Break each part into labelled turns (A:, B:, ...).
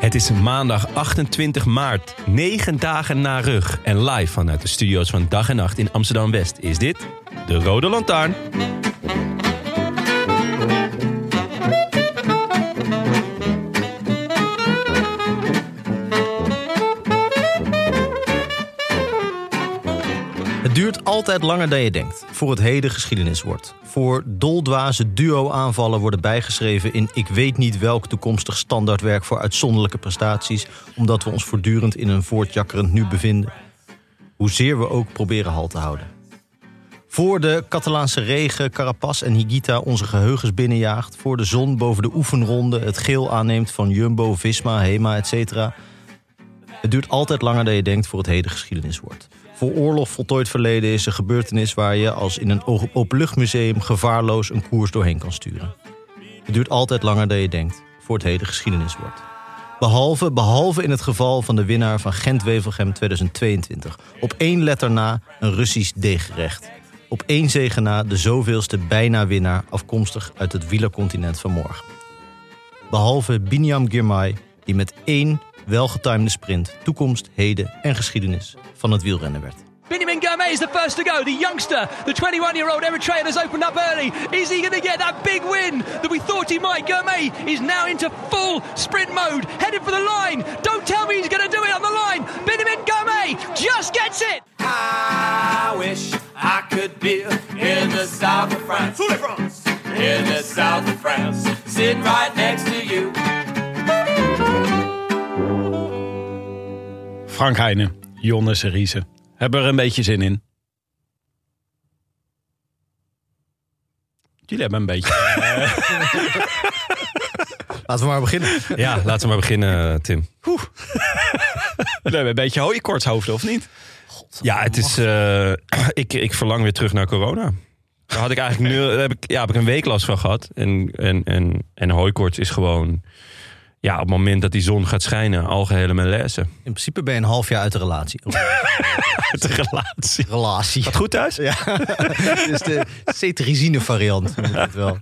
A: Het is maandag 28 maart, 9 dagen na rug. En live vanuit de studio's van Dag en Nacht in Amsterdam West is dit de Rode Lantaarn.
B: Het duurt altijd langer dan je denkt voor het heden geschiedenis wordt. Voor doldwaze duo-aanvallen worden bijgeschreven in ik weet niet welk toekomstig standaardwerk voor uitzonderlijke prestaties, omdat we ons voortdurend in een voortjakkerend nu bevinden. Hoezeer we ook proberen halt te houden. Voor de Catalaanse regen Carapaz en Higuita onze geheugens binnenjaagt, voor de zon boven de oefenronde het geel aanneemt van Jumbo, Visma, Hema, etc. Het duurt altijd langer dan je denkt voor het heden geschiedenis wordt. Voor oorlog voltooid verleden is een gebeurtenis waar je als in een oog- openluchtmuseum gevaarloos een koers doorheen kan sturen. Het duurt altijd langer dan je denkt voor het heden geschiedenis wordt. Behalve, behalve in het geval van de winnaar van Gent-Wevelgem 2022. Op één letter na een Russisch deeggerecht. Op één zegen na de zoveelste bijna-winnaar afkomstig uit het wielercontinent van morgen. Behalve Binyam Girmay, die met één welgetimede sprint toekomst, heden en geschiedenis van het wielrennen werd.
C: Benjamin Gourmet is the first to go. The youngster, the 21 year old Eritrean, has opened up early. Is he going to get that big win that we thought he might? Gourmet is now into full sprint mode, headed for the line. Don't tell me he's going to do it on the line. Benjamin Gourmet just gets it.
D: I wish I could be in the south of France. In the south of France. Sitting right next to you.
E: Frank Heijnen, Jonne Seriese. Hebben er een beetje zin in. Jullie hebben een beetje.
B: Laten we maar beginnen.
A: Ja, laten we maar beginnen, Tim.
E: Jullie hebben een beetje hooikortshoofden, of niet?
A: Ja, het is. eh, ik, ik verlang weer terug naar corona. Daar had ik eigenlijk nu, daar heb ik, ja, heb ik een week last van gehad. En, en, en, en hooikoorts is gewoon. Ja, op het moment dat die zon gaat schijnen, algehele malaise.
B: In principe ben je een half jaar uit de relatie.
A: Uit de relatie.
B: relatie.
A: Gaat goed thuis? Ja.
B: Het is de cetirizine variant. noem ik het wel.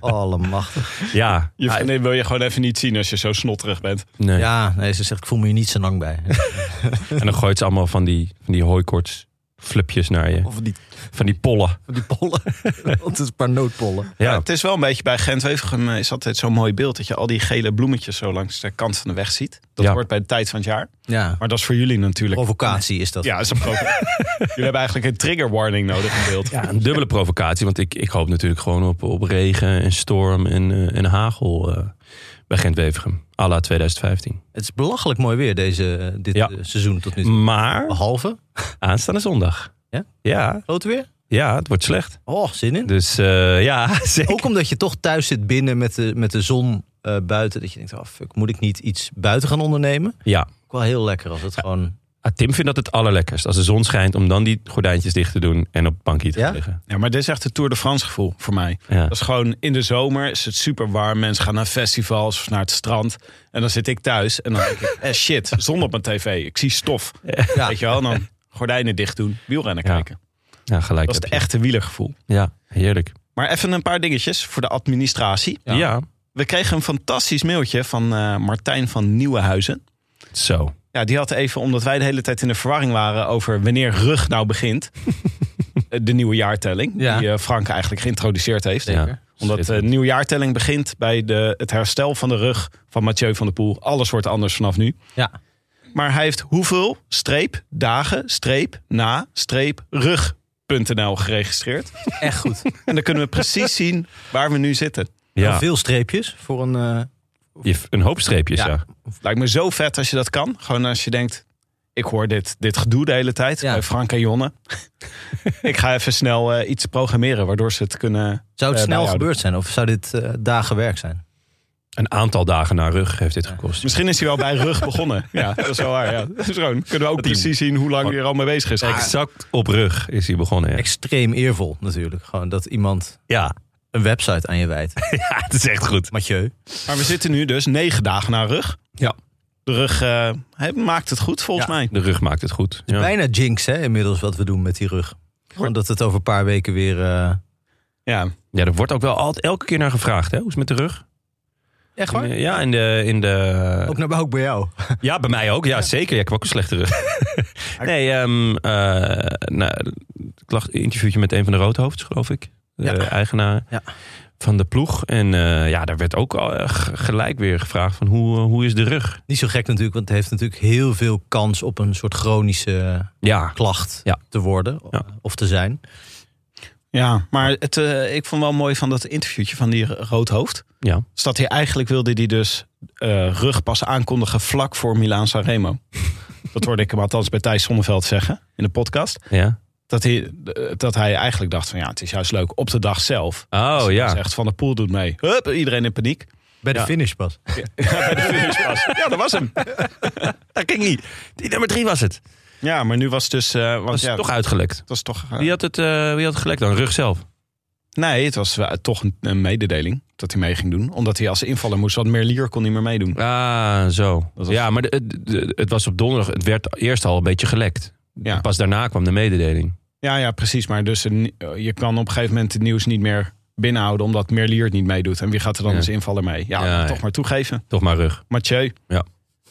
B: Allemachtig.
A: Ja,
E: Je vriendin wil je gewoon even niet zien als je zo snotterig bent.
A: nee.
B: Ja, nee, ze zegt ik voel me hier niet zo lang bij.
A: En dan gooit ze allemaal van die, van die hooikoorts flupjes naar je.
B: Of die,
A: Van die pollen.
B: die pollen. Want het is een paar noodpollen.
E: Ja.
A: Ja,
E: het is wel een beetje bij Gent-Wevergem eh, is altijd zo'n mooi beeld. Dat je al die gele bloemetjes zo langs de kant van de weg ziet. Dat
A: Ja.
E: hoort bij de tijd van het jaar.
B: Ja,
E: Maar dat is voor jullie natuurlijk.
B: provocatie is dat.
E: Ja, is een pro- jullie hebben eigenlijk een trigger warning nodig in beeld.
A: ja, een dubbele provocatie. Want ik, ik hoop natuurlijk gewoon op, op regen en storm en, eh, en hagel eh, bij Gent-Wevergem. à la 2015.
B: Het is belachelijk mooi weer deze, dit
A: Ja.
B: eh, seizoen tot nu toe.
E: Oh.
A: Maar
B: Behalve,
A: aanstaande zondag.
B: Ja?
A: Ja,
B: grote weer.
A: ja, het wordt slecht.
B: Oh, zin in.
A: Dus eh, ja, zeker.
B: Ook omdat je toch thuis zit binnen met de, met de zon eh, buiten. Dat je denkt, oh fuck, moet ik niet iets buiten gaan ondernemen?
A: Ja,
B: Ook wel heel lekker als het gewoon
F: Ah, Tim vindt dat het allerlekkerst. Als de zon schijnt, om dan die gordijntjes dicht te doen en op het bankje te
B: Ja?
F: gaan liggen.
A: Ja, maar dit is echt het Tour de France gevoel voor mij.
F: Ja.
A: Dat is gewoon in de zomer is het super warm. Mensen gaan naar festivals of naar het strand. En dan zit ik thuis en dan denk ik, eh shit, zon op mijn tv. Ik zie stof.
B: Ja.
A: Weet je wel, en dan gordijnen dicht doen, wielrennen
F: Ja.
A: kijken.
F: Ja, gelijk.
A: Dat is
F: heb
A: het
F: je.
A: echte wielergevoel.
F: Ja, heerlijk.
A: Maar even een paar dingetjes voor de administratie.
F: Ja.
A: We kregen een fantastisch mailtje van eh, Martijn van Nieuwenhuizen.
F: Zo.
A: Ja, die had even, omdat wij de hele tijd in de verwarring waren over wanneer rug nou begint. de nieuwe jaartelling,
B: Ja.
A: die eh, Frank eigenlijk geïntroduceerd heeft.
B: Zeker.
F: Ja.
A: Omdat de
F: Schitterend.
A: nieuwe jaartelling begint bij de, het herstel van de rug van Mathieu van der Poel. Alles wordt anders vanaf nu.
B: Ja.
A: Maar hij heeft hoeveel streep dagen streep na streep rug.nl geregistreerd.
B: Echt goed.
A: En dan kunnen we precies zien waar we nu zitten.
B: Ja.
F: ja.
B: Veel streepjes voor een... eh,
F: Je- een hoop streepjes,
B: Ja.
F: ja.
A: Lijkt me zo vet als je dat kan. Gewoon als je denkt, ik hoor dit, dit gedoe de hele tijd
B: Ja.
A: bij Frank en Jonne. ik ga even snel eh, iets programmeren waardoor ze het kunnen...
B: zou het
A: Eh,
B: snel
A: bijhouden.
B: gebeurd zijn? Of zou dit eh, dagen werk zijn?
F: Een aantal dagen naar rug heeft dit gekost.
A: Misschien is hij wel bij rug begonnen. Ja, dat is wel waar. Ja. Dus gewoon, kunnen we ook
F: hij-
A: precies zien hoe lang hij er al mee bezig is. Ah,
F: Exact op rug is hij begonnen. Ja,
B: Extreem eervol natuurlijk. Gewoon dat iemand
F: ja.
B: een website aan je wijdt.
F: ja het is echt goed.
B: Mathieu.
A: Maar we zitten nu dus negen dagen na rug.
B: Ja.
A: De rug eh, hij maakt het goed volgens
B: Ja.
A: mij.
F: De rug maakt het goed. Ja.
B: Bijna jinx hè, inmiddels wat we doen met die rug. Gewoon dat het over een paar weken weer... eh,
A: Ja.
F: Ja, er wordt ook wel altijd elke keer naar gevraagd. Hè? Hoe is het met de rug?
B: Echt
F: In, eh, ja, in de, in de...
B: Ook, naar, ook bij jou.
F: Ja, bij mij ook. Ja, zeker. Ja, ik heb ook een slechte rug. nee, ehm eh, nou, ik lag een interviewtje met een van de roodhoofds, geloof ik. De
B: Ja.
F: eigenaar
B: Ja.
F: van de ploeg. En eh, ja, daar werd ook al, eh, g- gelijk weer gevraagd van hoe, eh, hoe is de rug?
B: Niet zo gek natuurlijk, want het heeft natuurlijk heel veel kans op een soort chronische
F: Ja,
B: klacht
F: Ja.
B: te worden
F: Ja.
B: of te zijn.
A: Ja, maar het, eh, ik vond wel mooi van dat interviewtje van die roodhoofd.
F: Ja.
A: Is dat hij eigenlijk wilde die dus eh, rug pas aankondigen vlak voor Milaan Sanremo. dat hoorde ik hem althans bij Thijs Sonneveld zeggen in de podcast.
F: ja.
A: Dat hij, eh, dat hij eigenlijk dacht van ja, het is juist leuk op de dag zelf. Dus
F: Oh
A: hij
F: ja.
A: Zegt van de pool doet mee. Hup, iedereen in paniek.
B: Bij de finish pas.
A: Bij de finish pas. ja, dat was hem.
F: Dat ging niet. Die nummer drie was het.
A: Ja, maar nu was het dus... eh want
F: Dat is
A: ja,
F: toch uitgelekt.
A: het was toch eh,
F: Wie had het, eh, wie had het gelekt dan? Rug zelf.
A: nee, het was eh, toch een, een mededeling dat hij mee ging doen. Omdat hij als invaller moest, want Merlier kon niet meer meedoen.
F: Ah, zo.
A: was-
F: Ja, maar de- het- de- het was op donderdag. Het werd eerst al een beetje gelekt.
A: Ja.
F: Pas daarna kwam de mededeling.
A: Ja, ja, precies. Maar dus een- je kan op een gegeven moment het nieuws niet meer binnenhouden... omdat Merlier het niet meedoet. En wie gaat er dan
F: Ja.
A: als invaller mee? Ja,
F: Ja,
A: toch
F: ja.
A: maar toegeven.
F: Toch maar rug.
A: Mathieu.
F: Ja.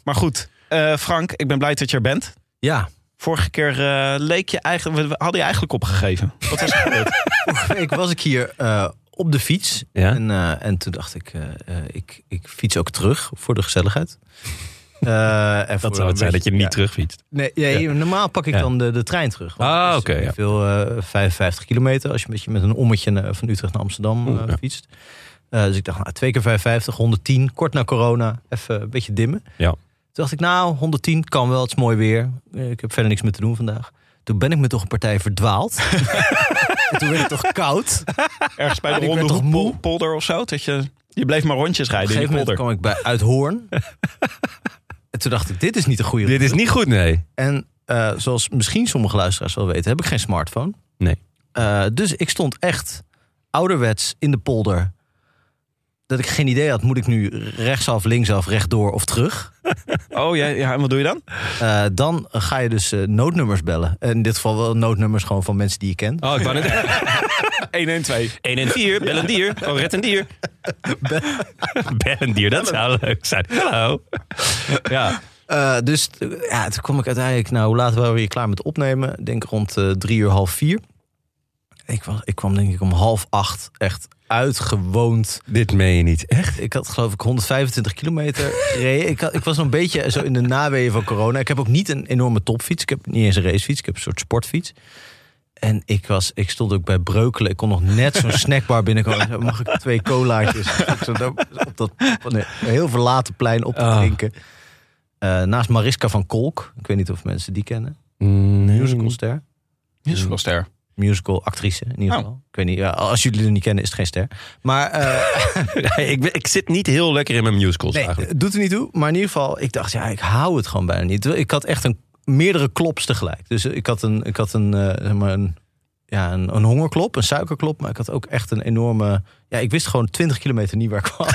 A: Maar goed, eh, Frank, ik ben blij dat je er bent.
B: Ja,
A: Vorige keer eh, leek je eigenlijk... We we hadden je eigenlijk opgegeven. Wat was er gebeurd?
B: vorige week was ik hier eh, op de fiets.
F: Ja?
B: En, eh, en toen dacht ik, eh, eh, ik, ik fiets ook terug voor de gezelligheid. Eh, en voor
F: Dat zou
B: een
F: het zijn dat je
B: beetje-
F: niet
B: ja.
F: terugfietst.
B: Nee, ja, hier- normaal pak ik
F: Ja.
B: dan de, de trein terug. want
F: Ah,
B: het is
F: oké, ja.
B: niet Veel eh 55 kilometer als je met, je met een ommetje eh, van Utrecht naar Amsterdam
F: Oeh,
B: eh,
F: ja.
B: fietst. Eh, dus ik dacht, nou, twee keer 55, 110, kort na corona, even een beetje dimmen.
F: Ja.
B: Toen dacht ik, nou, 110 kan wel, het is mooi weer. Eh, Ik heb verder niks meer te doen vandaag. Toen ben ik me toch een partij verdwaald. en toen werd het toch koud. Op
A: Ergens bij de
B: Ik werd
A: Ronde
B: toch
A: Hoek
B: moe?
A: pol- polder of zo? Dat je, je bleef maar rondjes
B: een
A: rijden in
B: gegeven
A: die
B: moment
A: polder.
B: kwam ik bij Uithoorn. en toen dacht ik, dit is niet de goede
F: Dit is niet goed, nee.
B: En eh, zoals misschien sommige luisteraars wel weten, heb ik geen smartphone.
F: Nee.
B: Eh, dus ik stond echt ouderwets in de polder. Dat ik geen idee had, moet ik nu rechtsaf, linksaf, rechtdoor of terug?
A: Oh ja, ja, en wat doe je dan?
B: Eh, dan ga je dus eh, noodnummers bellen. In dit geval wel noodnummers gewoon van mensen die je kent.
F: Oh, ik wou net
A: 1 en 2.
F: 1 en 4, bel een dier. Oh, red een dier. Bel een dier, dat zou leuk zijn. Hallo. Ja,
B: Eh, dus t- ja, toen kwam ik uiteindelijk, nou, hoe laat waren we hier klaar met opnemen? Ik Denk rond eh, drie uur, half vier. Ik, was, ik kwam denk ik om half acht echt uitgewoond
F: dit meen je niet. Echt?
B: Ik had geloof ik 125 kilometer gereden. Ik, had- ik was nog een beetje zo in de naweeën van corona. Ik heb ook niet een enorme topfiets. Ik heb niet eens een racefiets. Ik heb een soort sportfiets. En ik, was, ik stond ook bij Breukelen. Ik kon nog net zo'n snackbar binnenkomen. Ik zei, Mag ik twee colaatjes? Ik zat daar op dat van een heel verlaten plein op te
F: Ah.
B: drinken. Eh, naast Mariska van Kolk. Ik weet niet of mensen die kennen. Musicalster.
A: Mm. Musicalster.
B: Musical actrice in ieder
A: Oh.
B: geval. Ik weet niet, ja, als jullie er niet kennen is het geen ster. Maar... eh,
F: ik, ben- ik zit niet heel lekker in mijn musicals
B: Nee,
F: eigenlijk.
B: doet er niet toe. Maar in ieder geval, ik dacht, ja, ik hou het gewoon bijna niet. Ik had echt een, meerdere klops tegelijk. Dus ik had een, ik had een, eh, zeg maar een, ja, een, een hongerklop, een suikerklop. Maar ik had ook echt een enorme... Ja, ik wist gewoon 20 kilometer niet waar ik kwam.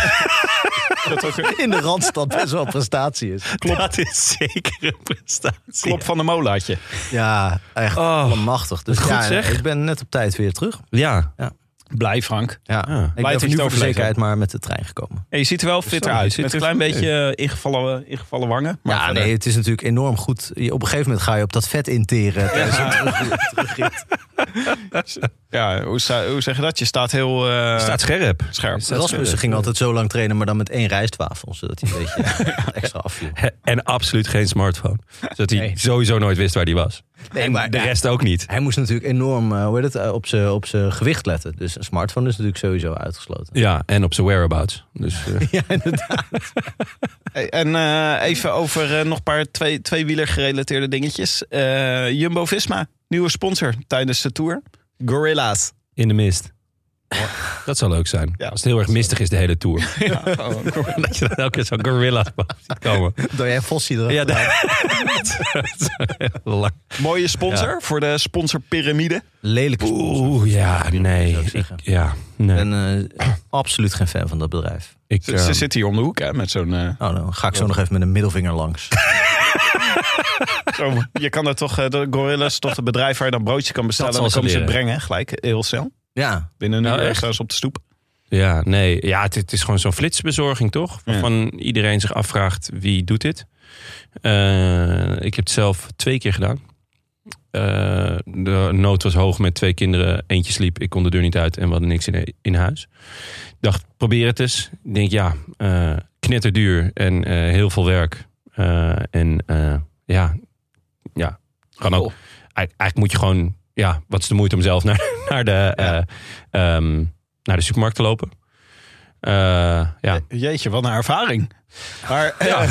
B: In de Randstad best wel een prestatie is.
F: Klopt. Dat is zeker een prestatie.
A: Klop van de molaatje.
B: Ja, echt
F: Oh,
B: allemachtig. Dus
F: goed
B: ja,
F: zeg.
B: ik ben net op tijd weer terug.
F: ja.
A: Blij, Frank.
B: Ja,
F: Ja.
B: ik
A: Blij dat je
B: ben
A: het
B: voor nu voor de
A: overleefd
B: zekerheid maar met de trein gekomen.
A: Ja, je ziet er wel fitter
F: Zo, je
A: uit.
F: ziet
A: Met
F: er
A: een klein
F: fit
A: beetje eh, ingevallen, ingevallen wangen. Maar
B: ja,
A: verder-
B: nee, het is natuurlijk enorm goed. Je- Op een gegeven moment ga je op dat vet interen. tijdens een terug- terugrit.
A: ja hoe, sta- hoe zeg je dat? Je staat heel eh,
F: Staat scherp.
A: scherp.
B: Rasmussen ging altijd zo lang trainen, maar dan met één rijstwafel. Zodat hij een beetje ja, extra afviel.
F: En absoluut geen smartphone. Zodat hij
B: Nee.
F: sowieso nooit wist waar hij was.
B: Nee, maar
F: De
B: ja,
F: rest ook niet.
B: hij moest natuurlijk enorm eh, hoe heet het, eh, op zijn op zijn gewicht letten. Dus een smartphone is natuurlijk sowieso uitgesloten.
F: Ja, en op zijn whereabouts. Dus, eh,
B: Ja, inderdaad.
A: Hey, en eh, even over eh, nog een paar twee, tweewieler gerelateerde dingetjes. Jumbo Visma, nieuwe sponsor tijdens de tour. Gorilla's.
F: in de mist. Dat zou leuk zijn.
A: Ja.
F: Als het heel erg mistig is de hele tour. dat je dan elke keer zo'n gorilla ziet komen.
B: Door jij Fossi erop.
F: Ja, dat...
A: Mooie sponsor voor de sponsorpyramide.
B: Lelijke sponsor.
F: Oeh, ja, nee.
B: ik
F: Ik,
B: zeggen.
F: ja,
B: Ik
F: nee.
B: ben eh, absoluut geen fan van dat bedrijf.
F: ik,
A: Ze,
F: eh,
A: ze zit hier om de hoek hè, met zo'n... eh,
B: Oh, dan ga ik zo nog even met een middelvinger langs.
A: zo'n- je kan daar toch... eh, de Gorilla's, toch het bedrijf waar je dan broodje kan bestellen. En
F: Dat
A: dan
F: zal
A: komen
F: ze
A: ze het brengen gelijk, heel snel.
B: Ja,
A: Binnen een
F: Nou,
A: uur
F: echt?
A: staan ze op de stoep.
F: ja, nee. Ja, het, het is gewoon zo'n flitsbezorging, toch? Waarvan iedereen zich afvraagt, wie doet dit? Eh, ik heb het zelf twee keer gedaan. Eh, de nood was hoog met twee kinderen. Eentje sliep, ik kon de deur niet uit en we hadden niks in, in huis. Ik dacht, probeer het eens. Ik denk, ja, eh knetterduur en eh, heel veel werk. Eh, en eh, ja, ja, kan ook. Eigen- Eigenlijk moet je gewoon, ja, wat is de moeite om zelf naar, naar, de, eh, ehm, naar de supermarkt te lopen? Eh, ja.
A: Jeetje, wat een ervaring. Maar eh,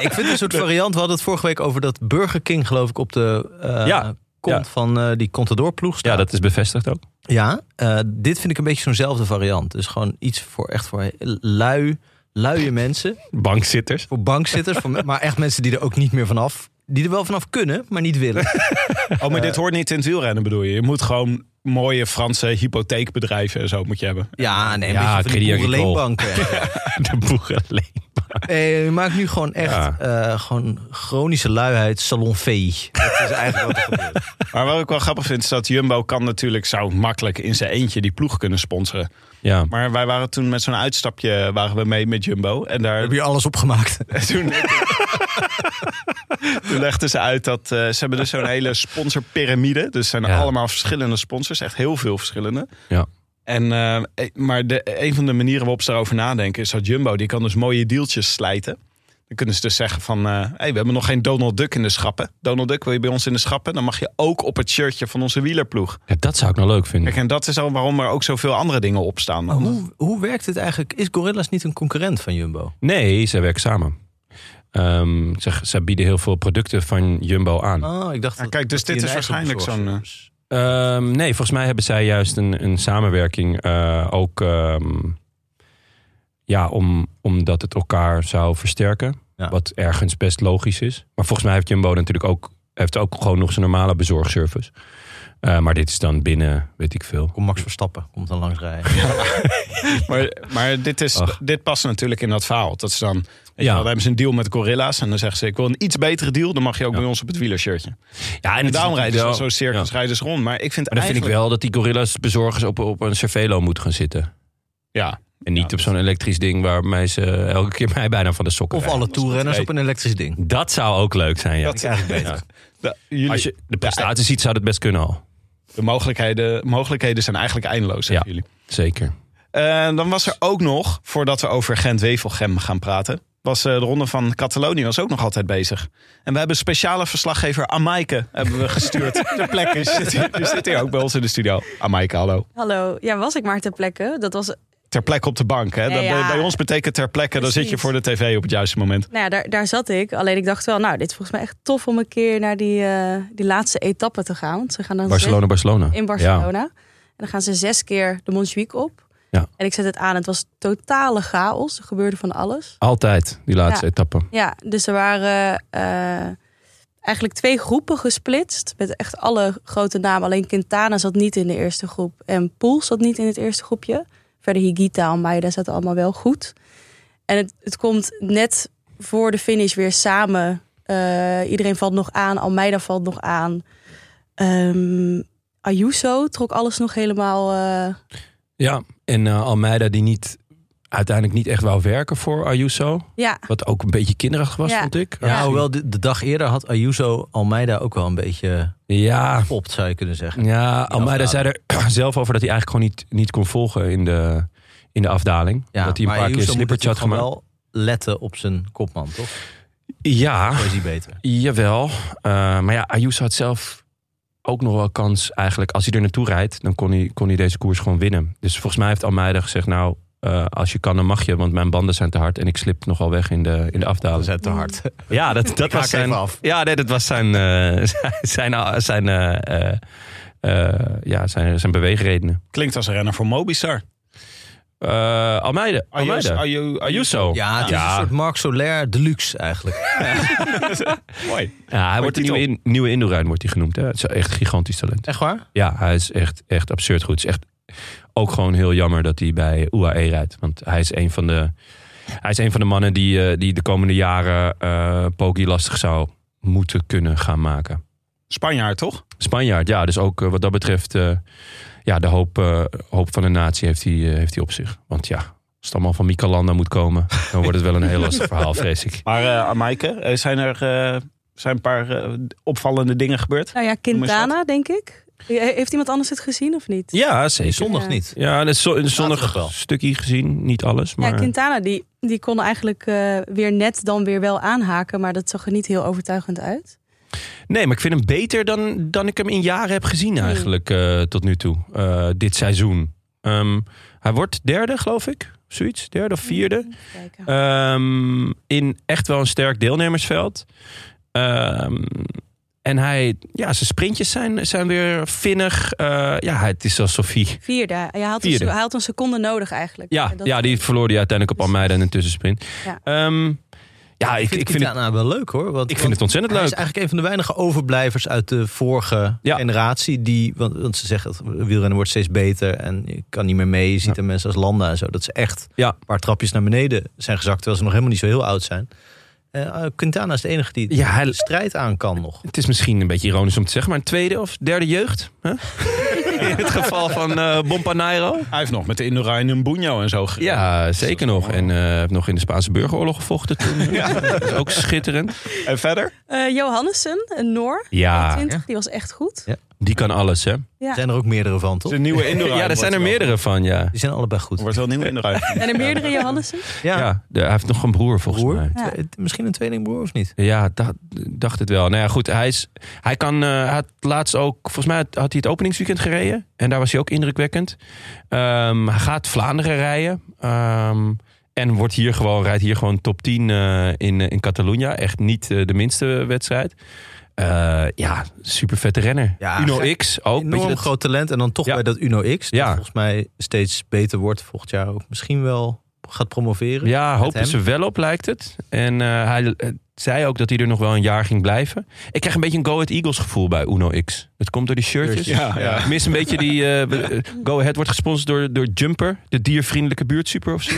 B: ik vind een soort variant. We hadden het vorige week over dat Burger King, geloof ik, op de eh,
F: Ja,
B: kont
F: ja.
B: van eh, die Contadorploeg staat.
F: ja, dat is bevestigd ook.
B: Ja, eh, dit vind ik een beetje zo'nzelfde variant. Dus gewoon iets voor echt voor lui, luie mensen.
F: Bankzitters.
B: Voor bankzitters, voor, me- maar echt mensen die er ook niet meer vanaf... Die er wel vanaf kunnen, maar niet willen.
A: Oh, maar dit hoort niet in het wielrennen bedoel je? Je moet gewoon mooie Franse hypotheekbedrijven en zo moet je hebben.
B: Ja, nee, een
F: Ja,
B: beetje van die
F: Crédit Agricole.
B: boerenleenbanken.
F: De boerenleen.
B: Eh, je maakt nu gewoon echt
F: Ja.
B: eh, gewoon chronische luiheid salonvee. Dat is eigenlijk wat er gebeurt.
A: Maar wat ik wel grappig vind is dat Jumbo kan natuurlijk zo makkelijk in zijn eentje die ploeg kunnen sponsoren.
F: Ja.
A: Maar wij waren toen met zo'n uitstapje waren we mee met Jumbo. En daar
B: Heb je alles opgemaakt?
A: toen, toen legden ze uit dat eh, ze hebben dus zo'n hele sponsorpyramide. Dus zijn
F: Ja.
A: allemaal verschillende sponsors, echt heel veel verschillende.
F: Ja.
A: En, eh, eh, maar de, een van de manieren waarop ze daarover nadenken is dat Jumbo die kan dus mooie dealtjes slijten. Dan kunnen ze dus zeggen van, eh, hey, we hebben nog geen Donald Duck in de schappen. Donald Duck wil je bij ons in de schappen? Dan mag je ook op het shirtje van onze wielerploeg.
F: Ja, dat zou ik nou leuk vinden.
A: Kijk, en dat is al waarom er ook zoveel andere dingen op staan.
F: Oh.
A: dan.
B: Hoe, hoe werkt het eigenlijk? Is Gorillas niet een concurrent van Jumbo?
F: Nee, zij werken samen. Ehm ze, ze bieden heel veel producten van Jumbo aan.
B: Oh, ik dacht
A: Ja,
B: dat-
A: kijk, dus
B: dat
A: dit
B: die
A: is
B: een eigen
A: waarschijnlijk zo'n... eh,
B: bezorger
F: Ehm, nee, volgens mij hebben zij juist een, een samenwerking eh, ook ehm, ja, om, omdat het elkaar zou versterken.
B: Ja.
F: Wat ergens best logisch is. Maar volgens mij heeft Jumbo natuurlijk ook, heeft ook gewoon nog zijn normale bezorgservice. Eh, maar dit is dan binnen, weet ik veel.
B: Kom Max Verstappen, komt dan langs rijden.
A: Maar, maar dit, is,
F: Ach.
A: dit past natuurlijk in dat verhaal. Dat ze dan, weet je
F: Ja.
A: wel, dan hebben ze een deal met Gorilla's. En dan zeggen ze, ik wil een iets betere deal. Dan mag je ook
F: Ja.
A: bij ons op het wielershirtje.
F: Ja,
A: En
F: het is
A: daarom rijden ze
F: wel-
A: dan zo circus,
F: ja.
A: rijden ze rond. Maar ik vind
F: Maar dan vind ik wel dat die gorilla's bezorgers op, op een cervelo moeten gaan zitten.
A: Ja,
F: En niet
A: Ja,
F: op zo'n elektrisch ding waarmee ze elke keer mij bijna van de sokken
B: Of
F: rijden.
B: alle toerrenners op een elektrisch ding.
F: Dat zou ook leuk zijn, ja.
B: Dat is eigenlijk beter.
A: de, jullie-
F: Als je de prestaties ziet, zou dat best kunnen al.
A: de mogelijkheden, mogelijkheden zijn eigenlijk eindeloos, zeggen
F: Ja.
A: jullie.
F: Zeker.
A: Eh, dan was er ook nog, voordat we over Gent-Wevelgem gaan praten... was eh, de ronde van Catalonië was ook nog altijd bezig. En we hebben speciale verslaggever Amaike hebben we gestuurd. de plek is, zit hier- die zit hier ook bij ons in de studio. Amaike, hallo.
G: Hallo, ja, was ik maar ter plekke. Dat was, nou
A: ter plekke op de bank. Hè?
G: Ja,
A: Dat-
G: ja.
A: Bij ons betekent ter plekke, dan zit je
G: Precies.
A: voor de tv op het juiste moment.
G: Nou ja, daar, daar zat ik. Alleen ik dacht wel, nou, dit is volgens mij echt tof om een keer naar die, eh, die laatste etappe te gaan. Want ze gaan dan
F: Barcelona, Barcelona.
G: zes- in
F: Ja.
G: Barcelona. En dan gaan ze zes keer de Montjuïc op.
F: Ja.
G: En ik zet het aan. Het was totale chaos. Er gebeurde van alles.
F: Altijd, die laatste
G: Ja.
F: etappe.
G: Ja, dus er waren eh, eigenlijk twee groepen gesplitst. Met echt alle grote namen. Alleen Quintana zat niet in de eerste groep. En Poel zat niet in het eerste groepje. Verder Higita en Maeda zaten allemaal wel goed. En het, het komt net voor de finish weer samen. Eh, iedereen valt nog aan. Almeida valt nog aan. Ehm Ayuso trok alles nog helemaal... eh,
F: Ja, en eh, Almeida die niet, uiteindelijk niet echt wou werken voor Ayuso.
G: ja,
F: Wat ook een beetje kinderachtig was,
G: Ja.
F: vond ik.
B: Ja, hoewel de, de dag eerder had Ayuso Almeida ook wel een beetje
F: Ja,
B: popt, zou je kunnen zeggen.
F: ja Almeida zei
B: afdaling.
F: er zelf over dat hij eigenlijk gewoon niet, niet kon volgen in de, in de afdaling.
B: Ja,
F: dat hij een
B: maar
F: paar keer
B: Ayuso moet
F: slippertje had
B: natuurlijk
F: gemaakt.
B: gewoon wel letten op zijn kopman, toch?
F: Ja,
B: Zo is hij beter.
F: jawel. Eh, maar ja, Ayuso had zelf ook nog wel kans eigenlijk. Als hij er naartoe rijdt, dan kon hij, kon hij deze koers gewoon winnen. Dus volgens mij heeft Almeida gezegd, nou, eh, als je kan dan mag je. Want mijn banden zijn te hard en ik slip nogal weg in de, in de afdaling.
B: het te hard.
F: Ja, dat, dat
B: haak
F: was zijn.
B: even af.
F: Ja, nee, dat was zijn. eh, zijn, zijn, zijn eh, eh, eh, ja, zijn, zijn beweegredenen.
A: Klinkt als een renner voor Mobistar.
F: Eh Almeida.
A: Ayus-
F: Almeida.
A: Ayu- Ayuso.
F: Ayuso.
B: Ja, het is
F: Ja.
B: een soort Marc Soler deluxe eigenlijk.
A: Mooi.
F: Ja, hij wordt de
A: titel.
F: nieuwe, in, nieuwe Indoorijn wordt hij genoemd. Hè. Het is echt een gigantisch talent.
B: Echt waar?
F: Ja, hij is echt, echt absurd goed. Het is echt ook gewoon heel jammer dat hij bij UAE rijdt. Want hij is een van de, hij is een van de mannen die, eh, die de komende jaren eh Poggi lastig zou moeten kunnen gaan maken.
A: Spanjaard, toch?
F: Spanjaard, ja. Dus ook eh, wat dat betreft, eh, ja, de hoop, eh, hoop van de natie heeft hij, eh, heeft hij op zich. Want ja, als het allemaal van Micalanda moet komen, dan wordt het wel een heel lastig verhaal, vrees ik.
A: Maar eh Amaike, eh, zijn er eh, zijn een paar eh, opvallende dingen gebeurd?
G: nou ja,
A: eens
G: Quintana denk ik. Heeft iemand anders het gezien of niet?
F: Ja,
B: Nee,
F: zeker.
B: zondag
G: Ja.
B: niet.
F: Ja, en het zo- een zonnig
B: Zaterdag wel.
F: stukje gezien, niet alles. Maar
G: Ja, Quintana die, die kon eigenlijk eh, weer net dan weer wel aanhaken, maar dat zag er niet heel overtuigend uit.
F: Nee, maar ik vind hem beter dan, dan ik hem in jaren heb gezien eigenlijk eh, tot nu toe. eh, dit seizoen. Ehm, hij wordt derde, geloof ik. Zoiets, derde of vierde.
G: Kijken.
F: Ehm, in echt wel een sterk deelnemersveld. Ehm, en hij, ja, zijn sprintjes zijn, zijn weer vinnig. Eh, ja, het is alsof hij.
G: Vierde. Hij had,
F: Vierde.
G: Een, hij had een seconde nodig eigenlijk.
F: Ja,
G: En dat-
F: ja, die verloor hij uiteindelijk op Almeida in een tussensprint. Ehm,
G: Ja.
F: Ja, ja ik,
B: Ik vind,
F: ik, vind het,
B: Quintana wel leuk hoor. Want,
F: ik vind het ontzettend
B: Hij is
F: leuk.
B: eigenlijk een van de weinige overblijvers uit de vorige
F: Ja.
B: generatie. Die, want, want ze zeggen, dat wielrennen wordt steeds beter en je kan niet meer mee. Je ziet aan mensen als Landa en zo. Dat ze echt
F: Ja.
B: een paar trapjes naar beneden zijn gezakt. Terwijl ze nog helemaal niet zo heel oud zijn. Eh, Quintana is de enige die
F: Ja, hij-
B: de strijd aan kan nog.
F: Het is misschien een beetje ironisch om te zeggen, maar een tweede of derde jeugd. Hè? in het geval van eh Bompanairo.
A: Hij heeft nog met de Indurain en Bunjo en zo gereden.
F: Ja, zeker nog. En eh, heeft nog in de Spaanse burgeroorlog gevochten toen. Dat is ook schitterend.
A: En verder?
G: Eh, Johannessen, een Noor,
F: Ja,
G: 20, die was echt goed.
F: die kan alles, hè?
G: Ja.
B: Er zijn er ook meerdere van, toch?
A: De nieuwe Indurain.
F: Ja, er
A: wordt
F: zijn er
A: wel-
F: meerdere van, ja.
B: Die zijn allebei goed.
A: Wordt wel een nieuwe Indurain.
G: En er meerdere Johannessen.
B: Ja,
F: Ja, de- hij heeft nog een broer volgens
B: broer.
F: mij.
G: Ja.
B: Twee- Misschien een tweelingbroer of niet?
F: Ja, dacht, dacht het wel. Nou ja, goed, hij, is, hij kan, eh, hij had laatst ook, volgens mij had, had hij het openingsweekend gereden. En daar was hij ook indrukwekkend. Ehm, hij gaat Vlaanderen rijden. Ehm, en wordt hier gewoon, rijdt hier gewoon top 10 eh, in, eh, in Catalunya. Echt niet eh, de minste wedstrijd. Eh, ja, super vette renner.
B: Ja,
F: Uno X ook.
B: Enorm
F: Beetje dat-
B: groot talent. En dan toch
F: Ja.
B: bij dat Uno X. Dat
F: Ja.
B: volgens mij steeds beter wordt. Volgend jaar ook misschien wel gaat promoveren.
F: Ja, hopen
B: hem.
F: ze wel op, lijkt het. En eh, hij eh, zei ook dat hij er nog wel een jaar ging blijven. Ik krijg een beetje een Go Ahead Eagles gevoel bij Uno X. Het komt door die shirtjes.
A: Ja, ja.
F: Ik mis een beetje die... eh, be- eh, Go Ahead wordt gesponsord door, door Jumper. De diervriendelijke buurtsuper of zo.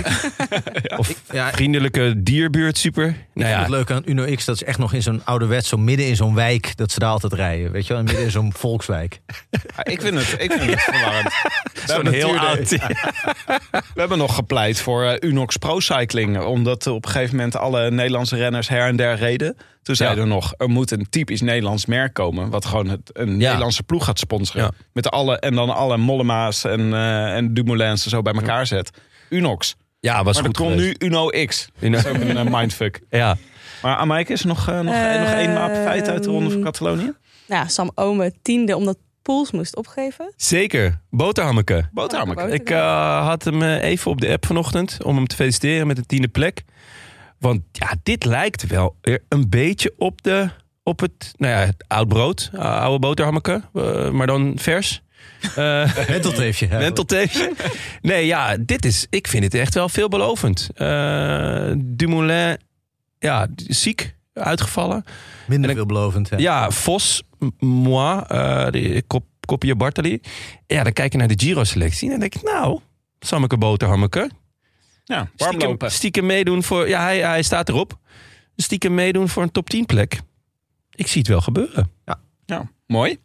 F: Of
B: Ja, ik
F: vriendelijke dierbuurtsuper. Nou
B: vind
F: ja,
B: het leuk aan Uno X. Dat is echt nog in zo'n ouderwets, zo midden in zo'n wijk. Dat ze daar altijd rijden. Weet je wel, midden in zo'n volkswijk.
A: Ja, Ik vind het, ik vind het verwarrend. We
F: zo'n
A: hebben
F: heel
A: natuurlijk-
F: oud...
A: We hebben nog gepleit voor eh, Unox Pro Cycling. Omdat op een gegeven moment alle Nederlandse renners her en der reden. Toen zeiden we nog, er moet een typisch Nederlands merk komen. Wat gewoon het, een Nederlandse ploeg gaat sponsoren.
F: Ja.
A: Met alle, en dan alle Mollema's en, eh en Dumoulins en zo bij elkaar zet. Unox.
F: Ja,
A: Maar
F: was
A: er
F: goed
A: komt
F: geweest.
A: nu Uno X.
F: Uno-
A: Dat is ook een eh, mindfuck.
F: Ja.
A: Maar Amaike, is er nog, eh, nog,
G: Eh,
A: nog één feit uit de Ronde van Catalonië?
G: Nou, ja, Sam Ome, tiende, omdat Poels moest opgeven.
F: Zeker. Boterhammeke.
A: Boterhammeke.
G: Boterhammeke.
F: Ik eh, had hem eh, even op de app vanochtend om hem te feliciteren met de tiende plek. Want ja, dit lijkt wel weer een beetje op, de, op het, nou ja, het oud brood, eh, oude boterhammeke, eh, maar dan vers. Eh
B: Mentelteefje. hè.
F: Wentelteefje. Nee, ja, dit is, ik vind het echt wel veelbelovend. Eh Dumoulin, ja, ziek. uitgevallen.
B: Minder
F: En ik-
B: veelbelovend. Ja.
F: Ja, Vos, M- Moi, eh die kop, kopje Bartali. Ja, dan kijk je naar de Giro-selectie en dan denk ik, nou, Sammeke Boterhammeke.
A: Ja, warm
F: Stiekem,
A: lopen.
F: stiekem meedoen voor, ja, hij, hij staat erop. Stiekem meedoen voor een top 10 plek. Ik zie het wel gebeuren.
A: Ja, mooi.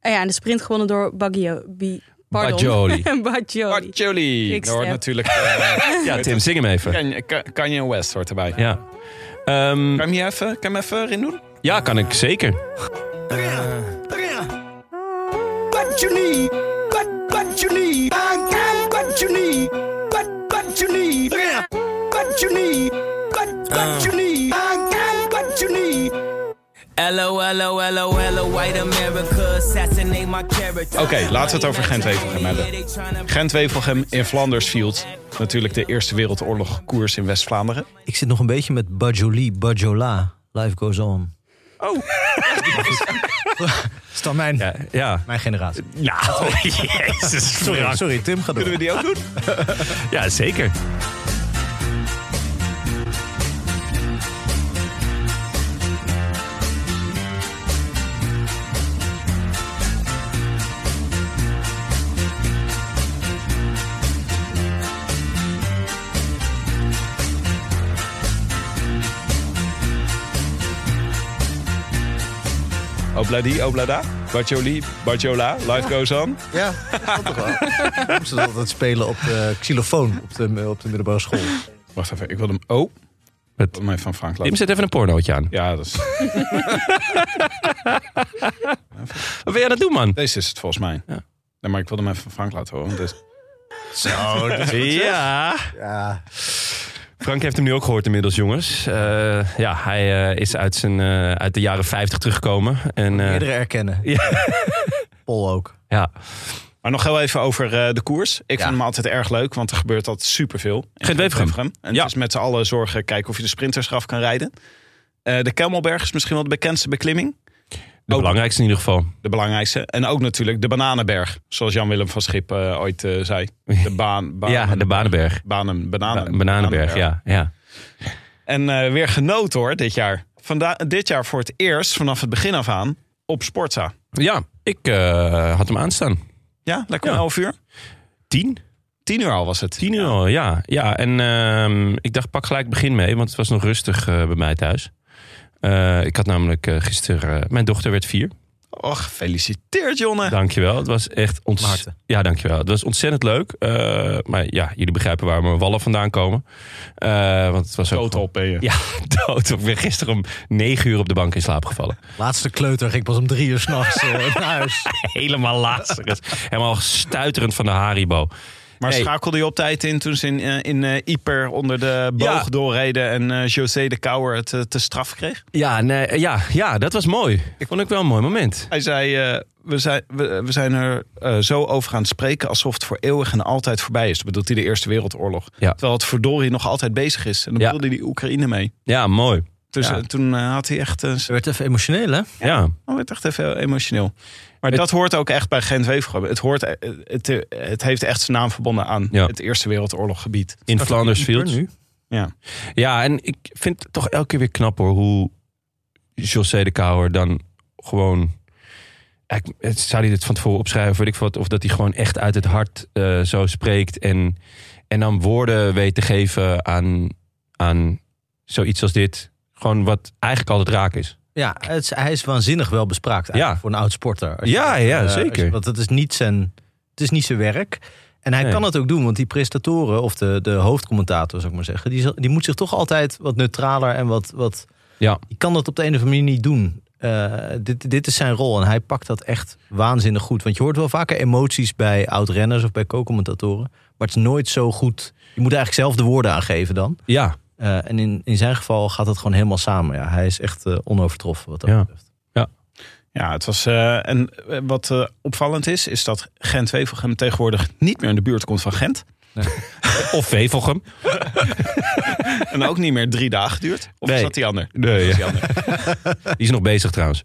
G: Ah ja, en de sprint gewonnen door Baggio. Bi- pardon.
F: Bajoli.
G: Bajoli.
A: Bartjoli.
G: Ik
A: Daar hoort
G: snap.
A: natuurlijk eh,
F: Ja, Tim, zing hem even.
A: Kanye- Ka- Kanye West hoort erbij. Kan
F: Ja. Ehm,
A: je hem hier even, kan je hem even erin doen?
F: ja, kan ik zeker.
H: Hello, hello, hello, hello, white America, assassinate my character.
A: Oké, laten we het over Gent-Wevelgem hebben. Gent-Wevelgem in Flandersfield. Natuurlijk de Eerste Wereldoorlog koers in West-Vlaanderen.
B: Ik zit nog een beetje met Bajoli, Bajola. Life goes on. Oh. is dan mijn,
F: Ja, ja.
B: mijn generatie.
F: Nou, jezus.
B: Sorry,
F: Frank.
B: sorry, Tim gaat door.
A: Kunnen we die ook doen?
F: Ja, zeker.
A: Obladi, oblada. Bartjoli, Bartjola. Life goes on.
B: Ja, dat toch wel. Ik moest altijd spelen op de xylofoon op de, op de middelbare school.
A: Wacht even, ik wil hem... Oh,
F: Het-
A: het... mij van Frank laten.
F: Tim, zet even een pornootje aan.
A: Ja, dat is...
F: Wat ben jij aan het doen, man?
A: deze is het volgens mij.
F: Ja.
A: Nee, maar ik wilde hem even van Frank laten horen. want dit-
B: Zo, dat is
F: Ja.
B: ja.
F: Frank heeft hem nu ook gehoord inmiddels, jongens. Eh, ja, hij eh, is uit, zijn, eh, uit de jaren 50 teruggekomen. En, eh,
B: Meerdere erkennen. Pol ook.
F: ja.
A: Maar nog heel even over eh, de koers. Ik
B: Ja.
A: vind hem altijd erg leuk, want er gebeurt altijd superveel. in
F: Gent-Wevelgem.
A: Gent-Wevelgem. En
F: Ja.
A: het is met z'n allen zorgen kijken of je de sprinters eraf kan rijden. Eh, de Kelmelberg is misschien wel de bekendste beklimming.
F: De belangrijkste in ieder geval.
A: De belangrijkste. En ook natuurlijk de Bananenberg. Zoals Jan-Willem van Schip eh, ooit eh, zei. De baan, baan,
F: ja, de Banenberg.
A: banen,
F: Ba-
A: bananen,
F: Bananenberg, ja. ja.
A: En eh, weer genoten hoor, dit jaar. Vanda dit jaar voor het eerst, vanaf het begin af aan, op Sportza.
F: Ja, ik eh, had hem aanstaan.
A: Ja, lekker om
F: Ja.
A: 11 uur.
F: Tien?
A: 10 uur al was het.
F: Tien uur al, ja. ja. En ehm, ik dacht, pak gelijk het begin mee, want het was nog rustig eh, bij mij thuis. Eh, ik had namelijk eh, gisteren... eh, mijn dochter werd vier.
A: Och, gefeliciteerd Jonne.
F: Dankjewel. Het was echt
B: Maarten.
F: ontzettend. Ja, dankjewel. Het was ontzettend leuk. Eh, maar ja, jullie begrijpen waar mijn wallen vandaan komen. Eh, want het was ook
A: Total ben je.
F: Ja, dood. Ik ben gisteren om negen uur op de bank in slaap gevallen.
B: Laatste kleuter ging pas om drie uur s'nachts eh naar huis.
F: Helemaal laatst. Helemaal stuiterend van de Haribo.
A: Maar
F: Nee.
A: schakelde je op tijd in toen ze in, eh, in eh, Ieper onder de boog
F: Ja.
A: doorreden en eh, José de Kouwer het eh, te straf kreeg?
F: Ja, nee, ja, ja, dat was mooi. Ik vond ik wel een mooi moment.
A: Hij zei, eh, we, zijn, we, we zijn er eh, zo over gaan spreken alsof het voor eeuwig en altijd voorbij is. Dat bedoelt hij de Eerste Wereldoorlog.
F: Ja.
A: Terwijl het verdorie nog altijd bezig is. En dan
F: Ja.
A: bedoelde hij Oekraïne mee.
F: Ja, mooi.
A: Dus
F: Ja.
A: eh, toen eh, had hij echt, eh,
B: Ze werd even emotioneel, hè?
F: Ja,
A: hij werd echt even heel emotioneel. Maar
F: Het-
A: dat hoort ook echt bij Gent-Wevelgem. Het, hoort, eh, het, eh, het heeft echt zijn naam verbonden aan
F: Ja.
A: het Eerste Wereldoorloggebied.
F: in Flandersfield.
B: nu.
A: Ja.
F: Ja, en ik vind het toch elke keer weer knap hoor hoe José de Kouwer dan gewoon. Ik, het- zou hij dit van tevoren opschrijven, weet ik wat. Of dat hij gewoon echt uit het hart eh, zo spreekt. En, en dan woorden weet te geven aan, aan zoiets als dit. Gewoon wat eigenlijk altijd raak is.
B: Ja, het is, hij is waanzinnig wel bespraakt eigenlijk
F: Ja.
B: voor een oud sporter. Als
F: Ja,
B: je-
F: ja,
B: eh, als je-
F: zeker.
B: want het is niet zijn, het is niet zijn werk. En hij
F: Nee.
B: kan het ook doen, want die prestatoren of de, de hoofdcommentator, zou ik maar zeggen, die, zal- die moet zich toch altijd wat neutraler en wat. wat
F: Ja.
B: Die kan dat op de een of andere manier niet doen. Eh, dit, dit is zijn rol en hij pakt dat echt waanzinnig goed. Want je hoort wel vaker emoties bij oud-renners of bij co-commentatoren. Maar het is nooit zo goed. Je moet eigenlijk zelf de woorden aangeven dan.
F: Ja,
B: Eh, en in, in zijn geval gaat dat gewoon helemaal samen. Ja, hij is echt eh, onovertroffen wat dat
F: Ja.
B: betreft.
A: Ja, het was. eh, en eh, wat eh, opvallend is, is dat Gent-Wevelgem tegenwoordig niet meer in de buurt komt van Gent.
F: of Vevelgem.
A: En ook niet meer drie dagen duurt. Of is
F: Nee.
A: dat die ander?
F: Nee, Die is nog bezig trouwens.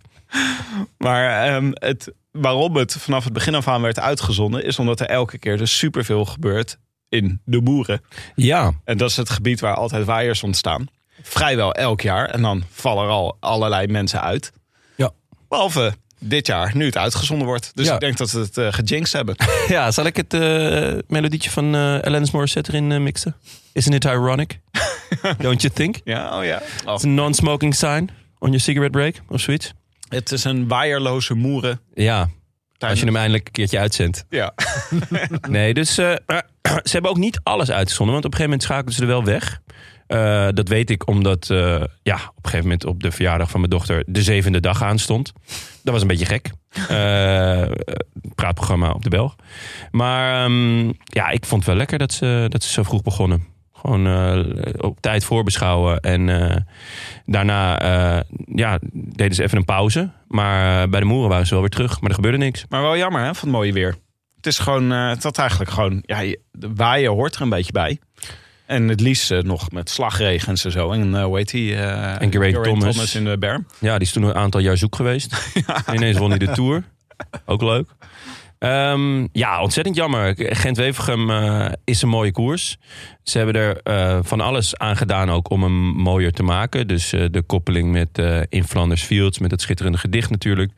A: Maar ehm, het, waarom het vanaf het begin af aan werd uitgezonden, is omdat er elke keer dus superveel gebeurt in de boeren.
F: Ja,
A: En dat is het gebied waar altijd waaiers ontstaan. vrijwel elk jaar. En dan vallen er al allerlei mensen uit.
I: Ja.
A: Behalve dit jaar, nu het uitgezonden wordt. Dus
I: Ja.
A: ik denk dat ze het eh, gejinxed hebben.
F: Ja, zal ik het eh, melodietje van eh Alanis Morissette erin eh, mixen? Isn't it ironic? Don't you think?
A: Ja, oh ja. Oh.
F: It's a non-smoking sign on your cigarette break of zoiets.
A: Het is een waaierloze moeren.
F: Ja, als je hem eindelijk een keertje uitzendt.
A: Ja.
F: Nee, dus eh, ze hebben ook niet alles uitgezonden. Want op een gegeven moment schakelden ze er wel weg. Eh, dat weet ik omdat eh, ja, op een gegeven moment op de verjaardag van mijn dochter de zevende dag aanstond. Dat was een beetje gek. Eh, eh, praatprogramma op de Belg. Maar ehm, ja, ik vond het wel lekker dat ze, dat ze zo vroeg begonnen. Gewoon eh, op tijd voorbeschouwen. En eh, daarna eh, ja, deden ze even een pauze. Maar eh, bij de moeren waren ze wel weer terug. Maar er gebeurde niks.
A: Maar wel jammer, hè, van het mooie weer. Het is gewoon, eh het had eigenlijk gewoon, ja, je- de waaien hoort er een beetje bij. En het liefst eh, nog met slagregens en zo. En eh, hoe heet die? eh,
F: En Geraint Thomas.
A: in de berm.
F: Ja, die is toen een aantal jaar zoek geweest. En ineens won hij de Tour. Ook leuk. Ehm, ja, ontzettend jammer. Gent-Wevergem eh, is een mooie koers. Ze hebben er eh, van alles aan gedaan ook om hem mooier te maken. Dus eh, de koppeling met eh, In Flanders Fields, met dat schitterende gedicht natuurlijk.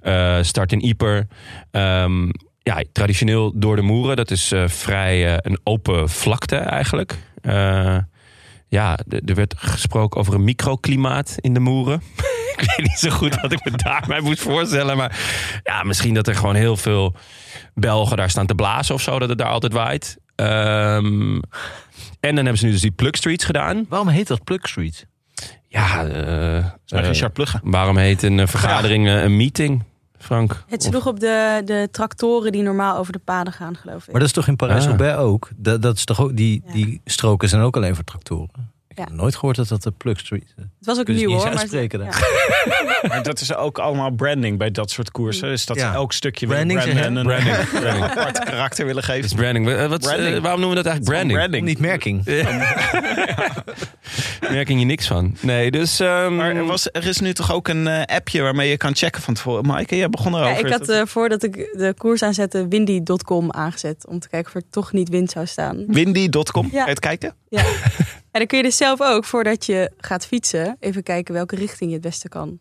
F: Eh, start in Ieper. Ehm, ja, traditioneel door de moeren. Dat is eh, vrij eh, een open vlakte eigenlijk. Eh, ja, d- er werd gesproken over een microklimaat in de moeren. ik weet niet zo goed wat ik me daarbij moest voorstellen. Maar ja, misschien dat er gewoon heel veel Belgen daar staan te blazen of zo. Dat het daar altijd waait. Ehm, en dan hebben ze nu dus die plugstreets gedaan.
B: Waarom heet dat Plug Street?
F: Ja, eh,
A: Maar
F: eh,
A: Richard Plugge.
F: waarom heet een eh, vergadering eh, een meeting, Frank?
G: Het
F: Of-
G: sloeg op de, de tractoren die normaal over de paden gaan, geloof ik.
B: Maar dat is toch in
F: Ah.
B: Parijs-Roubaix ook? Dat, dat is toch ook die,
G: Ja.
B: die stroken zijn ook alleen voor tractoren? Ik
G: Ja.
B: heb nooit gehoord dat dat de Plug Street eh. is.
G: het was ook
B: kun je
G: nieuw
B: niet
G: hoor.
B: eens
G: Maar
B: uitspreken
G: ja.
B: daar.
A: Maar dat is ook allemaal branding bij dat soort koersen. Is dat
B: Ja.
A: elk stukje weer
B: Branding,
A: branden
B: zeg
A: en
B: je?
A: een
F: Branding.
A: apart karakter willen
F: Het is
A: geven.
F: branding. Eh, wat, eh,
A: Branding.
F: waarom noemen we dat eigenlijk branding?
A: Branding.
B: Niet merking.
F: Merken je niks van. Nee, dus... ehm,
A: Maar er, was, er is nu toch ook een eh, appje waarmee je kan checken van tevoren. Maaike, jij begon erover.
G: Ja,
B: Oh,
G: ik had eh, voordat ik de koers aanzette, windy.com aangezet. Om te kijken of er toch niet wind zou staan.
A: Windy.com,
G: Ja.
A: Ga je het kijken?
G: Ja. en dan kun je dus zelf ook, voordat je gaat fietsen, even kijken welke richting je het beste kan.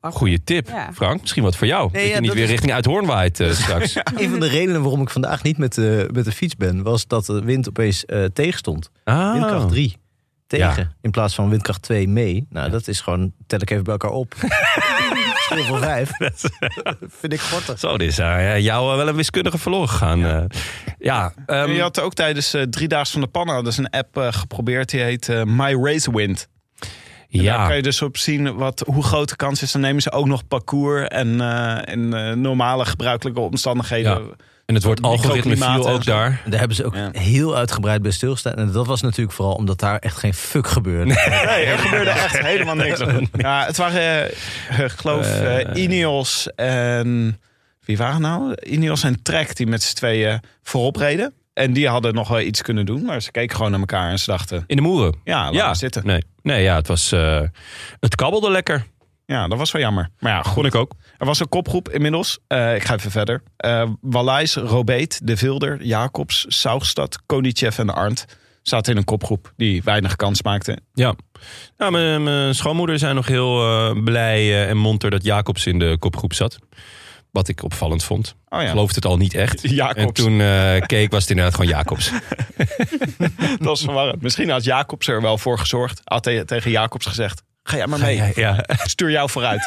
F: Goeie tip,
G: Ja.
F: Frank. Misschien wat voor jou.
B: Nee,
F: dat
B: ja,
F: je niet
B: dat
F: weer
B: is-
F: richting Uithoorn waait eh, straks.
B: Een van de redenen waarom ik vandaag niet met de, met de fiets ben, was dat de wind opeens eh tegen stond.
F: Ah.
B: Windkracht 3 tegen, in plaats van windkracht 2 mee. Nou, dat is gewoon, tel ik even bij elkaar op. Verschil van 5. Vind ik gortig.
F: Zo, dit is eh, jou eh, wel een wiskundige verloren gegaan. eh. Ja, ehm,
A: En je had ook tijdens eh, Drie Daags van de Pannen hadden ze een app eh, geprobeerd. Die heet eh, My Race Wind. En Daar kan
F: ja.
A: je dus op zien wat, hoe groot de kans is. Dan nemen ze ook nog parcours en, eh, en eh, normale gebruikelijke omstandigheden.
F: en het wordt algoritme
A: microklimaat
F: viel
A: en
F: ook
A: zo.
F: daar.
B: Daar hebben ze ook
A: Ja.
B: heel uitgebreid bij stilgestaan. En dat was natuurlijk vooral omdat daar echt geen fuck gebeurde.
A: Nee, er gebeurde echt helemaal niks. Ja, het waren, eh, ik geloof, eh,
F: Eh.
A: Ineos en... Wie waren nou? Ineos en Trek die met z'n tweeën voorop reden. En die hadden nog wel iets kunnen doen. Maar ze keken gewoon naar elkaar en ze dachten...
F: In de moeren.
A: Ja, laten we zitten.
F: Nee, nee ja, het, was, eh, het kabbelde lekker.
A: Ja, dat was wel jammer. Maar ja, goed.
F: Vond ik ook.
A: Er was een kopgroep inmiddels. Eh, ik ga even verder. Eh Wallijs, Robeet, De Vilder, Jacobs, Saugstad, Konitschev en Arndt zaten in een kopgroep die weinig kans maakte.
F: Ja, nou, mijn, mijn schoonmoeder zijn nog heel eh, blij eh, en monter dat Jacobs in de kopgroep zat. Wat ik opvallend vond.
A: Oh ja,
F: Geloofde het al niet echt.
A: Jacobs.
F: En toen eh, keek was het inderdaad gewoon Jacobs.
A: dat is verwarrend. Misschien had Jacobs er wel voor gezorgd. Had te- tegen Jacobs gezegd, ga jij maar mee.
F: ja,
A: Ik Stuur jou vooruit.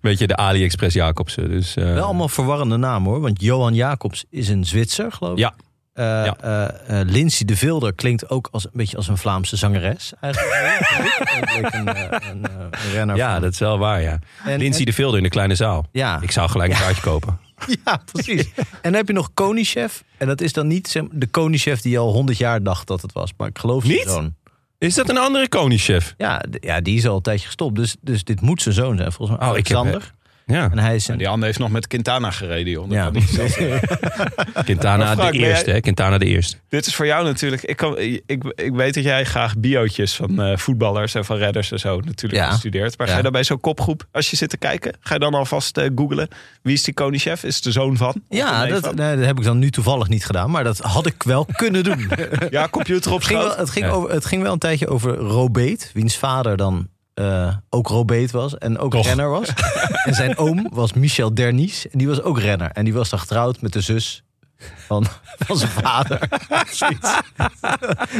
F: weet je, de AliExpress Jacobsen. Dus, eh,
B: Wel allemaal verwarrende namen hoor. Want Johan Jacobs is een Zwitser, geloof ik.
F: Ja.
B: Eh, eh, eh, Lindsay de Vilder klinkt ook als, een beetje als een Vlaamse zangeres. Eigenlijk. Ook leek een, eh, een, eh, een renner.
F: ja,
B: van-
F: dat is wel waar, ja.
B: en-
F: Lindsay de Vilder in de kleine zaal.
B: Ja.
F: Ik zou gelijk een kaartje kopen.
B: ja, precies. En dan heb je nog Koningschef. En dat is dan niet zeg maar, de Koningschef die al 100 jaar dacht dat het was. Maar ik geloof
F: Niet?
B: zijn zoon.
F: Is dat een andere koningschef?
B: Ja, d- ja, die is al een tijdje gestopt. Dus, dus dit moet zijn zoon zijn, volgens mij.
F: Oh, ik heb-
B: Alexander.
F: Ja.
B: En hij is
A: En
B: een,
A: die ander heeft nog met Quintana gereden, joh. Dat
B: Ja.
A: kan niet zelfs.
F: Quintana
A: Maar Frank,
F: de
A: ben
F: eerste,
A: jij-
F: hè? Quintana de eerste.
A: Dit is voor jou natuurlijk. Ik, kan, ik, ik weet dat jij graag biootjes van eh, voetballers en van redders en zo natuurlijk
B: Ja.
A: gestudeerd. Maar ga
B: Ja.
A: je dan bij zo'n kopgroep, als je zit te kijken, ga je dan alvast eh googlen. Wie is die koningschef? Is het de zoon van? Of
B: ja,
A: de neef
B: dat,
A: van?
B: nee, dat heb ik dan nu toevallig niet gedaan, maar dat had ik wel kunnen doen.
A: Ja, computer op
B: Het ging,
A: schoot.
B: wel, het, ging
F: Ja.
B: over, het ging wel een tijdje over Robeet, wiens vader dan eh, ook Robeet was en ook
F: Toch.
B: renner was. en zijn oom was Michel Dernies en die was ook renner. En die was dan getrouwd met de zus van, van zijn vader. Zoiets.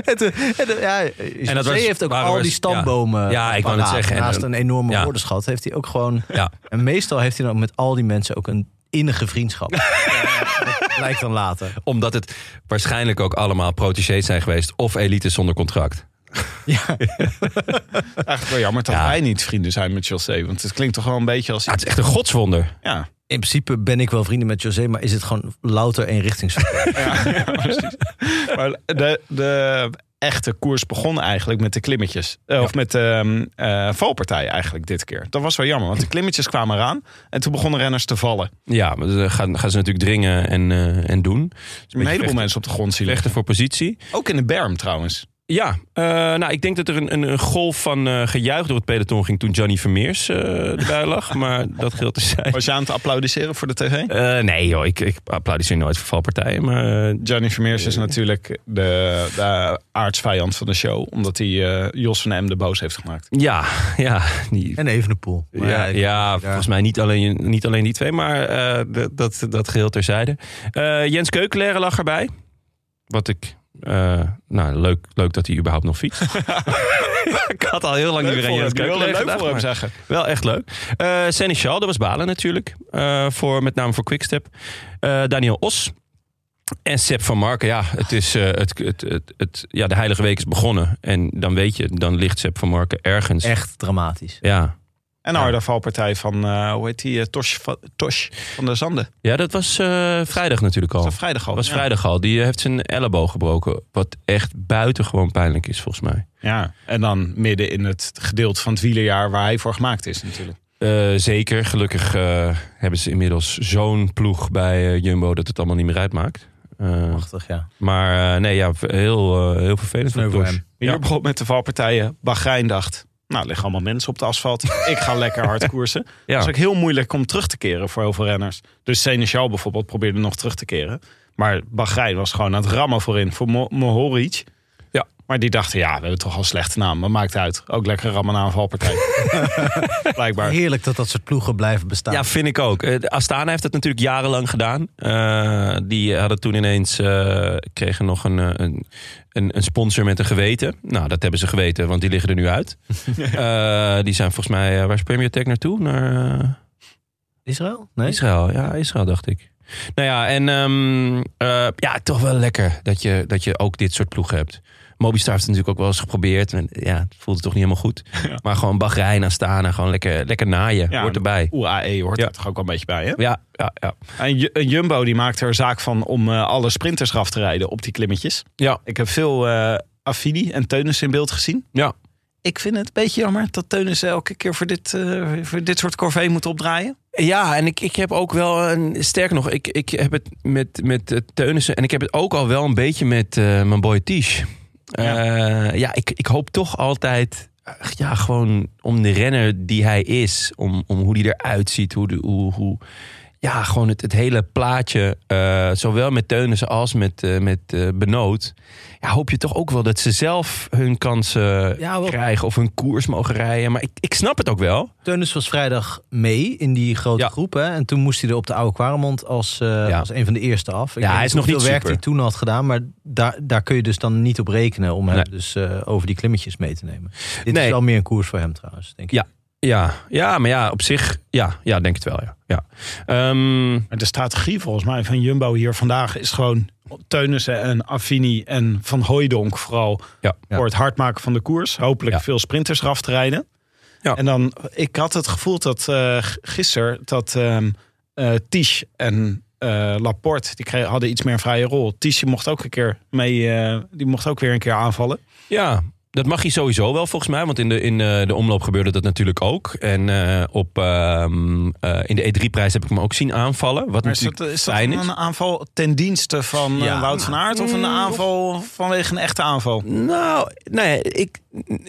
B: en, toen- en, toen- eh, ja, en
F: dat was-
B: heeft ook
F: waren
B: al
F: we-
B: die stambomen.
F: ja. Ja, ik
B: paraat.
F: wou net zeggen. En
B: Naast
F: dan-
B: een enorme
F: ja.
B: woordenschat heeft hij ook gewoon.
F: Ja.
B: En meestal heeft hij dan ook met al die mensen ook een innige vriendschap. Dat Lijkt dan later.
F: Omdat het waarschijnlijk ook allemaal protégés zijn geweest. Of elites zonder contract. Nou,
A: Eigenlijk wel jammer dat
F: Ja.
A: wij niet vrienden zijn met José. Want het klinkt toch wel een beetje als...
F: Ja, het is echt een godswonder.
A: Ja,
B: In principe ben ik wel vrienden met José, maar is het gewoon louter eenrichtingsverkeer?
A: maar de, de echte koers begon eigenlijk met de klimmetjes. Eh, Of met de ehm, eh, valpartij eigenlijk dit keer. Dat was wel jammer, want de klimmetjes kwamen eraan. En toen begonnen renners te vallen.
F: Ja, maar dan gaan, gaan ze natuurlijk dringen en, eh, en doen. Dus
A: Een heleboel mensen op de grond zien liggen.
F: Rechten voor positie.
A: Ook in de berm trouwens.
F: Ja, eh, nou, ik denk dat er een, een, een golf van eh, gejuich door het peloton ging toen Johnny Vermeers eh erbij lag. maar dat geldt te zijn.
A: Was je aan het applaudisseren voor de tv?
F: Eh, nee joh, ik, ik applaudisseer nooit voor valpartijen. Maar eh,
A: Johnny Vermeers is natuurlijk de, de aardsvijand van de show. Omdat hij eh, Jos van Em de boos heeft gemaakt.
F: ja, ja. Die,
B: en Evenepoel. Maar
F: ja,
B: ik-
F: ja, volgens mij niet alleen, niet alleen die twee, maar eh, dat- dat, dat geheel terzijde. Eh, Jens Keukelaar lag erbij. Wat ik... eh, nou, leuk, leuk dat hij überhaupt nog fietst. ik had al heel lang niet meer aan Jens Keukelaar
A: leuk
F: gedacht,
A: voor hem
F: maar-
A: zeggen.
F: Wel echt leuk. Eh Seneschal, dat was Balen natuurlijk. Eh, voor, met name voor Quickstep. Eh Daniel Os. En Sepp van Marken. Ja, het is, eh, het, het, het, het- ja, de Heilige Week is begonnen. En dan weet je, dan ligt Sepp van Marken ergens.
B: Echt dramatisch.
F: Ja.
A: En een harde valpartij van, eh, hoe heet die, eh, Tosh, van, Tosh van der Zanden.
F: ja, dat was eh, vrijdag natuurlijk al.
A: Dat Oh. was vrijdag al.
F: was
A: ja.
F: vrijdag al. Die eh, heeft zijn elleboog gebroken. Wat echt buitengewoon pijnlijk is, volgens mij.
A: Ja, en dan midden in het gedeelte van het wielerjaar waar hij voor gemaakt is natuurlijk.
F: Eh, zeker. Gelukkig eh, hebben ze inmiddels zo'n ploeg bij eh, Jumbo dat het allemaal niet meer uitmaakt. Eh,
B: Machtig, ja.
F: Maar eh, nee, ja, v- heel, eh, heel vervelend
B: Sneu
F: voor
B: voor
F: Tosh.
B: hem.
A: Hier
F: Ja.
A: begon met de valpartijen. Bahrein dacht, nou er liggen allemaal mensen op het asfalt. Ik ga lekker hard koersen.
F: Ja.
A: Het is ook heel moeilijk om terug te keren voor heel veel renners. Dus Seneschal bijvoorbeeld probeerde nog terug te keren. Maar Bahrein was gewoon aan het rammen voorin voor Mo- Mohoric.
F: Ja.
A: Maar die dachten, ja, we hebben toch al een slechte naam. Maar maakt uit. Ook lekker rammen na een valpartij. Blijkbaar.
B: Heerlijk dat dat soort ploegen blijven bestaan.
F: ja, vind ik ook. Eh, de Astana heeft dat natuurlijk jarenlang gedaan. Eh, die hadden toen ineens eh, kregen nog een, eh, een, een, een sponsor met een geweten. Nou, dat hebben ze geweten, want die liggen er nu uit. Eh, die zijn volgens mij, eh, waar is Premier Tech naartoe? Naar eh,
B: Israël? Nee?
F: Israël. Ja, Israël dacht ik. Nou ja, en ehm, eh, ja, toch wel lekker dat je, dat je ook dit soort ploegen hebt. Mobistar heeft het natuurlijk ook wel eens geprobeerd. En, ja, het voelde toch niet helemaal goed. Maar gewoon Bahrein, Astana, gewoon lekker, lekker naaien.
A: Ja,
F: Hoort erbij.
A: UAE E hoort
F: Ja.
A: er toch ook wel een beetje bij, hè?
F: Ja, ja, ja.
A: En Ju- en Jumbo die maakt er zaak van om eh, alle sprinters af te rijden op die klimmetjes.
F: Ja.
A: Ik heb veel eh Affini en Teunis in beeld gezien.
F: Ja.
A: Ik vind het een beetje jammer dat Teunis elke keer voor dit, eh, voor dit soort corvée moet opdraaien.
F: Ja, en ik, ik heb ook wel een. Sterker nog, ik, ik heb het met, met eh, Teunissen. En ik heb het ook al wel een beetje met eh, mijn boy Tisch. Ja, ja ik, ik hoop toch altijd. eh, Ja, gewoon om de renner die hij is. Om, om hoe die eruit ziet. Hoe, de, hoe, hoe ja, gewoon het, het hele plaatje. eh, zowel met Teunissen als met, eh, met eh, Benoot. Ja, hoop je toch ook wel dat ze zelf hun kansen
B: Ja, wel.
F: krijgen. Of hun koers mogen rijden. Maar ik, ik snap het ook wel.
B: Teunis was vrijdag mee in die grote
F: Ja.
B: groep. Hè? En toen moest hij er op de Oude Kwaremond als, eh,
F: Ja.
B: als een van de eerste af. Ik
F: Ja,
B: weet
F: hij is nog
B: hoeveel
F: niet
B: werk
F: super.
B: die toen had gedaan. Maar daar, daar kun je dus dan niet op rekenen om hem
F: Nee.
B: dus eh, over die klimmetjes mee te nemen. Dit
F: Nee.
B: is wel meer een koers voor hem trouwens, denk ik.
F: Ja. Ja, ja, maar ja, op zich, ja, ja denk het wel, ja. ja. Ehm,
A: Maar de strategie volgens mij van Jumbo hier vandaag is gewoon Teunissen en Affini en Van Hooijdonk vooral
F: ja.
A: voor het hard maken van de koers. Hopelijk
F: Ja.
A: veel sprinters eraf te rijden.
F: Ja.
A: En dan, ik had het gevoel dat eh, g- gisteren dat ehm eh, Ties en eh, Laporte, die kregen, hadden iets meer een vrije rol. Ties die mocht ook een keer mee, eh, die mocht ook weer een keer aanvallen.
F: ja, Dat mag je sowieso wel volgens mij, want in de, in eh, de omloop gebeurde dat natuurlijk ook. En eh, op, ehm, eh, in de E3-prijs heb ik hem ook zien aanvallen. Wat
A: Maar is
F: natuurlijk
A: dat, eh, is dat
F: fijn is.
A: een aanval ten dienste van eh,
F: Ja.
A: Wout van Aert?
F: Mm.
A: Of een aanval vanwege een echte aanval?
F: Nou, nee, ik,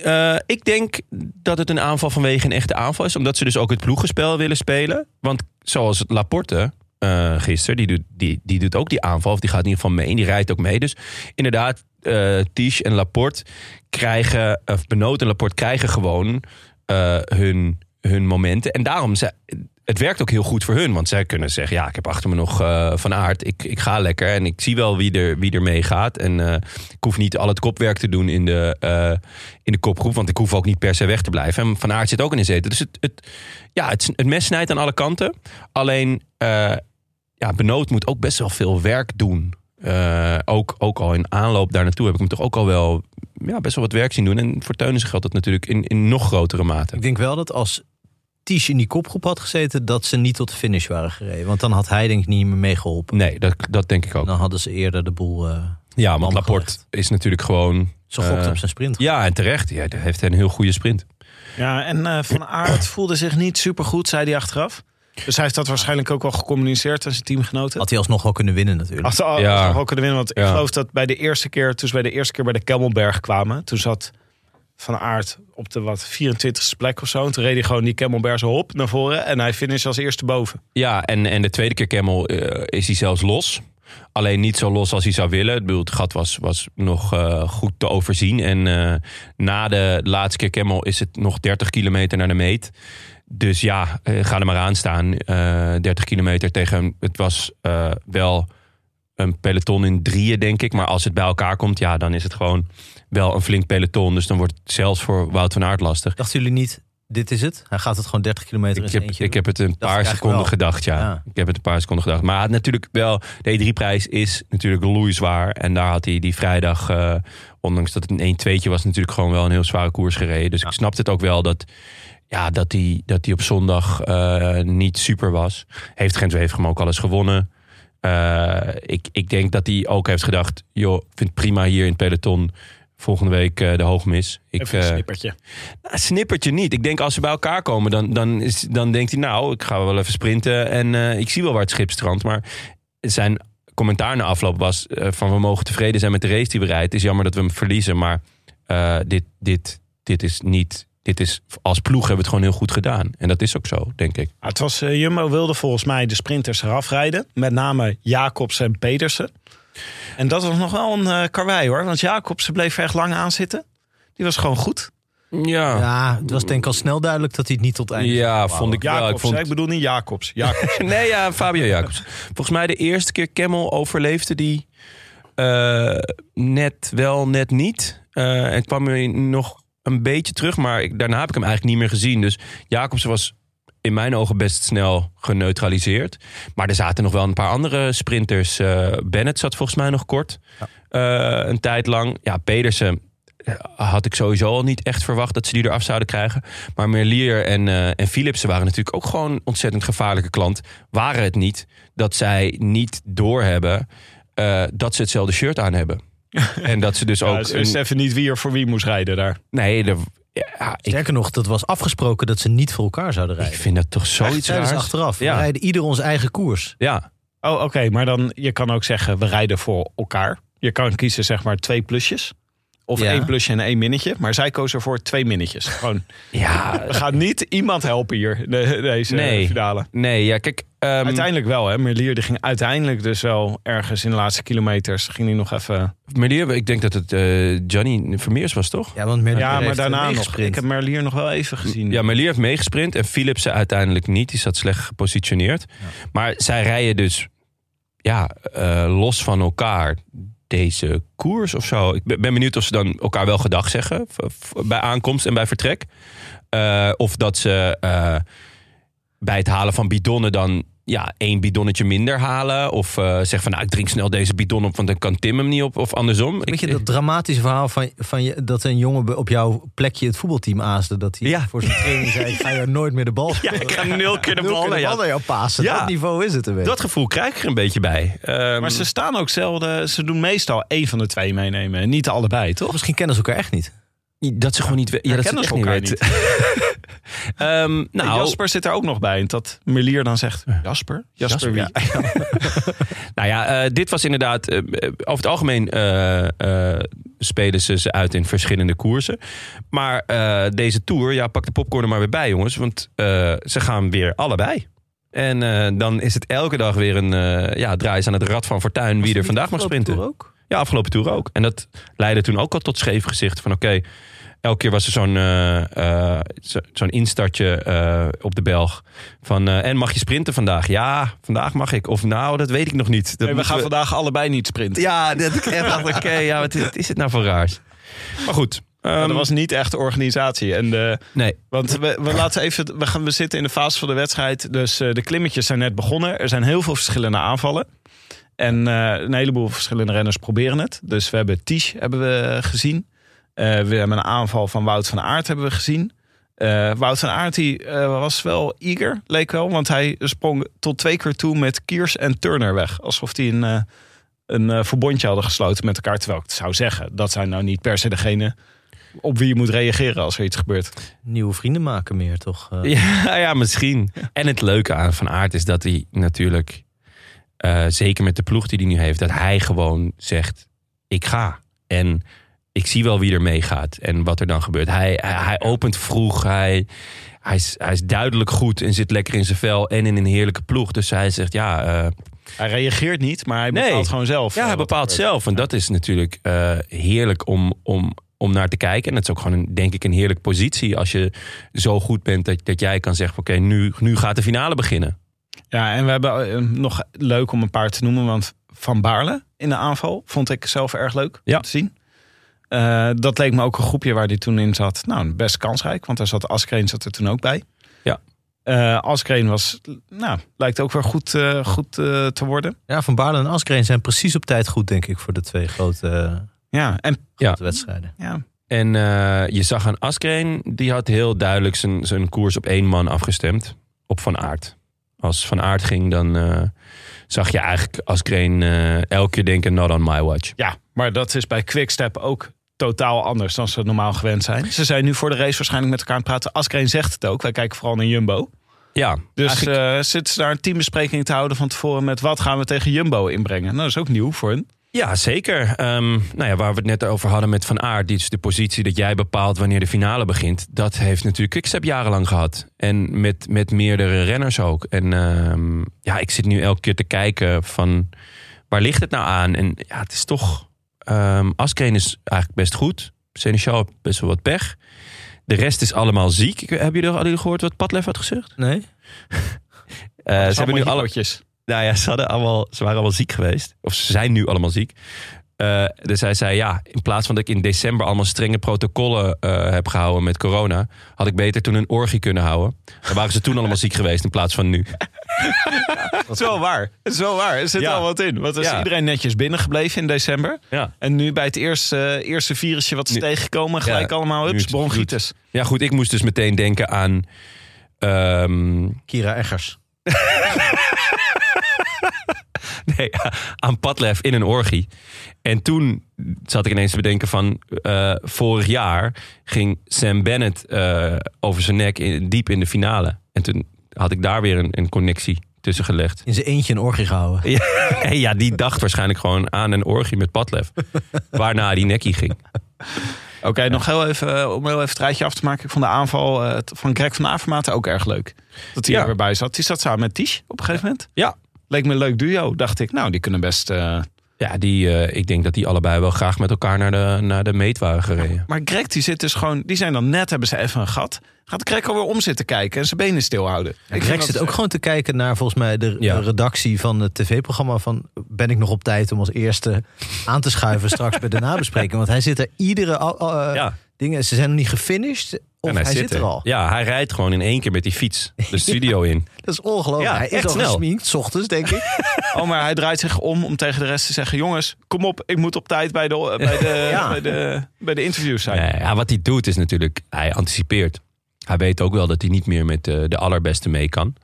F: eh, ik denk dat het een aanval vanwege een echte aanval is. Omdat ze dus ook het ploegenspel willen spelen. Want zoals het Laporte eh gisteren, die doet, die, die doet ook die aanval. Of die gaat in ieder geval mee en die rijdt ook mee. Dus inderdaad, eh Tisch en Laporte krijgen, of Benoot en Laporte krijgen gewoon eh, hun, hun momenten. En daarom, ze, het werkt ook heel goed voor hun. Want zij kunnen zeggen, ja, ik heb achter me nog eh, Van Aert. Ik, ik ga lekker en ik zie wel wie er, wie er mee gaat. En eh, ik hoef niet al het kopwerk te doen in de, eh, in de kopgroep. Want ik hoef ook niet per se weg te blijven. En Van Aert zit ook in de zetel. Dus het, het, ja, het, het mes snijdt aan alle kanten. Alleen, eh, ja, Benoot moet ook best wel veel werk doen. Eh, ook, ook al in aanloop daar naartoe heb ik hem toch ook al wel ja, best wel wat werk zien doen. En voor Teunissen geldt dat natuurlijk in, in nog grotere mate.
B: Ik denk wel dat als Ties in die kopgroep had gezeten, dat ze niet tot de finish waren gereden. Want dan had hij denk ik niet meer meegeholpen.
F: Nee, dat, dat denk ik ook.
B: Dan hadden ze eerder de boel. eh
F: Ja, want
B: Man
F: Laporte
B: Nou, gelegd.
F: is natuurlijk gewoon...
B: ze gokt
F: eh,
B: op zijn sprint.
F: Ja, en terecht. Ja, hij heeft een heel goede sprint.
A: Ja, en eh, Van Aert voelde zich niet supergoed, zei hij achteraf. Dus hij heeft dat waarschijnlijk ook wel gecommuniceerd aan zijn teamgenoten.
B: Had hij alsnog wel kunnen winnen natuurlijk.
A: Als ze al-
F: Ja.
A: als ze nog wel kunnen winnen. Want
F: Ja.
A: ik geloof dat bij de eerste keer, toen ze bij de eerste keer bij de Kemmelberg kwamen, toen zat Van Aert op de wat 24ste plek of zo. En toen reed hij gewoon die Kemmelberg zo hop naar voren en hij finish als eerste boven.
F: Ja, en, en de tweede keer Kemmel eh, is hij zelfs los. Alleen niet zo los als hij zou willen. Ik bedoel, het gat was, was nog eh, goed te overzien. En eh, na de laatste keer Kemmel is het nog 30 kilometer naar de meet. Dus ja, eh, ga er maar aan staan. Eh, 30 kilometer tegen... Het was eh, wel een peloton in drieën, denk ik. Maar als het bij elkaar komt, ja, dan is het gewoon wel een flink peloton. Dus dan wordt het zelfs voor Wout van Aert lastig.
B: Dachten jullie niet, dit is het? Hij gaat het gewoon 30 kilometer in
F: Ik
B: zijn
F: heb,
B: eentje
F: ik
B: doen?
F: heb het een paar
B: eigenlijk
F: seconden
B: wel.
F: gedacht, ja.
B: Ja.
F: Ik heb het een paar seconden gedacht. Maar hij had natuurlijk wel, de E3-prijs is natuurlijk loeizwaar. En daar had hij die vrijdag, eh, ondanks dat het een 1-2'tje was, natuurlijk gewoon wel een heel zware koers gereden. Dus ik snapte het ook wel dat, ja, dat hij dat hij op zondag eh, niet super was. Heeft gent heeft hem ook alles gewonnen. Eh, ik, ik denk dat hij ook heeft gedacht, joh, ik vind het prima hier in het peloton. Volgende week eh, de hoogmis. Ik,
A: Even een
F: eh,
A: snippertje. Ah,
F: nou, Snippertje niet. Ik denk als ze bij elkaar komen, dan, dan, is, dan denkt hij... nou, ik ga wel even sprinten en eh, ik zie wel waar het schip strandt. Maar zijn commentaar na afloop was eh, van... we mogen tevreden zijn met de race die we rijden. Het is jammer dat we hem verliezen, maar eh, dit, dit, dit is niet... Dit is, als ploeg hebben we het gewoon heel goed gedaan. En dat is ook zo, denk ik.
A: Ah, het was, eh, Jumbo wilde volgens mij de sprinters eraf rijden. Met name Jacobs en Pedersen. En dat was nog wel een eh karwei hoor. Want Jacobsen bleef er echt lang aan zitten. Die was gewoon goed.
F: Ja,
B: Ja, het was denk ik al snel duidelijk dat hij het niet tot het einde
F: ja
B: zou
F: vond ik wel.
A: Jacobs,
F: Ik vond,
A: hè? ik bedoel niet Jacobs. Jacobs.
F: Nee, ja, Fabio Jacobs. Volgens mij de eerste keer Kemmel overleefde die eh, net wel, net niet. Eh, en kwam hij nog een beetje terug, maar ik, daarna heb ik hem eigenlijk niet meer gezien. Dus Jacobs was in mijn ogen best snel geneutraliseerd. Maar er zaten nog wel een paar andere sprinters. Eh, Bennett zat volgens mij nog kort. Eh, een tijd lang. Ja, Pedersen eh, had ik sowieso al niet echt verwacht dat ze die eraf zouden krijgen. Maar Merlier en, eh en Philipsen waren natuurlijk ook gewoon ontzettend gevaarlijke klant. Waren het niet dat zij niet doorhebben eh dat ze hetzelfde shirt aan hebben. en dat ze dus
A: Ja,
F: ook...
A: dus wist
F: een-
A: even niet wie er voor wie moest rijden daar.
F: nee, de, ja, ik,
B: Sterker nog, dat was afgesproken dat ze niet voor elkaar zouden
F: ik
B: rijden.
F: vind dat toch
B: Echt,
F: zoiets
B: zeiden ze
F: raars.
B: achteraf.
F: Ja.
B: We rijden ieder ons eigen koers.
F: Ja,
A: Oh, oké. maar dan, je kan ook zeggen, we rijden voor elkaar. Je kan kiezen, zeg maar, twee plusjes. Of
B: Ja.
A: één plusje en één minnetje. Maar zij koos ervoor twee minnetjes. Gewoon,
F: ja
A: we gaan niet iemand helpen hier, de- deze
F: Nee.
A: finale.
F: nee, ja, kijk... ehm,
A: Uiteindelijk wel, hè. Merlier die ging uiteindelijk dus wel ergens in de laatste kilometers. Ging hij nog even...
F: Merlier, ik denk dat het eh Johnny Vermeers was, toch?
B: Ja, want Merlier
A: Ja, maar
B: heeft
A: daarna nog.
B: meegesprint.
A: Ik heb Merlier nog wel even gezien.
F: Ja, Melier heeft meegesprint en Philipsen uiteindelijk niet. Die zat slecht gepositioneerd. Maar zij rijden dus ja, eh, los van elkaar deze koers of zo. Ik ben ben benieuwd of ze dan elkaar wel gedag zeggen v- v- bij aankomst en bij vertrek. Eh, of dat ze eh, bij het halen van bidonnen dan ja, één bidonnetje minder halen. Of eh zeggen van nou, ik drink snel deze bidon op, want dan kan Tim hem niet op. Of andersom.
B: Weet je
F: Ik-
B: dat dramatische verhaal van, van je, dat een jongen be- op jouw plekje het voetbalteam aasde? Dat hij
F: Ja.
B: voor zijn training zei, ik ga je nooit meer de bal
F: Ja,
B: spelen.
F: ik ga nul keer de
B: Nul
F: bal
B: keer
F: naar jou.
B: naar jou passen.
F: Ja.
B: Dat niveau is het een beetje.
F: dat gevoel krijg ik er een beetje bij. Ehm,
A: Maar ze staan ook zelden... Ze doen meestal één van de twee meenemen. Niet allebei, toch?
B: Misschien kennen ze elkaar echt niet.
F: Dat ze gewoon niet weten. Ja, dat ze het
A: kennen
F: echt
A: ze
F: niet
A: elkaar
F: weten. Ehm,
A: Nou,
F: nou,
A: Jasper zit er ook nog bij. En dat Merlier dan zegt, Jasper? Jasper wie?
F: ja. nou ja, eh, dit was inderdaad... eh, eh, over het algemeen eh, eh, spelen ze ze uit in verschillende koersen. Maar eh, deze Tour, ja, pak de popcorn er maar weer bij, jongens. Want eh, ze gaan weer allebei. En eh, dan is het elke dag weer een eh ja, draai is aan het rad van fortuin... wie er vandaag mag sprinten.
B: Ook?
F: Ja, afgelopen toer ook. En dat leidde toen ook al tot scheef gezicht. Van oké, elke keer was er zo'n eh, eh, zo- zo'n instartje eh, op de Belg. Van, eh, en mag je sprinten vandaag? Ja, vandaag mag ik. Of nou, dat weet ik nog niet. Dat
A: Nee, we
F: moeten
A: gaan vandaag allebei niet sprinten.
F: Ja, dat ik echt dacht, oké, ja, wat, is- wat is het nou voor raars? Maar goed.
A: Ja,
F: ehm,
A: dat was niet echt de organisatie. En de,
F: Nee,
A: want we, we, laten even, we, gaan, we zitten in de fase van de wedstrijd. Dus eh, de klimmetjes zijn net begonnen. Er zijn heel veel verschillende aanvallen. En eh, een heleboel verschillende renners proberen het. Dus we hebben Tisch hebben we gezien. Eh, we hebben een aanval van Wout van Aert hebben we gezien. Eh, Wout van Aert die, eh, was wel eager, leek wel. Want hij sprong tot twee keer toe met Kiers en Turner weg. Alsof die een, eh, een eh, verbondje hadden gesloten met elkaar. Terwijl ik zou zeggen, dat zijn nou niet per se degene op wie je moet reageren als er iets gebeurt.
B: Nieuwe vrienden maken meer, toch? Eh,
F: Ja, Nou ja, misschien. En het leuke aan Van Aert is dat hij natuurlijk, eh, zeker met de ploeg die hij nu heeft, dat hij gewoon zegt: ik ga. En ik zie wel wie er meegaat en wat er dan gebeurt. Hij, hij, hij opent vroeg, hij, hij, is, hij is duidelijk goed en zit lekker in zijn vel en in een heerlijke ploeg. Dus hij zegt: ja, eh,
A: Hij reageert niet, maar hij
F: Nee.
A: bepaalt gewoon zelf.
F: ja
A: eh,
F: hij
A: wat
F: bepaalt
A: er
F: zelf. En dat is natuurlijk eh, heerlijk om, om, om naar te kijken. En dat is ook gewoon, een, denk ik, een heerlijke positie als je zo goed bent dat, dat jij kan zeggen: oké, nu, nu gaat de finale beginnen.
A: gebeurt. Ja, en we hebben eh, nog leuk om een paar te noemen. Want Van Baarle in de aanval vond ik zelf erg leuk
F: Ja.
A: om te zien. Eh, dat leek me ook een groepje waar hij toen in zat. Nou, best kansrijk, want daar zat Askreen zat er toen ook bij.
F: Ja.
A: Eh, Askreen was, nou, lijkt ook weer goed, eh, goed eh, te worden.
B: Ja, Van Baarle en Askreen zijn precies op tijd goed, denk ik, voor de twee grote, eh,
A: Ja, en
B: grote wedstrijden.
A: ja,
F: En eh, je zag aan Askreen, die had heel duidelijk zijn, zijn koers op één man afgestemd. Op Van Aert. Als Van Aert ging, dan eh, zag je eigenlijk Askreen eh, elke keer denken, not on my watch.
A: Ja, maar dat is bij Quickstep ook totaal anders dan ze normaal gewend zijn. Ze zijn nu voor de race waarschijnlijk met elkaar aan het praten. Askreen zegt het ook. Wij kijken vooral naar Jumbo.
F: Ja,
A: Dus
F: eigenlijk-
A: eh zitten ze daar een teambespreking te houden van tevoren met wat gaan we tegen Jumbo inbrengen? Nou, dat is ook nieuw voor hen.
F: ja zeker. Ehm, nou ja, waar we het net over hadden met Van Aert, die is de positie dat jij bepaalt wanneer de finale begint. Dat heeft natuurlijk Quickstep jarenlang gehad. En met, met meerdere renners ook. En ehm, ja, ik zit nu elke keer te kijken van, waar ligt het nou aan? En ja, het is toch... Ehm Askreen is eigenlijk best goed. Seneschal heeft best wel wat pech. De rest is allemaal ziek. Ik- Hebben jullie, hadden jullie gehoord wat Padlef had gezegd?
B: Nee?
F: Eh, ze, hebben nu alle,
A: potjes.
F: nou ja, ze, hadden allemaal, ze waren allemaal ziek geweest. Of ze zijn nu allemaal ziek. Eh, dus hij zei, ja, in plaats van dat ik in december allemaal strenge protocollen eh, heb gehouden met corona, had ik beter toen een orgie kunnen houden. Dan waren ze toen allemaal ziek geweest in plaats van nu.
A: Zo waar. Zo waar. Er zit
F: Ja.
A: al wat in. Want er is
F: Ja.
A: iedereen netjes binnengebleven in december.
F: Ja.
A: En nu bij het eerste, eh, eerste virusje wat is
F: Nu-
A: tegengekomen,
F: Ja,
A: gelijk allemaal
F: nu
A: hups,
F: het bloed.
A: bronchitis.
F: Ja, goed, ik moest dus meteen denken aan. ehm,
B: Kira Eggers.
F: Nee, aan Padlef in een orgie. En toen zat ik ineens te bedenken van... eh, vorig jaar ging Sam Bennett eh, over zijn nek in- diep in de finale. En toen had ik daar weer een, een connectie tussen gelegd.
B: In zijn eentje een orgie gehouden.
F: Ja, ja, die dacht waarschijnlijk gewoon aan een orgie met Padlef. Waarna die nekkie ging.
A: Oké, nog heel even, eh, om heel even het rijtje af te maken. Ik vond de aanval eh, t- van Greg van Avermaat ook erg leuk. Dat hij
F: Ja.
A: er weer bij zat. Die zat samen met Tisch op een gegeven moment.
F: Ja.
A: Leek me een leuk duo, dacht ik. Nou, die kunnen best... eh,
F: Ja, die, eh, ik denk dat die allebei wel graag met elkaar naar de, naar de meet waren gereden.
A: Maar Greg die zit dus gewoon... Die zijn dan net, hebben ze even een gat. Gaat Greg alweer om zitten kijken en zijn benen stilhouden. Ik vind
B: Greg
A: dat-
B: zit ook gewoon te kijken naar volgens mij de
F: Ja.
B: de redactie van het tv-programma van ben ik nog op tijd om als eerste aan te schuiven straks bij de nabespreking. Want hij zit er iedere al- al- eh,
F: Ja.
B: dingen, ze zijn nog niet gefinished of
F: En
B: hij, zit er al.
F: Ja, hij rijdt gewoon in één keer met die fiets de studio in.
B: Dat is ongelooflijk.
F: Ja,
B: hij is
F: echt
B: al
F: snel.
B: gesminkt, 's ochtends denk ik.
A: Oh, maar hij draait zich om om tegen de rest te zeggen... Jongens, kom op, ik moet op tijd bij de, bij de,
B: Ja.
A: bij de, bij de interviews zijn.
F: Nee, ja, wat hij doet is natuurlijk, hij anticipeert. Hij weet ook wel dat hij niet meer met eh, de allerbeste mee kan.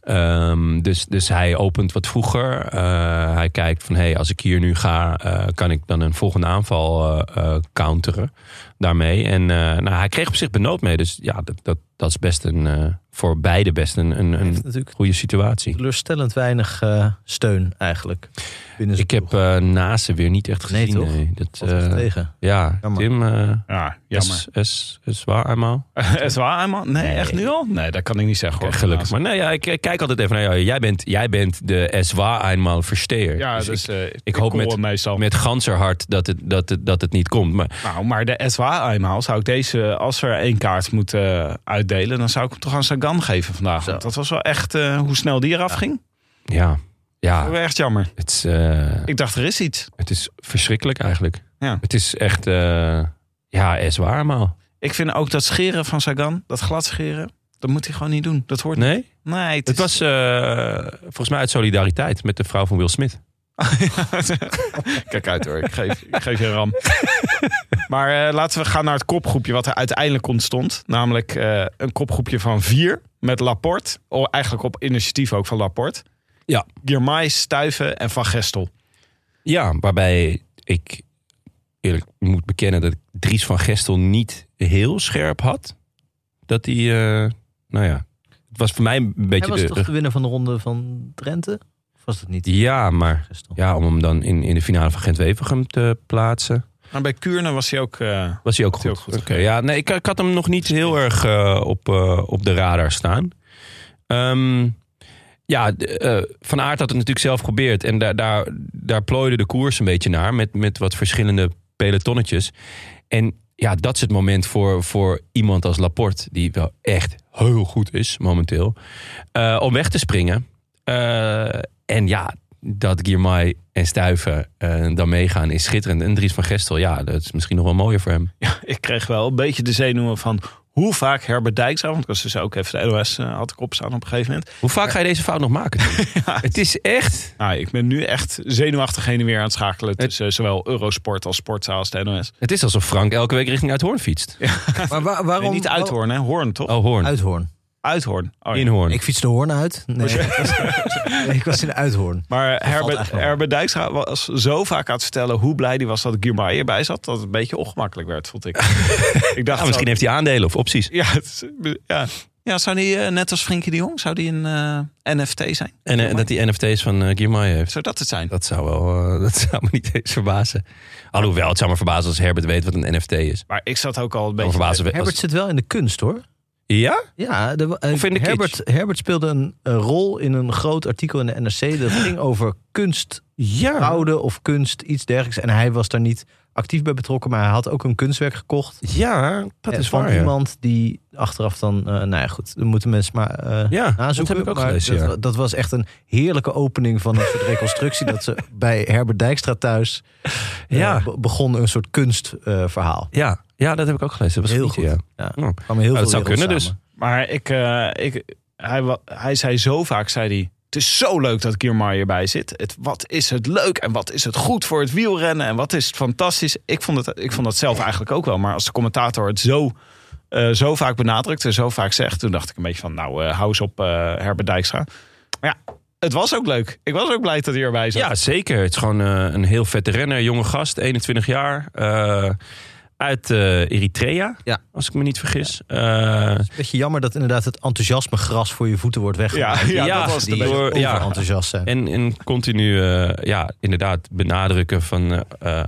F: Ehm, dus, dus hij opent wat vroeger. Eh, hij kijkt van, hey, als ik hier nu ga, eh, kan ik dan een volgende aanval eh, eh, counteren daarmee. En eh, nou, hij kreeg op zich benood mee. Dus ja, dat, dat, dat is best een, eh, voor beide best een, een,
B: Hij heeft
F: een
B: natuurlijk
F: goede situatie.
B: teleurstellend weinig eh, steun eigenlijk. Binnen zijn
F: Ik heb
B: ploeg.
F: eh naast ze weer niet echt
B: Nee,
F: gezien.
B: toch?
F: Dat,
B: Valt echt
F: eh,
B: tegen.
F: ja,
B: Jammer.
F: Tim, eh
A: Ja, jammer.
F: is, is, is waar eenmaal.
A: Is waar, man? Nee, echt nu al? Nee, dat kan ik niet zeggen. Hoor.
F: Oké, gelukkig. Maar nee, ja, ik, ik kijk altijd even naar jou. Jij bent, jij bent de es war eenmaal versteer.
A: Ja, eh,
F: Dus
A: dus,
F: ik,
A: eh, ik,
F: hoop
A: hoop met, meestal.
F: met ganserhart dat het, dat, het, dat het niet komt. Maar
A: Nou, maar de SWA eenmaal zou ik deze, als we er één kaart moeten eh, uitdelen, dan zou ik hem toch aan Sagan geven vandaag.
B: Zo.
A: Want dat was wel echt eh, hoe snel die eraf ging.
F: ja, ja
A: Dat was echt jammer.
F: het, is, eh,
A: Ik dacht, er is iets.
F: het is verschrikkelijk eigenlijk.
A: Ja.
F: Het is echt, eh, ja, es war eenmaal.
A: Ik vind ook dat scheren van Sagan, dat glad scheren, dat moet hij gewoon niet doen. Dat hoort niet.
F: Nee,
A: Nee, het,
F: het
A: is-
F: was eh, volgens mij uit solidariteit met de vrouw van Will Smith.
A: Kijk uit hoor, ik geef, ik geef je een ram. maar eh, laten we gaan naar het kopgroepje wat er uiteindelijk ontstond. Namelijk eh, een kopgroepje van vier met Laporte. Oh, eigenlijk op initiatief ook van Laporte.
F: Ja.
A: Girmay, Stuiven en Van Gestel.
F: Ja, waarbij ik eerlijk moet bekennen dat ik Dries van Gestel niet heel scherp had. Dat hij, eh, nou ja, het was voor mij een
B: Hij
F: beetje
B: was
F: de,
B: toch de winnaar van de ronde van Drenthe? Of was dat niet?
F: Ja, maar
B: Gestel?
F: ja, om hem dan in, in de finale van Gent-Wevergem te plaatsen,
A: Maar bij Kuurne was hij ook... eh,
F: was hij ook
A: Heel
F: goed.
A: goed.
F: Oké, ja, nee, ik, ik had hem nog niet heel erg eh, op, eh, op de radar staan. Ehm, ja, de, eh, Van Aert had het natuurlijk zelf geprobeerd. En daar, daar, daar plooide de koers een beetje naar. Met, met wat verschillende pelotonnetjes. En ja, dat is het moment voor, voor iemand als Laporte. Die wel echt heel goed is momenteel. eh, om weg te springen. Eh, en ja, dat Girmay en Stuiven eh, dan meegaan is schitterend. En Dries van Gestel, ja, dat is misschien nog wel mooier voor hem.
A: ik kreeg wel een beetje de zenuwen van hoe vaak Herbert Dijkstra... want ik was dus ook even de NOS eh, had ik opstaan op een gegeven moment.
F: Hoe vaak ga je deze fout nog maken? Het is echt...
A: Nou, ik ben nu echt zenuwachtig heen en weer aan het schakelen... tussen zowel Eurosport als Sportza als de NOS.
F: Het is alsof Frank elke week richting Uithoorn fietst.
B: Maar wa- waarom?
A: Nee, niet Uithoorn, hè? Hoorn, toch?
F: Oh, Hoorn.
B: Uithoorn.
A: Uithoorn. Oh, ja.
F: In Hoorn.
B: Ik fiets de Hoorn uit. Nee,
F: Oh,
B: ik was, nee, ik was in Uithoorn.
A: Maar Herbert,
B: eigenlijk wel.
A: Herbert Dijkstra was zo vaak aan het vertellen hoe blij hij was dat Guimaraes erbij zat, dat het een beetje ongemakkelijk werd, vond ik. ik dacht,
F: Ja, misschien
A: zo-
F: heeft hij aandelen of opties.
A: ja, het is- ja. ja, zou die eh, net als Frenkie de Jong, zou die een eh, NFT zijn?
F: En eh, dat hij NFT's van eh Girmay heeft.
A: Zou dat het zijn?
F: Dat zou, wel, eh, dat zou me niet eens verbazen. Alhoewel, het zou me verbazen als Herbert weet wat een NFT is.
A: Maar ik zat ook al een
F: Dan
A: beetje...
F: verbazen we,
B: Herbert
F: als,
B: zit wel in de kunst hoor.
F: ja?
B: Ja, de, eh,
F: Of in de kitsch.
B: Herbert, Herbert speelde een, eh, rol in een groot artikel in de NRC. Dat ging over kunst
F: Ja.
B: houden of kunst, iets dergelijks. En hij was daar niet actief bij betrokken, maar hij had ook een kunstwerk gekocht.
F: Ja, dat
B: Eh,
F: is
B: van
F: waar. ja.
B: iemand die achteraf dan, eh, nou ja, goed, dan moeten mensen maar eh,
F: Ja,
B: nazoeken.
F: dat heb ik ook
B: maar
F: gelezen,
B: dat,
F: ja.
B: wa- dat was echt een heerlijke opening van een soort reconstructie. dat ze bij Herbert Dijkstra thuis eh,
F: Ja.
B: be- begon een soort kunstverhaal.
F: Ja, ja, dat heb ik ook gelezen. Dat was
B: Heel
F: goed.
B: goed.
F: Ja.
B: ja.
F: Oh.
B: kwamen heel
F: Nou, dat
B: veel
F: zou kunnen
B: werelden
F: dus.
B: samen.
A: Maar ik, eh, ik, hij, wa- hij zei zo vaak, zei hij... Het is zo leuk dat Guimaraes erbij zit. Het, wat is het leuk en wat is het goed voor het wielrennen en wat is het fantastisch. Ik vond, het, ik vond dat zelf eigenlijk ook wel. Maar als de commentator het zo, eh, zo vaak benadrukt en zo vaak zegt... toen dacht ik een beetje van, nou, eh hou eens op eh Herbert Dijkstra. Maar ja, het was ook leuk. Ik was ook blij dat hij erbij zat.
F: Ja, zeker. Het is gewoon eh, een heel vette renner. Jonge gast, 21 jaar. eh, uit eh, Eritrea,
B: Ja.
F: als ik me niet vergis. Eh,
B: Het is een beetje jammer dat inderdaad het enthousiasme gras voor je voeten wordt
A: ja,
B: weggemaakt.
A: ja,
F: Ja,
A: dat was de
B: die
A: beste.
F: door- ja.
B: overenthousiast zijn.
F: en, en continu, eh, ja, inderdaad, benadrukken van eh, eh,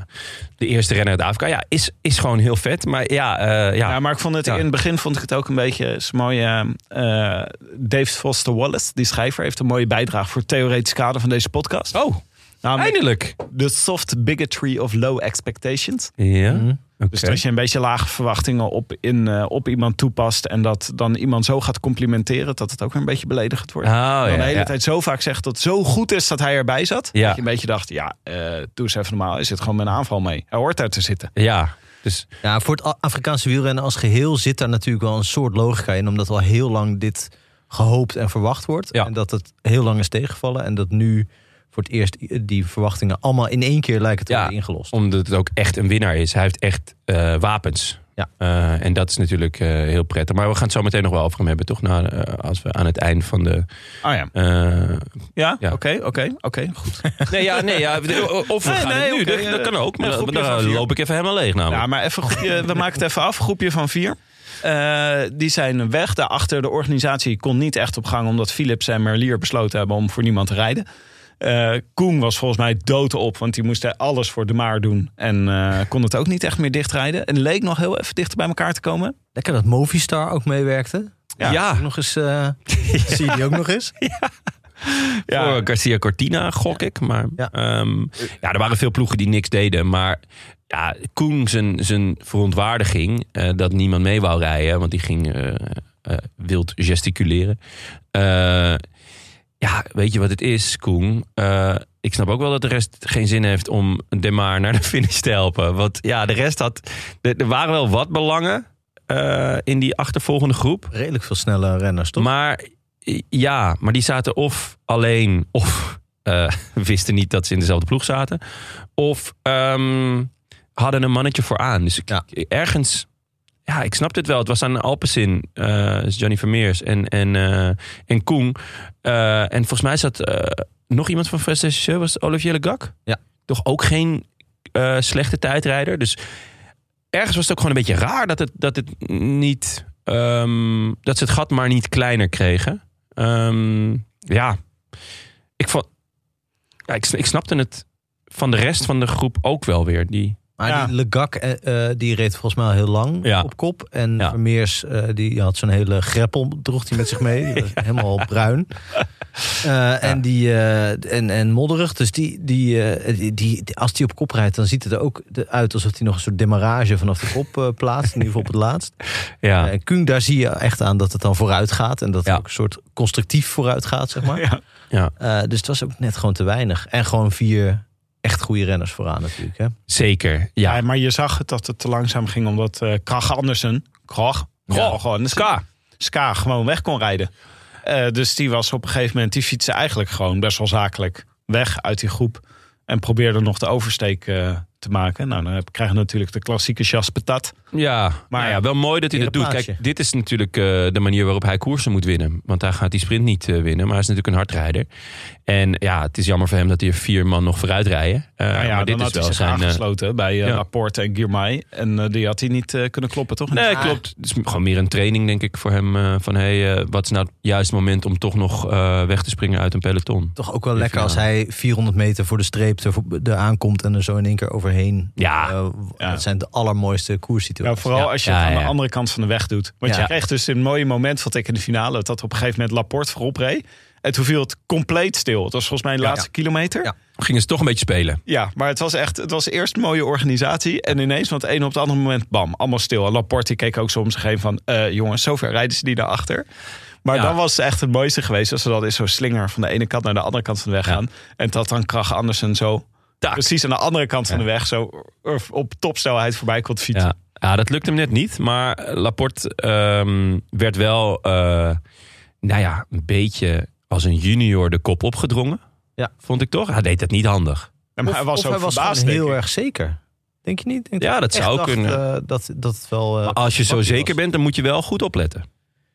F: de eerste renner uit Afrika. Ja, is, is gewoon heel vet. Maar ja, eh, ja.
A: Ja, maar ik vond het
F: Ja.
A: in het begin vond ik het ook een beetje het is een mooie. eh Dave Foster Wallace, die schrijver, heeft een mooie bijdrage voor het theoretisch kader van deze podcast.
F: oh,
A: Namelijk
F: eindelijk.
A: The Nou, Soft Bigotry of Low Expectations.
F: Ja,
B: Mhm.
F: oké.
A: Dus dat je een beetje lage verwachtingen op, in, eh, op iemand toepast en dat dan iemand zo gaat complimenteren dat het ook weer een beetje beledigend wordt.
F: Oh,
A: En dan
F: ja,
A: de hele
F: ja.
A: tijd zo vaak zegt dat het zo goed is dat hij erbij zat.
F: Ja.
A: Dat je een beetje dacht, ja, eh, doe eens even normaal. Hij zit gewoon met een aanval mee. Hij hoort daar te zitten.
F: Ja, dus
B: Ja, voor het A- Afrikaanse wielrennen als geheel zit daar natuurlijk wel een soort logica in. Omdat al heel lang dit gehoopt en verwacht wordt.
F: Ja.
B: En dat het heel lang is tegengevallen. En dat nu voor het eerst i- die verwachtingen allemaal in één keer lijken te
F: Ja.
B: worden ingelost.
F: omdat het ook echt een winnaar is. Hij heeft echt eh, wapens.
B: Ja.
F: Eh, en dat is natuurlijk eh, heel prettig. Maar we gaan het zo meteen nog wel over hem hebben, toch? Na, eh, als we aan het eind van de...
A: Ah ja.
F: eh,
A: Ja,
F: Ja.
A: oké, oké, oké. Goed.
F: nee, ja, nee, ja, of we
A: Nee,
F: gaan
A: nee,
F: het nu,
A: oké,
F: dat,
A: eh,
F: dat kan ook. Maar
A: een
F: dan-
A: groepje van
F: dan
A: vier.
F: loop ik even helemaal leeg namelijk.
A: Ja, maar even een groepje, we maken het even af. Groepje van vier. Eh, die zijn weg. Daarachter, de organisatie kon niet echt op gang... omdat Philips en Merlier besloten hebben om voor niemand te rijden. Eh, Koen was volgens mij dood op, want die moest er alles voor de maar doen. En eh, kon het ook niet echt meer dichtrijden. En leek nog heel even dichter bij elkaar te komen.
B: Lekker dat Movistar ook meewerkte.
A: Ja.
B: Ook Nog eens, eh, zie je die ook nog eens?
F: Voor Garcia Cortina gok ik. Maar
B: Ja.
F: ja. ja, er waren veel ploegen die niks deden. Maar ja, Koen zijn, zijn verontwaardiging eh, dat niemand mee wou rijden. Want die ging eh, eh, wild gesticuleren. Eh, ja, weet je wat het is, Koen? Eh, ik snap ook wel dat de rest geen zin heeft om De Maar naar de finish te helpen. Want ja, de rest had... Er er waren wel wat belangen eh, in die achtervolgende groep.
B: Redelijk veel snelle renners, toch?
F: Maar i- ja, maar die zaten of alleen, of eh, wisten niet dat ze in dezelfde ploeg zaten, of ehm, hadden een mannetje vooraan. Dus ik-
B: Ja.
F: ik- ergens, ja, ik snap dit wel. Het was aan Alpecin, eh, dus Johnny Vermeers en, en, eh, en Koen. Eh, en volgens mij zat eh, nog iemand van Fresnessieu, was het Olivier Le Gac?
B: Ja.
F: Toch ook geen eh, slechte tijdrijder. Dus ergens was het ook gewoon een beetje raar dat het, dat het niet. ehm, dat ze het gat maar niet kleiner kregen. Ehm, ja. Ik, vond, ja ik, sn- ik snapte het van de rest van de groep ook wel weer. Die,
B: Maar
A: Ja.
B: die Legac, eh, eh, die reed volgens mij al heel lang
F: Ja.
B: op kop. En
F: Ja.
B: Vermeers, eh, die had zo'n hele greppel, droeg hij met zich mee. Die was helemaal bruin. Eh, en, die, eh, en, en modderig. Dus die, die, eh, die, die- als die op kop rijdt, dan ziet het er ook uit alsof hij nog een soort demarrage vanaf de kop eh, plaatst. In ieder geval op het laatst.
F: ja.
B: En Kung, daar zie je echt aan dat het dan vooruit gaat. En dat het
F: Ja.
B: ook een soort constructief vooruit gaat, zeg maar.
A: Ja.
F: Ja.
B: Eh, dus het was ook net gewoon te weinig. En gewoon vier echt goede renners vooraan natuurlijk. Hè?
F: zeker. Ja.
A: Ja, Eh, maar je zag het dat het te langzaam ging omdat eh Krach Andersen, Krach,
F: Ja.
A: Krach, gewoon,
F: Ska.
A: Ska gewoon weg kon rijden. Eh, dus die was op een gegeven moment, die fietste eigenlijk gewoon best wel zakelijk weg uit die groep. En probeerde nog de oversteek eh, te maken. Nou, dan heb- krijg je natuurlijk de klassieke jas patat.
F: Ja, maar
A: Maar-
F: ja, wel mooi dat hij dat doet.
B: Ereplaatsje.
F: Kijk, dit is natuurlijk eh, de manier waarop hij koersen moet winnen. Want hij gaat die sprint niet eh, winnen, maar hij is natuurlijk een hardrijder. En ja, het is jammer voor hem dat hier vier man nog vooruit rijden. Eh,
A: nou ja, dan
F: maar dit is
A: had hij
F: wel
A: zich
F: zijn. eh,
A: aangesloten bij eh
F: ja.
A: Laporte en Girmay. En eh, die had hij niet eh, kunnen kloppen, toch?
F: Nee, klopt. Het is gewoon meer een training, denk ik, voor hem. eh, van hey, eh, wat is nou het juiste moment om toch nog eh, weg te springen uit een peloton?
B: Toch ook wel
F: Ja,
B: lekker als
F: finale.
B: hij 400 meter voor de streep er, er aankomt en er zo in één keer overheen.
F: Ja.
B: Eh,
A: Ja.
B: Dat zijn de allermooiste
A: Ja,
B: koerssituaties.
A: vooral
F: Ja.
A: als je het
F: Ja,
A: aan
F: ja.
A: de andere kant van de weg doet. Want
B: Ja.
A: je kreeg dus een mooie moment, vond ik in de finale, dat op een gegeven moment Laporte voorop reed. En toen viel het compleet stil. Het was volgens mij de
B: Ja,
A: laatste kilometer.
B: Ja.
A: Ja.
F: Gingen ze toch een beetje spelen?
A: maar het was echt, het was eerst een mooie organisatie. En ineens, want het een op het andere moment, bam, allemaal stil. En Laporte die keek ook soms geen van, eh, jongens, zover rijden ze niet naar achter. Maar
F: Ja.
A: dan was het echt het mooiste geweest als ze dat in zo'n slinger van de ene kant naar de andere kant van de weg
F: Ja.
A: gaan. En dat dan Krach Andersen zo
F: Tak.
A: precies aan de andere kant van de weg zo eh, op topsnelheid voorbij kon fietsen.
F: Ja. ja, dat lukt hem net niet. Maar eh, Laporte ehm, werd wel, eh, nou ja, een beetje als een junior de kop opgedrongen.
B: Ja.
F: Vond ik toch? Hij deed dat niet handig.
A: Ja, maar
B: Of-
A: hij was
B: of
A: ook
B: hij was
A: verbaasd,
B: gewoon
A: denk
B: heel
A: ik.
B: erg zeker. Denk je niet? Denk
F: Ja,
B: ik
F: dat
B: echt
F: zou
B: dacht,
F: kunnen.
B: eh, dat, dat het wel, eh,
F: Maar als je zo
B: was.
F: zeker bent, dan moet je wel goed opletten. Dan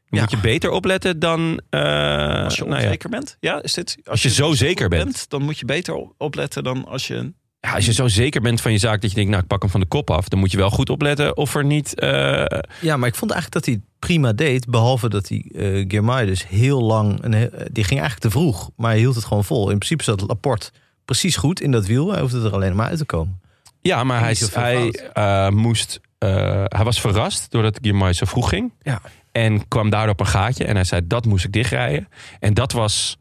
B: Ja.
F: Moet je beter opletten dan. eh,
A: Als je
F: nou ja.
A: onzeker bent? Ja, is dit, als,
F: je zo zeker bent.
A: dan moet je beter op- opletten dan als je...
F: Ja, als je zo zeker bent van je zaak dat je denkt, nou ik pak hem van de kop af, dan moet je wel goed opletten of er niet. eh,
B: Ja, maar ik vond eigenlijk dat hij het prima deed. Behalve dat hij eh Girmay dus heel lang... Een, he- die ging eigenlijk te vroeg, maar hij hield het gewoon vol. In principe zat Laporte precies goed in dat wiel. Hij hoefde er alleen maar uit te komen.
F: ja, maar hij,
B: Niet zoveel
F: hij
B: fout.
F: eh, moest. eh, hij was verrast doordat Guillemot zo vroeg ging.
B: Ja.
F: En kwam daardoor op een gaatje en hij zei, dat moest ik dichtrijden. En dat was.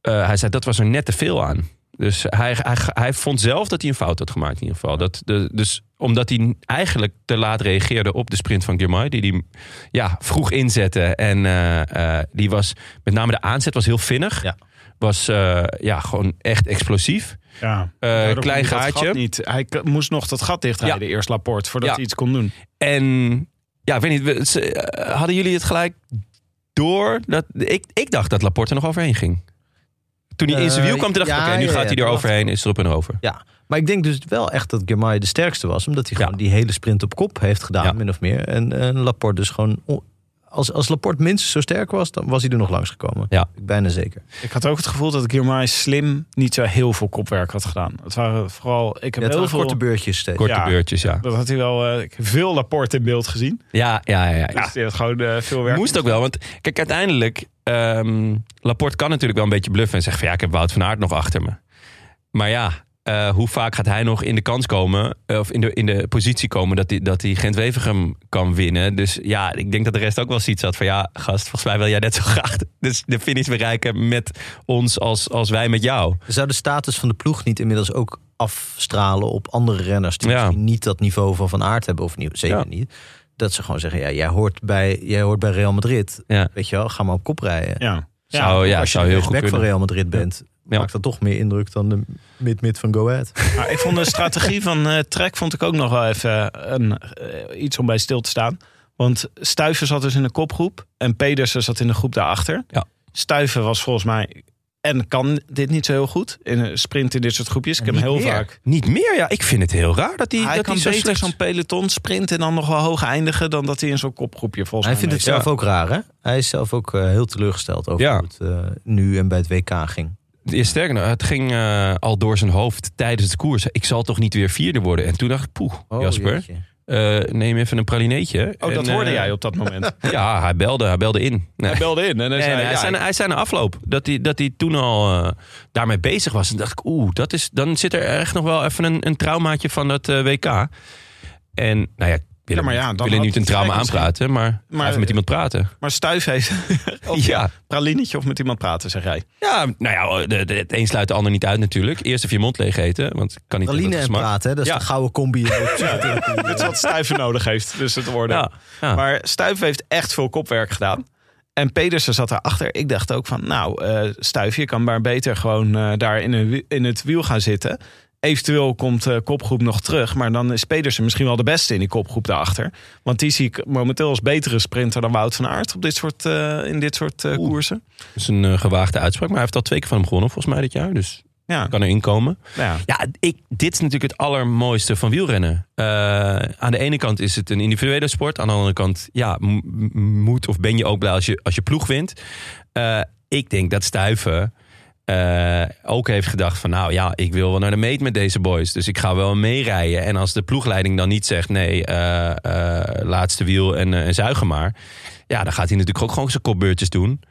F: eh, hij zei, dat was er net te veel aan. Dus hij, hij, hij vond zelf dat hij een fout had gemaakt in ieder geval. Dat, de, dus omdat hij eigenlijk te laat reageerde op de sprint van Girmay. Die hij ja, vroeg inzette. En eh, eh, die was, met name de aanzet was heel vinnig.
B: Ja.
F: Was eh, ja, gewoon echt explosief.
A: Ja,
F: Eh, klein gaatje.
A: Niet. Hij k- moest nog dat gat dichtrijden, eerst Laporte, voordat
F: Ja.
A: hij iets kon doen.
F: En ja, ik weet niet, we- ze- eh, hadden jullie het gelijk door? Dat, ik, ik dacht dat Laporte er nog overheen ging. Toen hij in zijn
B: Eh,
F: wiel kwam, toen dacht ik,
B: ja,
F: oké, nu
B: ja,
F: gaat
B: ja,
F: hij er
B: dat
F: overheen, is erop en over.
B: Ja, Maar ik denk dus wel echt dat Germain de sterkste was. Omdat hij
F: Ja.
B: gewoon die hele sprint op kop heeft gedaan,
F: Ja.
B: min of meer. En, en Laporte dus gewoon... on- Als, als Laporte minstens zo sterk was, dan was hij er nog langs gekomen.
F: Ja.
B: Ik Bijna zeker.
A: Ik had ook het gevoel dat Guillemai slim niet zo heel veel kopwerk had gedaan. Het waren vooral... Ik
B: Ja,
A: heb
B: het
A: heel
B: waren
A: veel...
B: korte beurtjes steeds.
F: Korte
A: Ja.
F: beurtjes, ja.
A: Dat had hij wel eh, ik heb veel Laporte in beeld gezien.
F: Ja, ja, ja. ja.
A: Ja. Dus die had gewoon eh, veel werk.
F: Moest ook wel, want kijk, uiteindelijk... ehm, Laporte kan natuurlijk wel een beetje bluffen en zeggen van... ja, ik heb Wout van Aert nog achter me. Maar ja, eh, hoe vaak gaat hij nog in de kans komen... eh, of in de, in de positie komen dat hij dat hij Gent-Wevergem kan winnen? Dus ja, ik denk dat de rest ook wel zoiets had van... ja, gast, volgens mij wil jij net zo graag dus de finish bereiken met ons... als, als wij met jou.
B: Zou de status van de ploeg niet inmiddels ook afstralen op andere renners... die
F: Ja.
B: misschien niet dat niveau van Van Aert hebben, of niet, zeker
F: Ja.
B: niet... dat ze gewoon zeggen, ja, jij, hoort bij, jij hoort bij Real Madrid.
F: Ja.
B: Weet je wel, ga maar op kop rijden.
A: Ja.
F: Zou, ja,
B: als je
F: zou
B: de
F: heel goed
B: rechtsback van
F: kunnen.
B: Real Madrid bent...
F: Ja.
B: maakt dat toch meer indruk dan de mid-mid van Go Ahead.
A: Maar Nou, ik vond de strategie van eh Trek vond ik ook nog wel even een, eh, iets om bij stil te staan. Want Stuiven zat dus in de kopgroep en Pedersen zat in de groep daarachter.
F: Ja.
A: Stuiven was volgens mij en kan dit niet zo heel goed in een sprint in dit soort groepjes. Ik heb hem heel
F: Niet meer.
A: vaak.
F: Niet meer, ja. Ik vind het heel raar dat hij,
A: hij
F: dat
A: kan
F: hij zo
A: beter
F: slecht...
A: zo'n peloton sprinten en dan nog wel hoog eindigen dan dat hij in zo'n kopgroepje volgens
B: Hij
A: mij.
B: vindt het
F: Ja.
B: zelf ook raar, hè? Hij is zelf ook eh, heel teleurgesteld over
F: Ja.
B: hoe het eh, nu en bij het WK ging.
F: Ja, sterker nog, het ging eh, al door zijn hoofd tijdens het koers. Ik zal toch niet weer vierde worden? En toen dacht ik, poeh,
B: Oh,
F: Jasper,
B: jeetje.
F: eh, neem even een pralineetje.
A: meest. Oh, dat
F: En,
A: hoorde
F: eh,
A: jij op dat moment.
F: Ja, hij belde, hij belde in. Nee.
A: Hij belde in en hij
F: Nee,
A: zei... nou,
F: nee,
A: ja,
F: hij, zei, hij zei na afloop dat hij, dat hij toen al eh, daarmee bezig was. En dacht ik, oeh, dat is, dan zit er echt nog wel even een, een traumaatje van dat eh, WK. En, nou ja, ik wil,
A: Ja, maar
F: hem-
A: ja, dan
F: ik wil hem
A: had
F: niet een
A: het
F: trauma
A: misschien-
F: aanpraten, maar,
A: Maar-
F: even met iemand praten.
A: Maar Stuif heeft of
F: Ja.
A: pralinetje of met iemand praten, zeg jij.
F: Ja, nou ja, de, de- het een sluit de ander niet uit natuurlijk. Eerst even je mond leeg eten, want ik kan niet
B: Praline
F: dat
B: en
F: smaakt.
B: praten, hè? dat is
F: Ja.
B: de gouden combi. in de
A: Dit
B: psychotherapie.
A: is wat Stuiven nodig heeft, dus het worden.
F: Ja, ja.
A: Maar Stuiven heeft echt veel kopwerk gedaan. En Pedersen zat daarachter. Ik dacht ook van, nou, eh Stuif, je kan maar beter gewoon eh, daar in, een wi- in het wiel gaan zitten. Eventueel komt eh kopgroep nog terug. Maar dan is Pedersen misschien wel de beste in die kopgroep daarachter. Want die zie ik momenteel als betere sprinter dan Wout van Aert op dit soort, eh, in dit soort eh, koersen.
F: Dat is een eh, gewaagde uitspraak, maar hij heeft al twee keer van hem gewonnen volgens mij dit jaar. Dus
A: Ja,
F: kan er inkomen.
A: ja.
F: Ja, Ah, ik, dit is natuurlijk het allermooiste van wielrennen. Eh, aan de ene kant is het een individuele sport. Aan de andere kant, ja, m- m- moet of ben je ook blij als je, als je ploeg wint. Eh, ik denk dat Stuiven eh, ook heeft gedacht van... nou ja, ik wil wel naar de meet met deze boys. Dus ik ga wel meerijden. En als de ploegleiding dan niet zegt... nee, eh, eh, laatste wiel en, eh, en zuigen maar... ja, dan gaat hij natuurlijk ook gewoon zijn kopbeurtjes doen.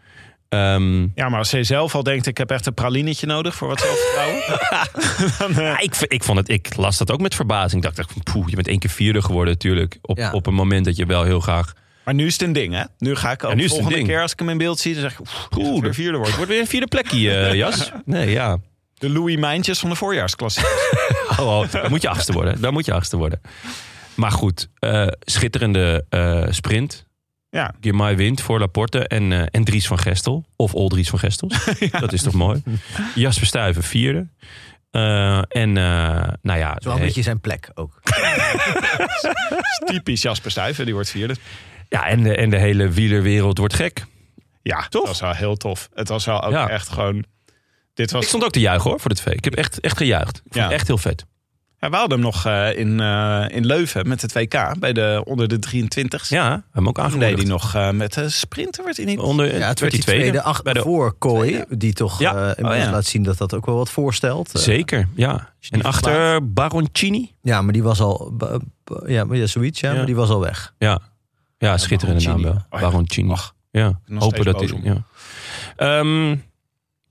F: Ehm,
A: ja, maar als hij zelf al denkt, ik heb echt een pralinetje nodig voor wat zelfvertrouwen.
F: Ja, ik, v- ik, vond het, ik las dat ook met verbazing. Ik dacht, echt, poeh, je bent één keer vierde geworden natuurlijk. Op,
B: Ja.
F: op een moment dat je wel heel graag...
A: Maar nu is het een ding, hè? Nu ga ik ook
F: Ja, nu is het
A: volgende
F: een ding.
A: keer als ik hem in beeld zie, dan zeg ik... oeh, die gaat
F: Oeh,
A: weer
F: de
A: vierde
F: vierde
A: wordt.
F: wordt. Wordt weer een vierde plekje, eh, Jas. Nee, ja.
A: De Louis Mijntjes van de voorjaarsklasse.
F: Oh, oh, daar moet je achter worden. Daar moet je achter worden. Maar goed, eh, schitterende eh, sprint.
A: Ja.
F: Girmay wint voor Laporte en, eh en Dries van Gestel. Of Oldries Dries van Gestel. Dat is toch mooi. Jasper Stuyven vierde. Eh, en eh, nou ja...
B: Zo een
F: nee.
B: beetje zijn plek ook.
A: Typisch Jasper Stuyven, die wordt vierde.
F: ja, en, de, en de hele wielerwereld wordt gek.
A: Ja, dat was wel heel tof. Het was wel ook
F: Ja.
A: echt gewoon... Dit
F: Ik
A: was...
F: stond ook te juichen hoor, voor de twee. Ik heb echt, echt gejuicht. Ik vond
A: Ja.
F: het echt heel vet.
A: Ja, we hadden hem nog eh, in, eh, in Leuven met het WK, bij de onder de 23.
F: Ja, hem ook
A: Toen deed
F: aangekondigd.
A: hij nog eh, met de sprinter, werd hij niet...
F: Onder,
B: Ja, het werd die tweede acht
F: Bij de-
B: voor Kooi, die toch
F: Ja.
B: eh, inmiddels
A: Oh, ja.
B: laat zien dat dat ook wel wat voorstelt. Eh,
F: Zeker, ja.
B: je
F: En
B: die
F: achter Baroncini.
B: Ja, maar die was al, b- b- ja, maar ja, zoiets, ja,
F: Ja.
B: maar die was al weg.
F: Ja, ja schitterende naam
A: Baroncini. Oh
F: wel.
A: ja.
F: Baroncini.
A: Ach,
F: Ja,
A: nog
F: hopen
A: steeds
F: dat hij...
A: boos
F: Ja. Ehm,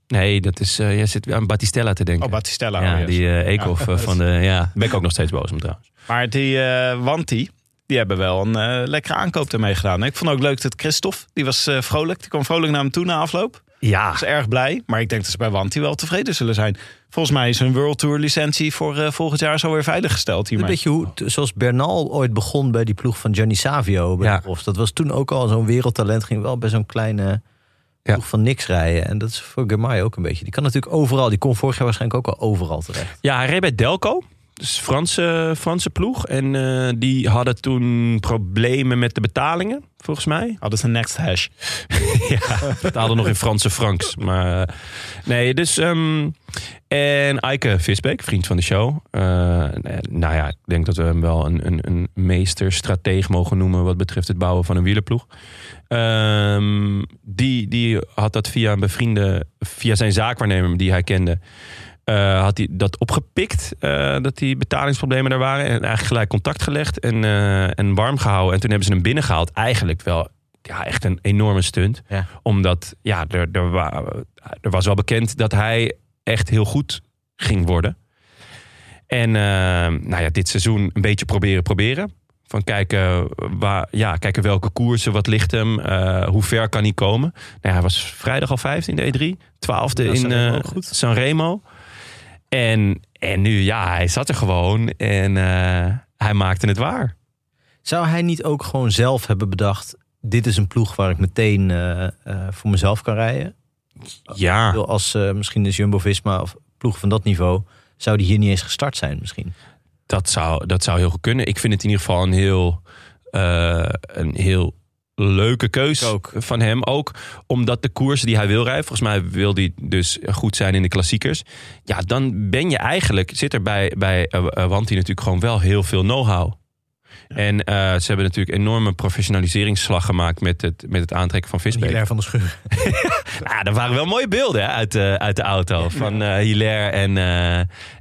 F: nee, dat is... eh, jij zit weer aan Battistella te denken.
A: Oh, Battistella.
F: ja,
A: oh, yes.
F: die eh Eekhoff eh, van de... Ja, ben ik ook nog steeds boos om trouwens.
A: Maar die eh Wanti, die hebben wel een eh, lekkere aankoop ermee gedaan. Ik vond ook leuk dat Christophe, die was eh, vrolijk. Die kwam vrolijk naar hem toe na afloop.
F: Ja,
A: was erg blij. Maar ik denk dat ze bij Wanti wel tevreden zullen zijn. Volgens mij is hun World Tour licentie voor eh, volgend jaar zo weer veiliggesteld
B: Een
A: hiermee.
B: beetje hoe, t- zoals Bernal ooit begon bij die ploeg van Gianni Savio. Bij
F: Ja.
B: de profs. Dat was toen ook al zo'n wereldtalent. Ging wel bij zo'n kleine
F: Ja.
B: ploeg van niks rijden. En dat is voor Germay ook een beetje. Die kan natuurlijk overal. Die kon vorig jaar waarschijnlijk ook al overal terecht.
F: ja hij reed bij Delco. Dus Franse, Franse ploeg. En eh, die hadden toen problemen met de betalingen, volgens mij.
A: Oh, dat is een next hash.
F: ja, betaalden nog in Franse francs. Maar eh, nee, dus... ehm, en Eike Visbeek, vriend van de show. Eh, nee, nou ja, ik denk dat we hem wel een, een, een meesterstrateeg mogen noemen... wat betreft het bouwen van een wielerploeg. Ehm, die, die had dat via een bevriende... via zijn zaakwaarnemer die hij kende... eh, had hij dat opgepikt, eh, dat die betalingsproblemen daar waren. En eigenlijk gelijk contact gelegd en, eh, en warm gehouden. En toen hebben ze hem binnengehaald. Eigenlijk wel ja, echt een enorme stunt.
B: Ja.
F: Omdat ja, er, er, wa- er was wel bekend dat hij echt heel goed ging worden. En eh, nou ja, dit seizoen een beetje proberen, proberen. Van kijken, waar, ja, kijken welke koersen, wat ligt hem, eh, hoe ver kan hij komen. Nou, ja, hij was vrijdag al vijftiende E3, E twaalfde
A: Ja,
F: in
A: Sanremo
F: eh,
A: ook goed.
F: Sanremo. En, en nu, ja, hij zat er gewoon en eh, hij maakte het waar.
B: Zou hij niet ook gewoon zelf hebben bedacht... dit is een ploeg waar ik meteen eh, eh, voor mezelf kan rijden? Ik
F: Ja,
B: bedoel, Als eh, misschien is Jumbo-Visma of ploeg van dat niveau... zou die hier niet eens gestart zijn misschien.
F: Dat zou, dat zou heel goed kunnen. Ik vind het in ieder geval een heel, eh, een heel leuke keus
B: Ook.
F: van hem. Ook omdat de koersen die hij wil rijden, volgens mij wil hij dus goed zijn in de klassiekers. Ja, dan ben je eigenlijk, zit er bij, bij eh, eh, Wanty natuurlijk gewoon wel heel veel know-how. En eh, ze hebben natuurlijk enorme professionaliseringsslag gemaakt met het, met het aantrekken van Visbeek.
B: Hilaire van de Schuur.
F: Ah, er waren wel mooie beelden hè, uit, de, uit de auto van eh Hilaire en, eh,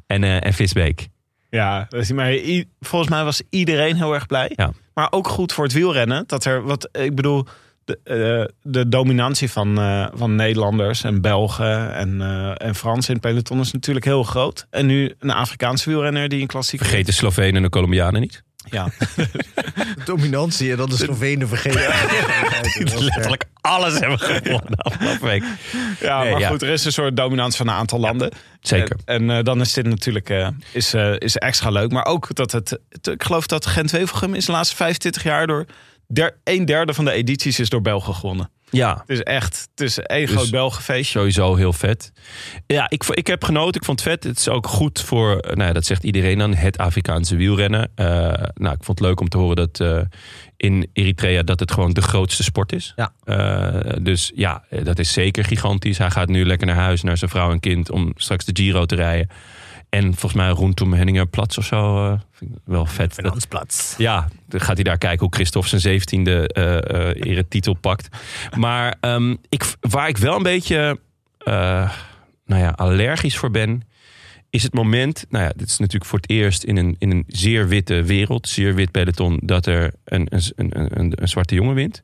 F: en, eh, en Visbeek.
A: Ja, dat is- maar i- volgens mij was iedereen heel erg blij.
F: Ja.
A: Maar ook goed voor het wielrennen. Dat er wat, ik bedoel, de, eh, de dominantie van, eh, van Nederlanders en Belgen en, eh, en Fransen in het peloton is natuurlijk heel groot. En nu een Afrikaanse wielrenner die een klassiek.
F: Vergeet de Slovenen en de Colombianen niet.
A: Ja.
B: Dominantie en dan de Slovenen vergeten.
F: letterlijk alles hebben gewonnen afgelopen week.
A: ja,
F: Nee,
A: maar
F: ja.
A: goed, er is een soort dominantie van een aantal landen.
F: Zeker.
A: En, en, eh, dan is dit natuurlijk eh, is, eh, is extra leuk. Maar ook dat het. het- ik geloof dat Gent-Wevelgem is de laatste 25 jaar door. Der, een derde van de edities is door Belgen gewonnen.
F: Ja,
A: Het is echt, het is één
F: Dus-
A: groot Belgenfeestje.
F: sowieso heel vet. Ja, ik, vo- ik heb genoten. Ik vond het vet. Het is ook goed voor, eh, nou ja, dat zegt iedereen dan, het Afrikaanse wielrennen. Eh, nou, ik vond het leuk om te horen dat eh, in Eritrea dat het gewoon de grootste sport is.
B: Ja.
F: Eh, dus ja, eh, dat is zeker gigantisch. Hij gaat nu lekker naar huis, naar zijn vrouw en kind, om straks de Giro te rijden. En volgens mij rondom Henninger Plats of zo. eh, vind ik wel vet. Dat-
B: Finansplatz.
F: Ja, dan gaat hij daar kijken hoe Christophe zijn zeventiende eh eh eretitel pakt. Maar ehm, ik, waar ik wel een beetje eh, nou ja, allergisch voor ben, is het moment. Nou ja, dit is natuurlijk voor het eerst in een, in een zeer witte wereld, zeer wit peloton, dat er een, een, een, een, een zwarte jongen wint.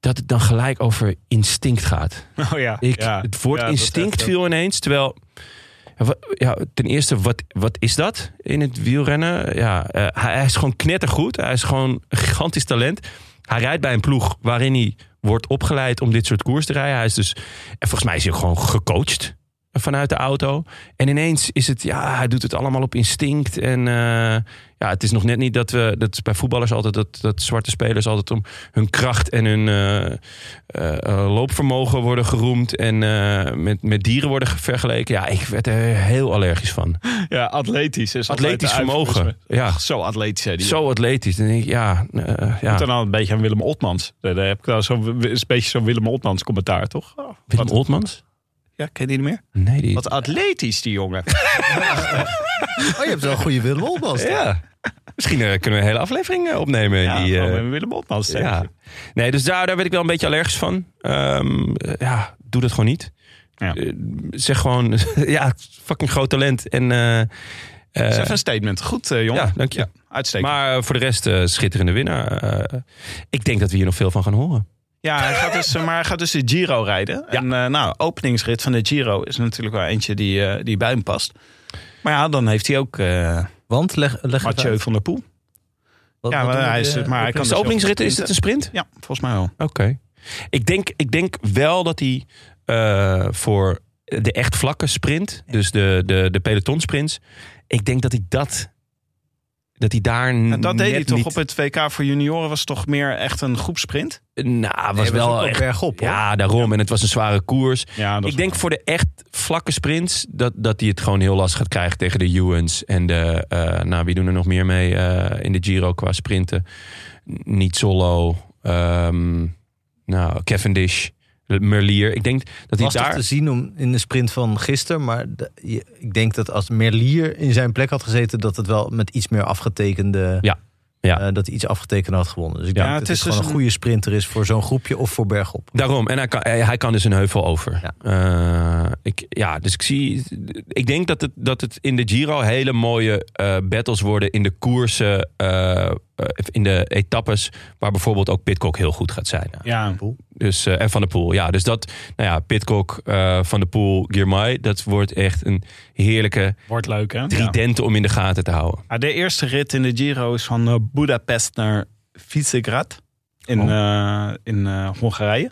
F: Dat het dan gelijk over instinct gaat.
A: Oh ja.
F: Ik,
A: ja.
F: het woord
A: Ja, dat
F: instinct
A: echt,
F: viel ineens. Terwijl, ja, wa- ja, ten eerste, wat, wat is dat in het wielrennen? Ja, eh, hij, hij is gewoon knettergoed. Hij is gewoon een gigantisch talent. Hij rijdt bij een ploeg waarin hij wordt opgeleid om dit soort koers te rijden. Hij is dus, en volgens mij is hij ook gewoon gecoacht vanuit de auto. En ineens is het, ja, hij doet het allemaal op instinct. En eh, ja, het is nog net niet dat we, dat is bij voetballers altijd, dat, dat zwarte spelers altijd om hun kracht en hun eh, eh, eh, loopvermogen worden geroemd en eh, met, met dieren worden ge- vergeleken. Ja, ik werd er heel allergisch van.
A: eh, Ja, atletisch. Is altijd
F: Atletisch
A: de uitvoer-
F: vermogen. Ja,
A: Zo atletisch, zei die. Zo.
F: zo atletisch. Dan denk ik, ja, eh, ja.
A: Dan al een beetje aan Willem Otmans. Eh, Daar heb ik wel zo'n is een beetje zo'n Willem Otmans commentaar, toch? Oh,
F: Willem
A: wat-
F: Oltmans?
A: ja, ken je die niet meer?
F: Nee, die...
A: Wat atletisch, die jongen.
B: Oh, je hebt wel een goede Willem Olmans.
F: Ja. Misschien eh, kunnen we een hele aflevering eh, opnemen.
A: Ja,
F: die, eh,
A: gewoon met Willem Otmans. denk
F: Ja.
A: ik.
F: Nee, dus daar, daar werd ik wel een beetje allergisch van. Ehm, eh, ja, doe dat gewoon niet.
A: Ja.
F: Eh, zeg gewoon, ja, fucking groot talent. En, eh, eh,
A: Dat is even een statement. Goed, eh, jongen.
F: ja, dank je.
A: Uitstekend.
F: maar eh, voor de rest, eh, schitterende winnaar. Eh, ik denk dat we hier nog veel van gaan horen.
A: Ja, hij gaat dus, eh, maar hij gaat dus de Giro rijden. En eh, nou, openingsrit van de Giro is natuurlijk wel eentje die, eh, die bij hem past. Maar ja, dan heeft hij ook eh
B: Want leg, leg het
A: Mathieu
B: uit.
A: van der Poel.
B: Wat-
A: Ja,
B: wat
A: maar
B: doet
A: hij is-
B: eh,
A: maar hij
B: op-
A: kan dus
F: Is de
A: heel
F: openingsrit,
A: goed
F: is het een sprint?
A: Ja, volgens mij wel.
F: Oké. Ik, denk, ik denk wel dat hij eh, voor de echt vlakke sprint, dus de, de, de pelotonsprints, ik denk dat hij dat Dat hij daar
A: En dat deed
F: net
A: hij toch
F: niet-
A: op het WK voor junioren? Was toch meer echt een groepsprint?
F: Nou, was
B: Nee, maar het is ook
F: wel
B: wel
F: echt...
B: bergop, hoor.
F: Ja, daarom. En het was een zware koers.
A: Ja,
F: ik denk voor de echt vlakke sprints dat, dat hij het gewoon heel lastig gaat krijgen tegen de Ewens. En de, eh, nou, wie doen er nog meer mee eh, in de Giro qua sprinten? Niet Solo, ehm, nou, Cavendish, Merlier. Ik denk dat hij
B: Lastig
F: daar...
B: te zien om in de sprint van gisteren. Maar de- je- ik denk dat als Merlier in zijn plek had gezeten... dat het wel met iets meer afgetekende...
F: Ja, ja.
B: eh, dat hij iets afgetekend had gewonnen. Dus ik
A: Ja,
B: denk
A: het
B: dat
A: is
B: het gewoon
A: dus
B: een
A: een-
B: goede sprinter is voor zo'n groepje of voor bergop.
F: Daarom, en hij kan, hij hij kan dus een heuvel over.
B: Ja.
F: Eh, ik, ja, dus ik zie. Ik denk dat het, dat het in de Giro hele mooie eh, battles worden in de koersen, eh, eh, in de etappes, waar bijvoorbeeld ook Pitcock heel goed gaat zijn.
A: Ja,
F: Dus, eh, en Van der Poel, ja. Dus dat, nou ja, Pitcock, eh, Van der Poel, Girmay, dat wordt echt een heerlijke
A: wordt leuk hè? Ja.
F: tridenten om in de gaten te houden.
A: Ah, De eerste rit in de Giro is van eh, Budapest naar Visegrad in,
F: Oh.
A: eh, in eh, Hongarije.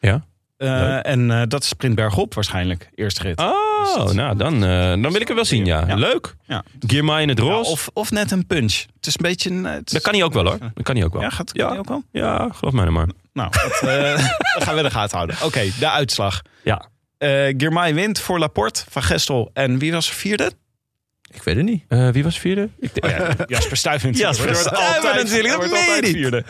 F: Ja.
A: Eh,
F: Leuk.
A: en eh, dat is sprint bergop waarschijnlijk, eerste rit.
F: Oh, nou, dan, eh, dan wil ik hem wel zien, ja.
A: Dus Ja.
F: Leuk.
A: Ja.
F: Girmay in het
A: Ja,
F: roos.
A: of, of net een punch. Het is een beetje... een, eh, het is-
F: Dat kan hij ook wel, hoor. Dat kan hij ook wel.
A: Ja, gaat
F: Ja.
A: kan die ook wel?
F: Ja, geloof mij nou maar.
A: Nou, dat, eh, dat gaan we in de gaten houden. Oké, de uitslag.
F: Ja.
A: Eh Girmay wint voor Laporte, Van Gestel. En wie was er vierde?
B: Ik weet het niet.
F: Eh, wie was vierde? Ik denk-
A: Oh Jasper Stuyven.
F: Jasper
A: Jasper
F: Stuyven
A: altijd,
F: natuurlijk, dat
A: wordt
F: meen je
A: altijd
F: niet.
A: vierde.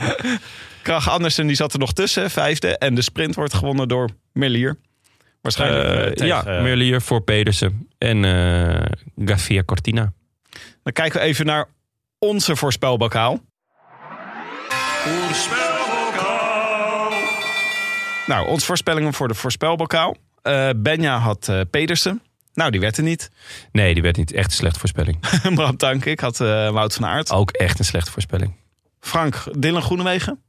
A: Krach Andersen die zat er nog tussen, vijfde. En de sprint wordt gewonnen door Merlier. Waarschijnlijk. eh,
F: Eh,
A: tegen,
F: ja,
A: eh,
F: Merlier voor Pedersen en eh Garcia Cortina.
A: Dan kijken we even naar onze voorspelbokaal. Nou, onze voorspellingen voor de voorspelbokaal. Eh, Benja had eh, Pedersen. Nou, die werd er niet.
F: Nee, die werd niet echt een slechte voorspelling.
A: Bram Tank, ik had eh, Wout van Aert.
F: Ook echt een slechte voorspelling.
A: Frank, Dylan Groenewegen.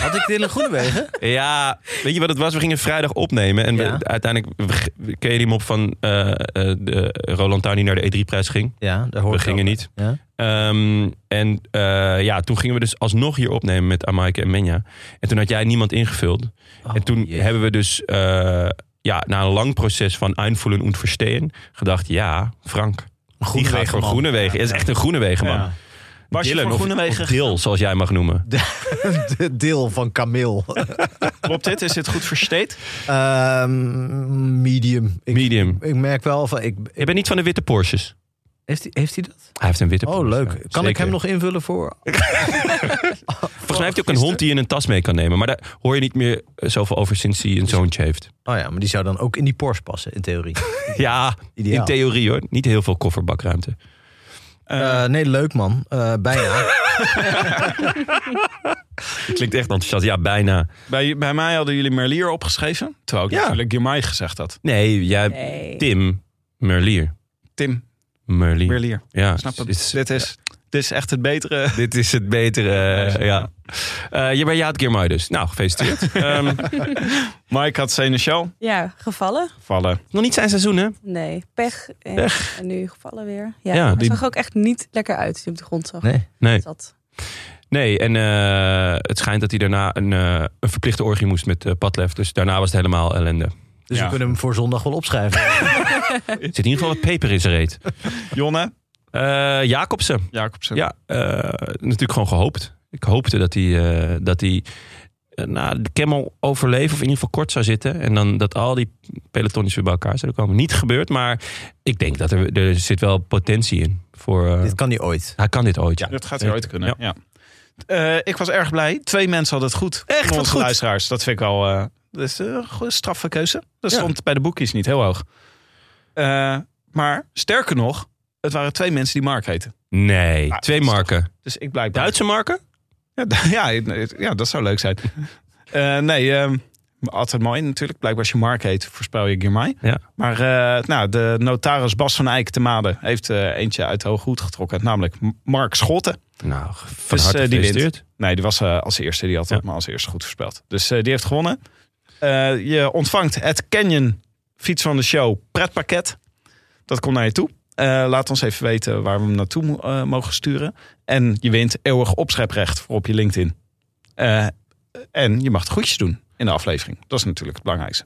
B: Had ik Dylan Groenewegen?
F: Ja, weet je wat het was? We gingen vrijdag opnemen. En we-
B: Ja.
F: uiteindelijk we- we keken hem op van eh, eh, de Roland Tuin die naar de E3-prijs ging.
B: Ja, daar hoor
F: We
B: ik
F: gingen
B: wel.
F: niet.
B: Ja.
F: Ehm, en eh, ja, toen gingen we dus alsnog hier opnemen met Amaike en Menja. En toen had jij niemand ingevuld. en toen
B: Oh, jee.
F: hebben we dus eh, ja, na een lang proces van aanvoelen en verstehen gedacht, ja, Frank, die gaat voor
B: Groenewegenman.
F: Groenewegen. Het is echt een Groenewegen, man.
A: Ja. Was je
F: Dylan,
A: voor
F: of-
A: Groenewegen?
F: Of Dil, zoals jij mag noemen.
B: De deel van Camille.
A: Klopt dit? Is dit goed versteed?
B: Ehm, medium. Ik,
F: Medium.
B: ik merk wel van... Ik,
F: Je bent niet van de witte Porsches.
B: heeft, hij, heeft hij dat?
F: Hij heeft een witte
B: Oh,
F: Porsche.
B: leuk.
F: ja.
B: Kan ik
F: Zeker.
B: hem nog invullen voor...
F: Volgens mij heeft hij ook een hond die je in een tas mee kan nemen. Maar daar hoor je niet meer eh, zoveel over sinds hij een zoontje heeft.
B: Oh ja, maar die zou dan ook in die Porsche passen, in theorie.
F: Ja,
B: Ideaal.
F: in theorie hoor. Niet heel veel kofferbakruimte.
B: Eh, nee, leuk man. Eh, bijna.
F: Klinkt echt enthousiast. Ja, bijna.
A: Bij, bij mij hadden jullie Merlier opgeschreven. Terwijl ik
F: Ja.
A: natuurlijk Girmay gezegd had.
F: Nee, jij,
J: Nee.
F: Tim Merlier.
A: Tim
F: Merlier.
A: Merlier.
F: Ja,
A: Snap het?
F: dit is-
A: dit, is, dit is echt het betere.
F: dit is het betere. eh, ja. Eh je bent Jaat Girmay dus. Nou, gefeliciteerd. Ehm,
A: Mike had Seneschal
G: Ja, gevallen?
A: vallen.
F: nog niet zijn seizoen, hè?
G: Nee, pech. En, en nu gevallen weer. Ja,
F: Ja,
G: hij
F: die-
G: zag ook echt niet lekker uit toen hij op de grond zag. Dus
B: Nee.
F: Nee,
G: Zat.
F: nee en eh, het schijnt dat hij daarna een, eh, een verplichte orgie moest met eh, Padlef. Dus daarna was het helemaal ellende.
B: Dus
A: Ja.
B: we kunnen hem voor zondag wel opschrijven.
F: Er zit in ieder geval wat peper in zijn reet.
A: Jonne
F: Eh, Jacobsen.
A: Jacobsen.
F: Ja, eh, natuurlijk gewoon gehoopt. Ik hoopte dat hij, eh, dat hij eh, nou, de Camel overleven of in ieder geval kort zou zitten. En dan dat al die pelotonnetjes weer bij elkaar zouden komen. Niet gebeurd, maar ik denk dat er, er zit wel potentie in. Voor, eh,
B: Dit kan niet ooit.
F: hij kan dit ooit. Ja.
A: Dat gaat hij ooit kunnen. Ja. Eh, ik was erg blij. Twee mensen hadden het goed.
F: Echt,
A: Van
F: wat
A: onze
F: goed.
A: luisteraars. Dat vind ik al. eh dat is een goede straffe keuze. Dat
F: Ja.
A: stond bij de boekjes niet heel hoog. Eh, maar sterker nog, het waren twee mensen die Mark heten.
F: Nee,
A: Ah,
F: twee
A: dat is
F: marken.
A: Dus ik blijkbaar.
F: Duitse marken?
A: Ja, d- ja, het- ja, dat zou leuk zijn. Eh, nee, ehm, altijd mooi natuurlijk. Blijkbaar als je Mark heet, voorspel je Girmay.
F: Ja.
A: Maar eh, nou, de notaris Bas van Eyck te Made heeft eh, eentje uit de hoge hoed getrokken. Namelijk M- Mark Schotten.
F: Nou, van
A: Dus,
F: harte
A: eh, die wint.
F: gefeliciteerd.
A: Nee, die was eh, als eerste. Die had het
F: Ja.
A: maar als eerste goed voorspeld. Dus eh, die heeft gewonnen. Eh, je ontvangt het Canyon Fiets van de Show pretpakket. Dat komt naar je toe. Eh, laat ons even weten waar we hem naartoe mo- eh, mogen sturen. En je wint eeuwig opscheprecht voor op je LinkedIn. Eh, en je mag het goedjes doen in in de aflevering. Dat is natuurlijk het belangrijkste.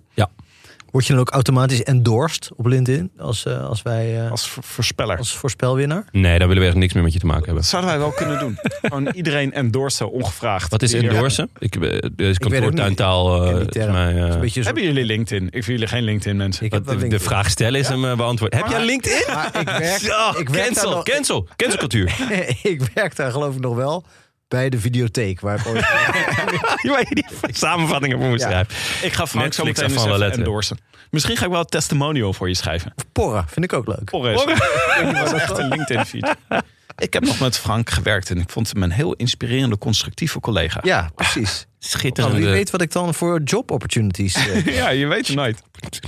B: Word je dan ook automatisch endorsed op LinkedIn als, eh, als wij eh, als,
A: Als vo- voorspeller.
B: voorspelwinnaar?
F: Nee, daar willen we echt niks meer met je te maken hebben.
A: Dat zouden wij wel kunnen doen. Gewoon iedereen endorsen, ongevraagd.
F: Wat is
A: Die hier-
F: endorsen? Ik, eh, deze
B: ook niet.
F: kantoortuintaal.
B: Ik
F: eh,
B: ken die
F: is
B: term.
F: mij, eh,
B: Dat is een beetje zo.
A: Hebben jullie LinkedIn? Ik vind jullie geen LinkedIn mensen.
B: Ik heb wel
F: de, de
B: LinkedIn.
F: vraag stellen is hem eh, beantwoord. Heb jij
B: Maar-
F: LinkedIn?
B: Maar ik werk,
F: Zo,
B: ik, werk daar
F: cancel,
B: nog,
F: cancel, cancelcultuur.
B: ik werk daar geloof ik nog wel bij de videotheek. Waar ik ooit-
F: Waar je die samenvattingen voor moet
B: Ja.
F: schrijven.
A: Ik ga Frank zo
F: Netflix
A: meteen eens
F: afvallen
A: even
F: letteren.
A: endorsen. Misschien ga ik wel een testimonial voor je schrijven.
B: Porra, vind ik ook leuk.
A: Porres. Dat is echt een LinkedIn feed. Ik heb nog met Frank gewerkt en ik vond hem een heel inspirerende, constructieve collega.
B: Ja, precies. Nou,
F: Schitterende.
B: wie weet wat ik dan voor job opportunities eh,
A: Ja, je weet het nooit.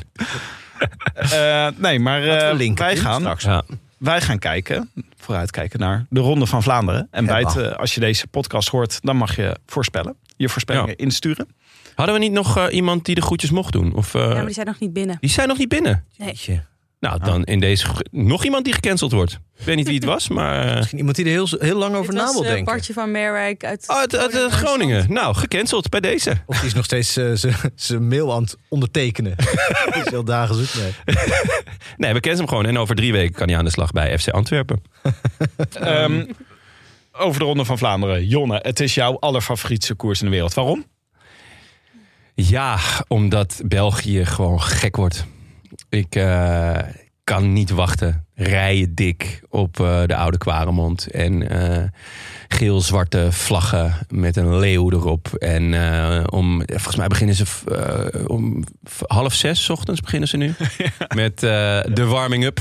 A: Eh, nee, maar eh,
B: Laten we linken
A: wij,
B: in
A: gaan,
B: straks.
F: Ja.
A: wij gaan kijken, vooruitkijken naar de Ronde van Vlaanderen. En bij het,
B: Hebba.
A: eh, als je deze podcast hoort, dan mag je voorspellen. Je voorspellingen
F: Ja.
A: insturen.
F: Hadden we niet nog eh, iemand die de groetjes mocht doen? Of, eh,
G: Ja, maar die zijn nog niet binnen.
F: die zijn nog niet binnen.
B: Jeetje.
F: Nou, dan in deze gro- nog iemand die gecanceld wordt. Ik weet niet wie het was, maar... eh,
B: Misschien iemand die er heel, heel lang over
G: Dit
B: na
G: was
B: wil
G: eh,
B: denken.
G: Bartje van Merwijk uit
F: Oh, uit, uit, eh, Groningen. Nou, gecanceld bij deze.
B: Of die is nog steeds eh, z- zijn mail aan het ondertekenen. Die is al dagen zoet mee.
F: Nee, we kennen hem gewoon. En over drie weken kan hij aan de slag bij FC Antwerpen.
A: Ehm, over de Ronde van Vlaanderen. Jonne, het is jouw allerfavoriete koers in de wereld. Waarom?
F: Ja, omdat België gewoon gek wordt. Ik eh, kan niet wachten. Rijen dik op eh, de oude Kwaremond. En eh, geel-zwarte vlaggen met een leeuw erop. En eh, om, volgens mij beginnen ze eh, om v- half zes 's ochtends beginnen ze nu. Met eh, de warming-up.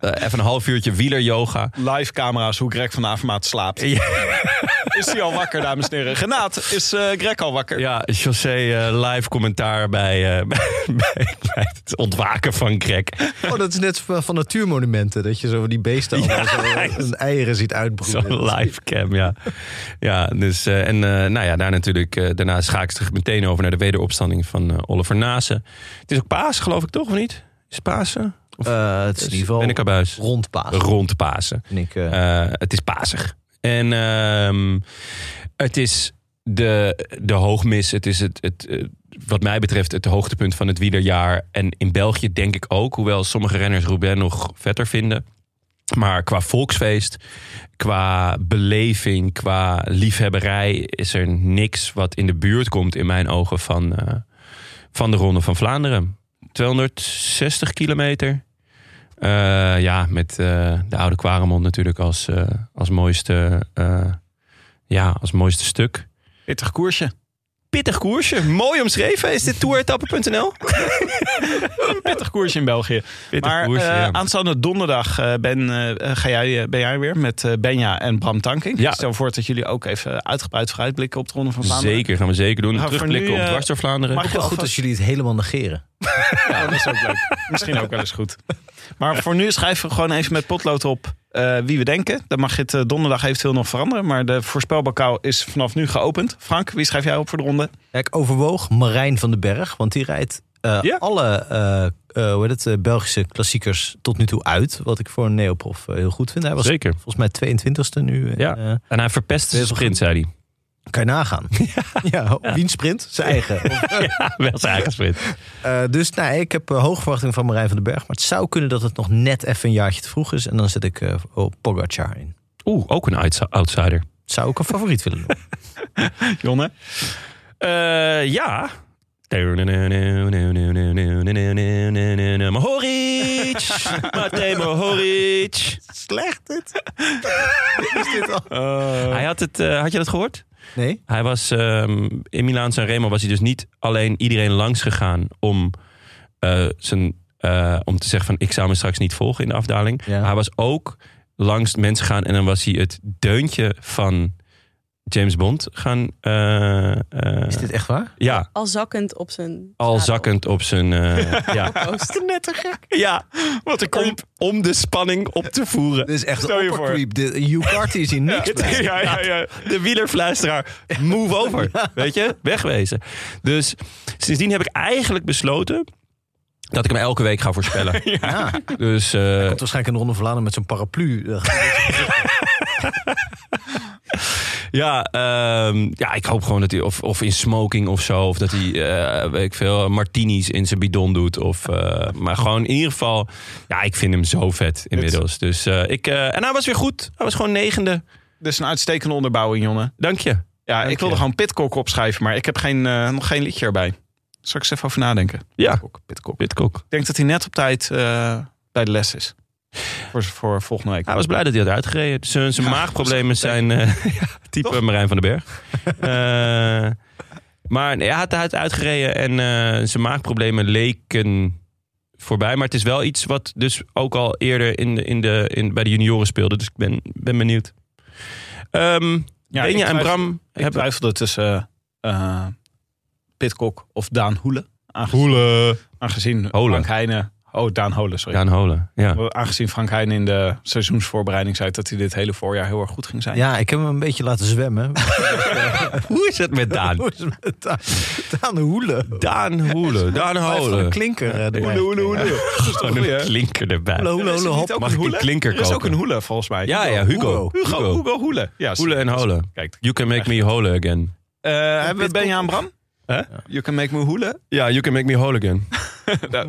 F: Eh, even een half uurtje wieleryoga.
A: Live camera's, hoe Greg van Avermaat slaapt. Is hij al wakker, dames en heren? Genaat, is eh, Greg al wakker?
F: Ja, José eh, live commentaar bij, eh, bij, bij, bij het ontwaken van Greg.
B: Oh, dat is net van van natuurmonumenten. Dat je zo die beesten allemaal zo een eieren ziet uitbroeden.
F: Zo'n live cam, ja. ja dus, eh, en eh, nou ja, daar natuurlijk, eh, daarna schaak ik terug meteen over naar de wederopstanding van eh, Oliver Nase. Het is ook Pasen, geloof ik toch, of niet? Is het Pasen? Of
B: Eh, het is in ieder geval
F: ben ik abuis?
B: rond Paas.
F: Rond Pasen.
B: En ik, eh,
F: Eh, het is pasig. En ehm, het is de, de hoogmis. Het is het, het, eh, wat mij betreft het hoogtepunt van het wielerjaar. En in België denk ik ook. Hoewel sommige renners Roubaix nog vetter vinden. Maar qua volksfeest, qua beleving, qua liefhebberij... is er niks wat in de buurt komt in mijn ogen van, eh, van de Ronde van Vlaanderen. 260 kilometer. Eh, ja, met eh, de oude Quaremond natuurlijk als, eh, als, mooiste, eh, ja, als mooiste stuk.
A: Pittig koersje.
F: Pittig koersje, mooi omschreven. Is dit touretappen.nl?
A: Pittig koersje in België.
F: Pittig
A: maar
F: koersje,
A: eh,
F: ja.
A: aanstaande donderdag eh, ben, eh, ga jij, eh, ben jij weer met eh, Benja en Bram Tankink.
F: Ja.
A: Stel voor dat jullie ook even uitgebreid vooruitblikken op de Ronde van Vlaanderen.
F: Zeker, gaan we zeker doen.
A: Nou, voor
F: Terugblikken
A: nu,
F: op
A: eh,
F: dwars door Vlaanderen.
A: mag-
B: wel goed
A: alvast-
B: als jullie het helemaal negeren.
A: Ja, dat is ook leuk. Misschien ook wel eens goed. Maar voor nu schrijven we gewoon even met potlood op eh, wie we denken. Dan mag je het eh, donderdag eventueel nog veranderen. Maar de voorspelbokaal is vanaf nu geopend. Frank, wie schrijf jij op voor de ronde?
B: Ja, ik overwoog Marijn van den Berg, want die rijdt eh,
A: Ja.
B: alle eh, eh, hoe heet het, eh, Belgische klassiekers tot nu toe uit. Wat ik voor een neoprof eh, heel goed vind. Hij was
F: Zeker.
B: volgens mij 22e nu. En,
F: Ja.
B: eh,
F: En hij verpest zijn
B: Heel
F: sprint, zei hij.
B: kan je nagaan. Ja, Wiens sprint? Zijn eigen.
F: Ja, wel zijn eigen sprint.
B: Eh, dus nou, ik heb eh, hoge verwachting van Marijn van den Berg. Maar het zou kunnen dat het nog net even een jaartje te vroeg is. En dan zet ik eh, oh, Pogacar in.
F: Oeh, ook een outs- outsider.
B: Zou ik een favoriet willen noemen.
A: Jonne?
F: Eh, ja. Mohoric! Matej Mohoric!
B: Slecht dit. is dit al?
F: Hij had, het, eh, had je dat gehoord?
B: Nee?
F: Hij was ehm, in Milaan San Remo was hij dus niet alleen iedereen langs gegaan om, eh, zijn, eh, om te zeggen van ik zou me straks niet volgen in de afdaling.
B: Ja.
F: Hij was ook langs mensen gaan en dan was hij het deuntje van James Bond gaan. eh, eh,
B: Is dit echt waar?
F: ja,
G: Al zakkend op zijn
F: al
G: zadel.
F: zakkend op zijn. eh, ja.
B: Net te gek.
F: ja, wat een om, om de spanning op te voeren.
B: Dit is echt
F: Stel je
B: een
F: voor.
B: oppercreep. Dit- Hugh Carty is hier niks bij.
F: Ja, ja, ja. De wielerfluisteraar, move over. Weet je, wegwezen. Dus sindsdien heb ik eigenlijk besloten dat ik hem elke week ga voorspellen.
B: Ja. Komt
F: Dus eh,
B: waarschijnlijk een ronde verladen met zo'n paraplu. Eh,
F: Ja, ehm, ja, ik hoop gewoon dat hij of, of in smoking of zo. Of dat hij, eh, weet ik veel, martinis in zijn bidon doet. Of, eh, maar gewoon in ieder geval... Ja, ik vind hem zo vet inmiddels. Dus, eh, ik, eh, en hij was weer goed. Hij was gewoon negende.
A: Dus een uitstekende onderbouwing, jongen.
F: Dank je.
A: Ja,
F: Dank
A: ik wilde
F: je.
A: gewoon Pitcock opschrijven, maar ik heb geen, eh, nog geen liedje erbij. Zal ik eens even over nadenken?
F: Ja.
A: Pitcock, Pitcock.
F: Pitcock.
A: Ik denk dat hij net op tijd eh, bij de les is. Voor, voor volgende week.
F: Hij was blij dat hij had uitgereden. Zijn, zijn
A: Ja,
F: maagproblemen zijn eh, ja, type Marijn van den Berg. Eh, maar nee, hij had, hij had uitgereden en eh, zijn maagproblemen leken voorbij. Maar het is wel iets wat dus ook al eerder in de, in de, in, bij de junioren speelde. Dus ik ben, ben benieuwd. Ehm
A: Ja, ik
F: Benja en
A: twijfel-
F: Bram
A: Ik
F: hebben...
A: twijfelde tussen eh eh, Pitcock of Daan Hoelen. Aangezien,
F: Hoelen.
A: aangezien
F: Hoelen.
A: Frank Heijnen... Oh, Daan Hoelen, sorry.
F: Daan Holen, ja.
A: Aangezien Frank Heijnen in de seizoensvoorbereiding zei... dat hij dit hele voorjaar heel erg goed ging zijn.
B: Ja, ik heb hem een beetje laten zwemmen.
F: Hoe is het met Daan?
B: Hoe is het met Daan? Daan
F: Oh,
B: Hoelen.
F: Daan Hoelen, Daan
B: Hij heeft
F: Holen.
B: een klinker. eh, erbij.
F: Gewoon een klinker
B: Hoelen,
F: erbij.
B: hoelen,
A: Is er
B: hoelen,
A: niet
B: hop.
A: ook
F: Mag
A: een
F: ik die
A: Hoelen?
F: klinker
A: Er is ook
F: kopen?
A: een Hoelen, volgens mij.
F: Ja, ja, Hugo.
A: Hugo, Hugo, Hoelen. Ja,
F: Hoelen en Holen.
A: Kijk,
F: You can make me holen again.
A: Eh, hebben we Benja en Bram?
F: Hè?
A: You can make me hoelen.
F: Ja, You Can Make Me Whole Again.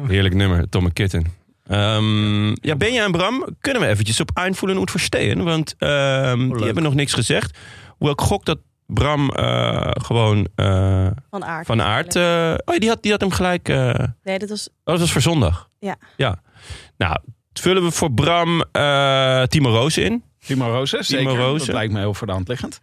F: Heerlijk nummer, Tom Kitten. Ehm ja, Benja en Bram, kunnen we eventjes op aanvoelen hoe het verstehen? Want ehm, die hebben nog niks gezegd. Hoewel ik gok dat Bram eh, gewoon eh,
G: Van aard.
F: van aard... eh oh, ja, die had, die had hem gelijk... eh, oh,
G: Nee, dat was
F: dat was voor zondag.
G: Ja.
F: ja. Nou, vullen we voor Bram eh, Timo Roos in.
A: Timo Rozen, zeker.
F: Rozen.
A: Dat lijkt me heel voor de hand liggend.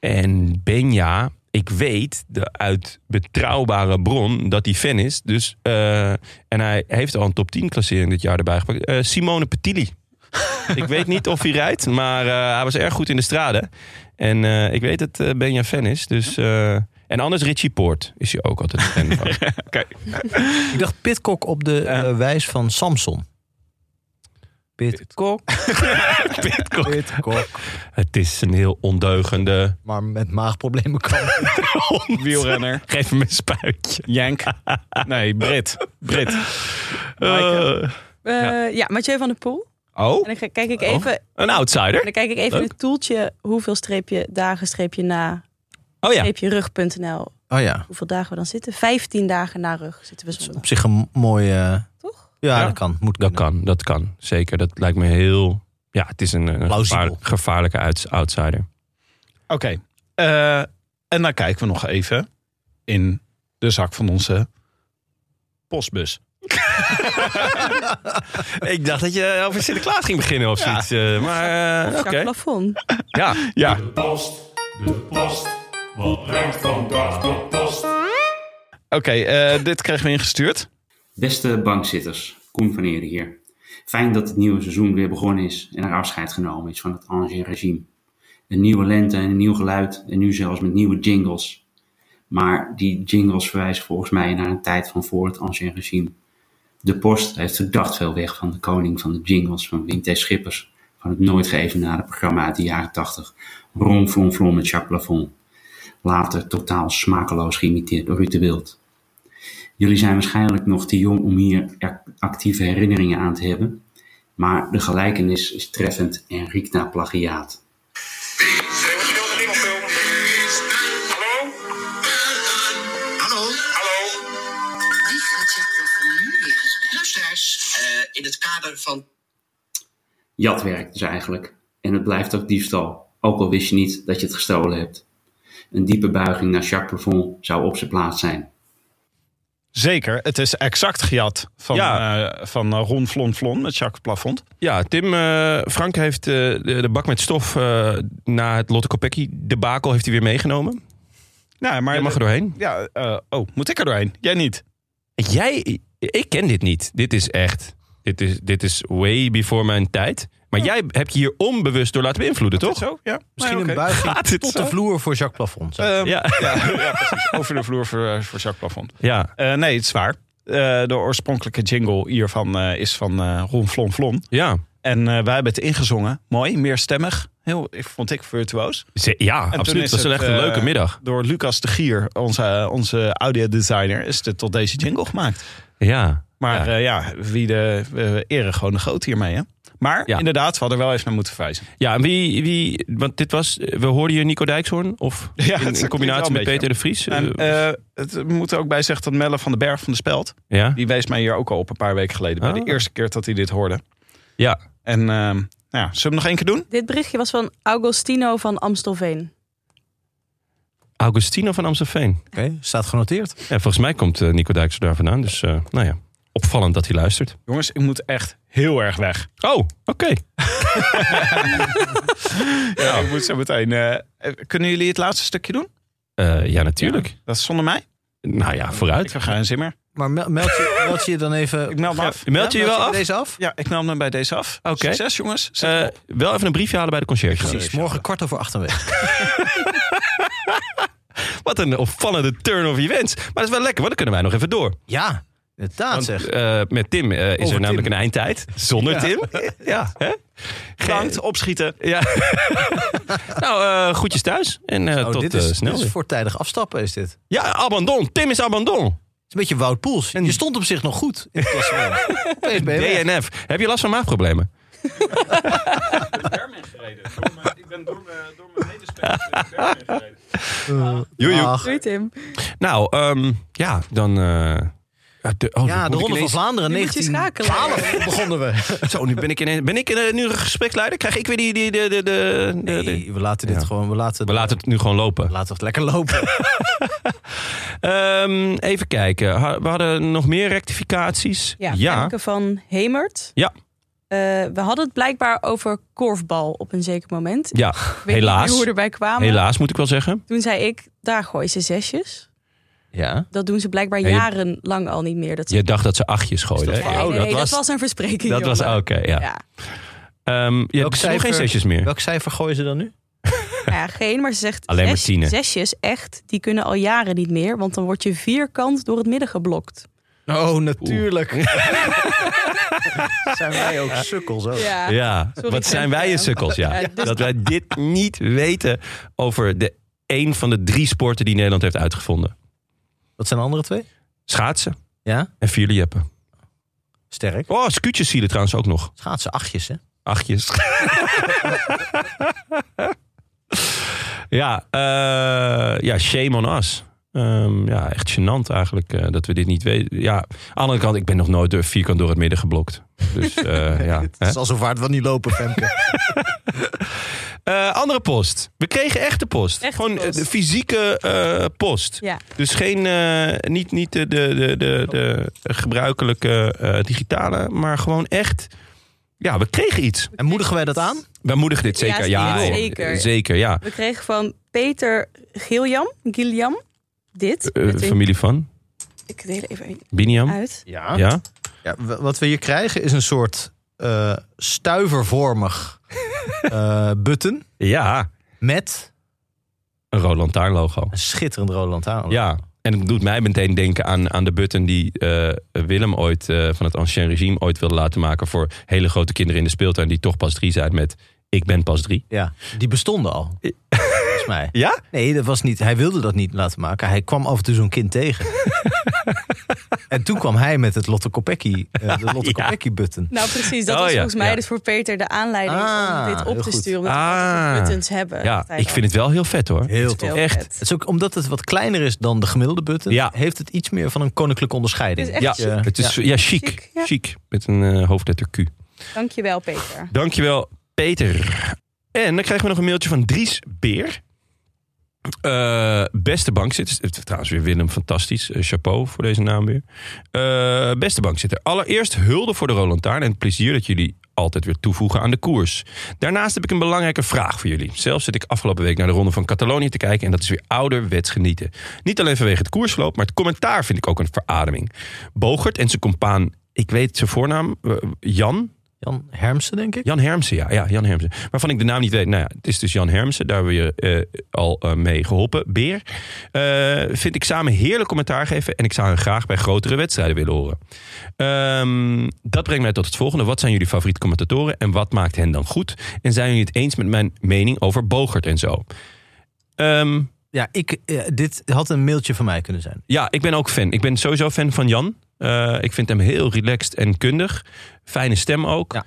F: En Benja, ik weet de, uit betrouwbare bron dat hij fan is. Dus, eh, en hij heeft al een top 10 klassering dit jaar erbij gepakt. Eh, Simone Petili. ik weet niet of hij rijdt, maar eh, hij was erg goed in de straden. En eh, ik weet dat eh, Benja fan is. Dus, eh, en anders Richie Poort is hij ook altijd fan van.
B: Ik dacht Pitcock op de eh, wijs van Samson. Pitcock.
F: Pitcock.
B: Pitcock.
F: Het is een heel ondeugende...
B: Maar met maagproblemen kan.
A: Wielrenner.
F: Geef hem een spuitje.
A: Jank. Nee, Brit. Brit.
F: Eh,
A: Maaike.
G: eh, ja, Mathieu van der Poel.
F: Oh,
G: En dan kijk ik
F: Oh.
G: even, en
F: een outsider.
G: dan kijk ik even in
F: Leuk.
G: het toeltje hoeveel streepje dagen, streepje na,
F: Oh ja.
G: streepje rug.nl.
B: Oh ja,
G: Hoeveel dagen we dan zitten? 15 dagen na rug zitten we zondag.
B: op zich een mooie... eh,
G: Toch?
B: Ja,
F: Ja.
B: dat kan. Moet
F: Dat
B: kunnen.
F: kan, dat kan. Zeker. Dat lijkt me heel. Ja, het is een, een
B: Plausibel.
F: gevaar- gevaarlijke uits- outsider.
A: Oké. eh, en dan kijken we nog even in de zak van onze postbus.
F: Ik dacht dat je over Sinterklaas ging beginnen of zoiets. maar eh,
G: Jacques Plafond.
F: Ja.
A: Ja,
I: post, de post. Wat brengt vandaag de post?
A: oké. eh, dit kregen we ingestuurd.
D: Beste bankzitters, Koen van Eerde hier. Fijn dat het nieuwe seizoen weer begonnen is en er afscheid genomen is van het Angers-regime. Een nieuwe lente en een nieuw geluid en nu zelfs met nieuwe jingles. Maar die jingles verwijzen volgens mij naar een tijd van voor het Angers-regime. De post heeft verdacht veel weg van de koning van de jingles van Wim T. Schippers. Van het nooit geëvenaarde programma uit de jaren 80. Ron Flon Flon met Jacques Plafond. Later totaal smakeloos geïmiteerd door Ruud de Wild. Jullie zijn waarschijnlijk nog te jong om hier ac- actieve herinneringen aan te hebben, maar de gelijkenis is treffend en riekt naar plagiaat.
I: Hallo? Hallo? Hallo?
K: Wie gaat Jack Plafond nu weer eens Luisteraars, eh, in het kader van...
D: Jatwerk dus eigenlijk. En het blijft ook diefstal, ook al wist je niet dat je het gestolen hebt. Een diepe buiging naar Jacques Plafond zou op zijn plaats zijn.
A: Zeker. Het is exact gejat van,
F: Ja.
A: eh, van eh, Ron Flon Flon met Jacques Plafond.
F: Ja, Tim, eh, Frank heeft eh, de, de bak met stof eh, na het Lotte Kopecky debakel heeft hij weer meegenomen.
A: Nou, maar
F: Jij mag er doorheen.
A: Ja, eh, oh, moet ik er doorheen? Jij niet.
F: Jij, ik ken dit niet. Dit is echt, dit is, dit is way before mijn tijd. Maar jij hebt je hier onbewust door laten beïnvloeden, toch?
A: Zo, ja.
B: Misschien
A: Nee, oké.
B: een buiging
F: Gaat dit
B: tot
F: zo? Eh.
B: de vloer voor Jacques Plafond. zou ik
A: Ehm,
F: Ja.
A: ja, ja, precies. Over de vloer voor, eh, voor Jacques Plafond.
F: Ja,
A: Eh, nee, het is waar. Eh, de oorspronkelijke jingle hiervan eh, is van eh Ron Flon Flon.
F: ja.
A: En eh, wij hebben het ingezongen. Mooi, meerstemmig. Heel, ik, vond ik virtuoos.
F: Ze- ja
A: toen
F: absoluut.
A: is
F: Het was wel
A: het,
F: echt een
A: eh,
F: leuke middag.
A: Door eh, Lucas de Gier, onze, onze audiodesigner, is dit tot deze jingle gemaakt.
F: Ja,
A: Maar eh, ja, wie de eh, eren gewoon de goot hiermee, hè? Maar inderdaad, we hadden wel even naar moeten verwijzen.
F: Ja, en wie, wie, want dit was, we hoorden hier Nico Dijkshoorn, of
A: Ja,
F: in,
A: het
F: in combinatie met
A: klinkt wel een
F: Peter de Vries.
A: En,
F: Eh,
A: eh, het, we moeten ook bij zeggen dat Melle van den Berg van de Speld...
F: Ja.
A: die wees mij hier ook al op een paar weken geleden. Bij
F: Ah.
A: de eerste keer dat hij dit hoorde.
F: Ja.
A: En ehm, nou ja, zullen we hem nog één keer doen?
G: Dit berichtje was van Augustino van Amstelveen.
F: Augustino van Amstelveen.
B: Oké, staat genoteerd.
F: Ja, volgens mij komt eh, Nico Dijkshoorn daar vandaan, dus eh, nou ja, opvallend dat hij luistert.
A: Jongens, ik moet echt heel erg weg.
F: Oh, oké.
A: Ja, ik moet zo meteen... eh, eh, kunnen jullie het laatste stukje doen?
F: Eh, ja, natuurlijk.
A: Dat is zonder mij?
F: Nou ja, vooruit.
A: Ik ga een zimmer.
B: Maar mel- meld je, meld je je dan even...
A: Ik meld me af.
F: Meld je je
B: Ja,
F: wel af?
B: bij Deze af?
A: Ja, ik meld me bij deze af.
F: Oké.
A: Succes, jongens. Zet
F: Eh,
A: hem op.
F: wel even een briefje halen bij de conciërge.
B: Precies, morgen kwart over acht aanwezig.
F: Wat een opvallende turn of events. Maar dat is wel lekker, want dan kunnen wij nog even door.
B: Ja, inderdaad
F: Want,
B: zeg.
F: eh, met Tim eh, is
B: Over
F: er
B: Tim.
F: namelijk een eindtijd. Zonder Tim. Ja. Hè?
A: Bedankt, opschieten.
F: ja. nou, eh groetjes thuis. En eh,
B: Oh,
F: tot
B: dit,
F: eh,
B: is,
F: snel.
B: dit is
F: weer.
B: voortijdig afstappen is dit. Het
F: Ja, abandon. Tim is abandon.
B: is een beetje Wout Poels.
F: En-
B: Je stond op zich nog goed in het klassement. Opeens ben je weg.
F: DNF. Heb je last van maagproblemen?
A: Ik ben door mijn medespeler.
F: Joe, joe.
B: Ach,
G: Doei Tim.
F: Nou, ehm, ja, dan... eh, de, oh,
B: ja,
F: moet
B: de
F: ik
B: Ronde
F: ineens-
B: van Vlaanderen
G: Nu moet je
B: 1912 begonnen we.
F: Zo, nu ben ik, ineens, ben ik eh, nu een gespreksleider? Krijg ik weer die... die, die, die, die- die-
B: Nee, we laten dit
F: Ja.
B: gewoon... We laten,
F: We laten het nu gewoon lopen.
B: we laten het lekker lopen.
F: Ehm, even kijken. Ha- We hadden nog meer rectificaties.
G: Ja,
F: ja.
G: Femke van Hemert.
F: Ja.
G: Eh, we hadden het blijkbaar over korfbal op een zeker moment.
F: Ja,
G: Ik weet
F: helaas.
G: niet hoe we erbij kwamen.
F: helaas moet ik wel zeggen.
G: Toen zei ik, daar gooien ze zesjes.
B: ja.
G: Dat doen ze blijkbaar
F: Ja, je-
G: jarenlang al niet meer. Dat ze...
F: Je dacht dat ze achtjes gooiden.
B: Is
F: hè?
B: dat
G: Nee,
B: waar?
F: oh,
G: nee,
F: dat
G: nee,
F: was...
G: een verspreking.
F: dat was oh, oké,
G: jongen.
F: ja.
G: Ja.
F: Ehm, je
B: Welk
F: hebt nog geen
B: cijfer-
F: zesjes meer.
B: Welk cijfer gooien ze dan nu?
G: Nou ja, geen, maar ze zegt
F: Alleen maar
G: zes-
F: tienen.
G: zesjes echt, die kunnen al jaren niet meer. Want dan word je vierkant door het midden geblokt.
B: Oh, natuurlijk. Zijn wij ook sukkels ook.
G: Ja.
F: Ja,
G: Sorry,
F: wat zijn
G: Femke,
F: wij
G: ja.
F: een sukkels, ja.
G: Ja, dus-
F: Dat wij dit niet weten over de één van de drie sporten die Nederland heeft uitgevonden.
B: Wat zijn de andere twee?
F: Schaatsen
B: Ja,
F: en vierlieppen.
B: sterk.
F: Oh, scootjes zie je trouwens ook nog.
B: Schaatsen achtjes, hè?
F: Achtjes. ja, eh, ja, shame on us. Ehm, ja, echt gênant eigenlijk eh, dat we dit niet weten. Ja, aan de andere kant, ik ben nog nooit door vierkant door het midden geblokt. Dus eh, ja. hè?
B: Het is alsof hard wel niet lopen, Femke.
F: Eh, andere post. We kregen echte post.
G: Echte
F: Gewoon eh,
G: post.
F: de fysieke eh, post.
G: Ja.
F: Dus geen, eh, niet, niet de, de, de, de, de gebruikelijke eh, digitale, maar gewoon echt. Ja, we kregen iets.
B: En moedigen wij dat aan?
F: Wij moedigen dit
G: Ja,
F: zeker. Ja,
G: zeker.
F: ja,
G: Zeker.
F: zeker, ja.
G: We kregen van Peter Giljam, Giljam dit.
F: Eh,
G: Met een-
F: familie Hm? van
G: Ik deel even een
F: Biniam.
G: uit.
B: Ja.
F: Ja.
B: Ja, w- wat we hier krijgen is een soort eh, stuivervormig eh, button
F: Ja,
B: met
F: een rood lantaarn logo.
B: een schitterend rode lantaarn.
F: Ja, en het doet mij meteen denken aan, aan de button die eh, Willem ooit eh, van het Ancien Regime ooit wilde laten maken voor hele grote kinderen in de speeltuin die toch pas drie zijn met ik ben pas drie.
B: Ja, die bestonden al. Volgens mij.
F: Ja?
B: Nee, dat was niet, hij wilde dat niet laten maken. Hij kwam af en toe zo'n kind tegen. en toen kwam hij met het Lotte Kopecky, eh, de Lotte
F: Ja.
B: Kopecky button.
G: Nou precies, dat
F: Oh
G: was
F: ja,
G: volgens mij
F: ja.
G: dus voor Peter de aanleiding
B: Ah,
G: om dit op
B: heel
G: te
B: goed.
G: sturen. Omdat we
F: Ah.
G: altijd buttons hebben.
F: Ja, ik vind het wel heel vet hoor.
B: Heel
G: tof.
B: tof.
G: Heel
F: Echt.
G: vet.
B: Het is ook omdat het wat kleiner is dan de gemiddelde button,
F: Ja.
B: heeft het iets meer van een koninklijke onderscheiding.
G: Het is echt
F: Ja,
B: Dus, eh,
F: het is ja, chic.
G: Chic, ja.
F: Chic. Met een eh, hoofdletter Q.
G: Dankjewel Peter.
F: Dankjewel, Peter. En dan krijgen we nog een mailtje van Dries Beer. Eh, beste bankzitter. Het- Trouwens, weer Willem, fantastisch. Eh, chapeau voor deze naam weer. Eh, beste bankzitter. Allereerst hulde voor de Roland Taarn en het plezier dat jullie altijd weer toevoegen aan de koers. Daarnaast heb ik een belangrijke vraag voor jullie. Zelf zit ik afgelopen week naar de Ronde van Catalonië te kijken... en dat is weer ouderwets genieten. Niet alleen vanwege het koersloop, maar het commentaar vind ik ook een verademing. Bogert en zijn compaan, ik weet zijn voornaam, eh, Jan,
B: Jan Hermsen, denk ik.
F: Jan Hermsen, ja. ja Jan Hermsen. Waarvan ik de naam niet weet. Nou ja, het is dus Jan Hermsen. Daar hebben we je eh, al eh, mee geholpen. Beer. Eh, vind ik samen heerlijk commentaar geven. En ik zou hem graag bij grotere wedstrijden willen horen. Ehm, dat brengt mij tot het volgende. Wat zijn jullie favoriete commentatoren? En wat maakt hen dan goed? En zijn jullie het eens met mijn mening over Bogert en zo? Ehm,
B: Ja, ik, eh, dit had een mailtje van mij kunnen zijn.
F: ja, ik ben ook fan. Ik ben sowieso fan van Jan. Eh, ik vind hem heel relaxed en kundig. Fijne stem ook.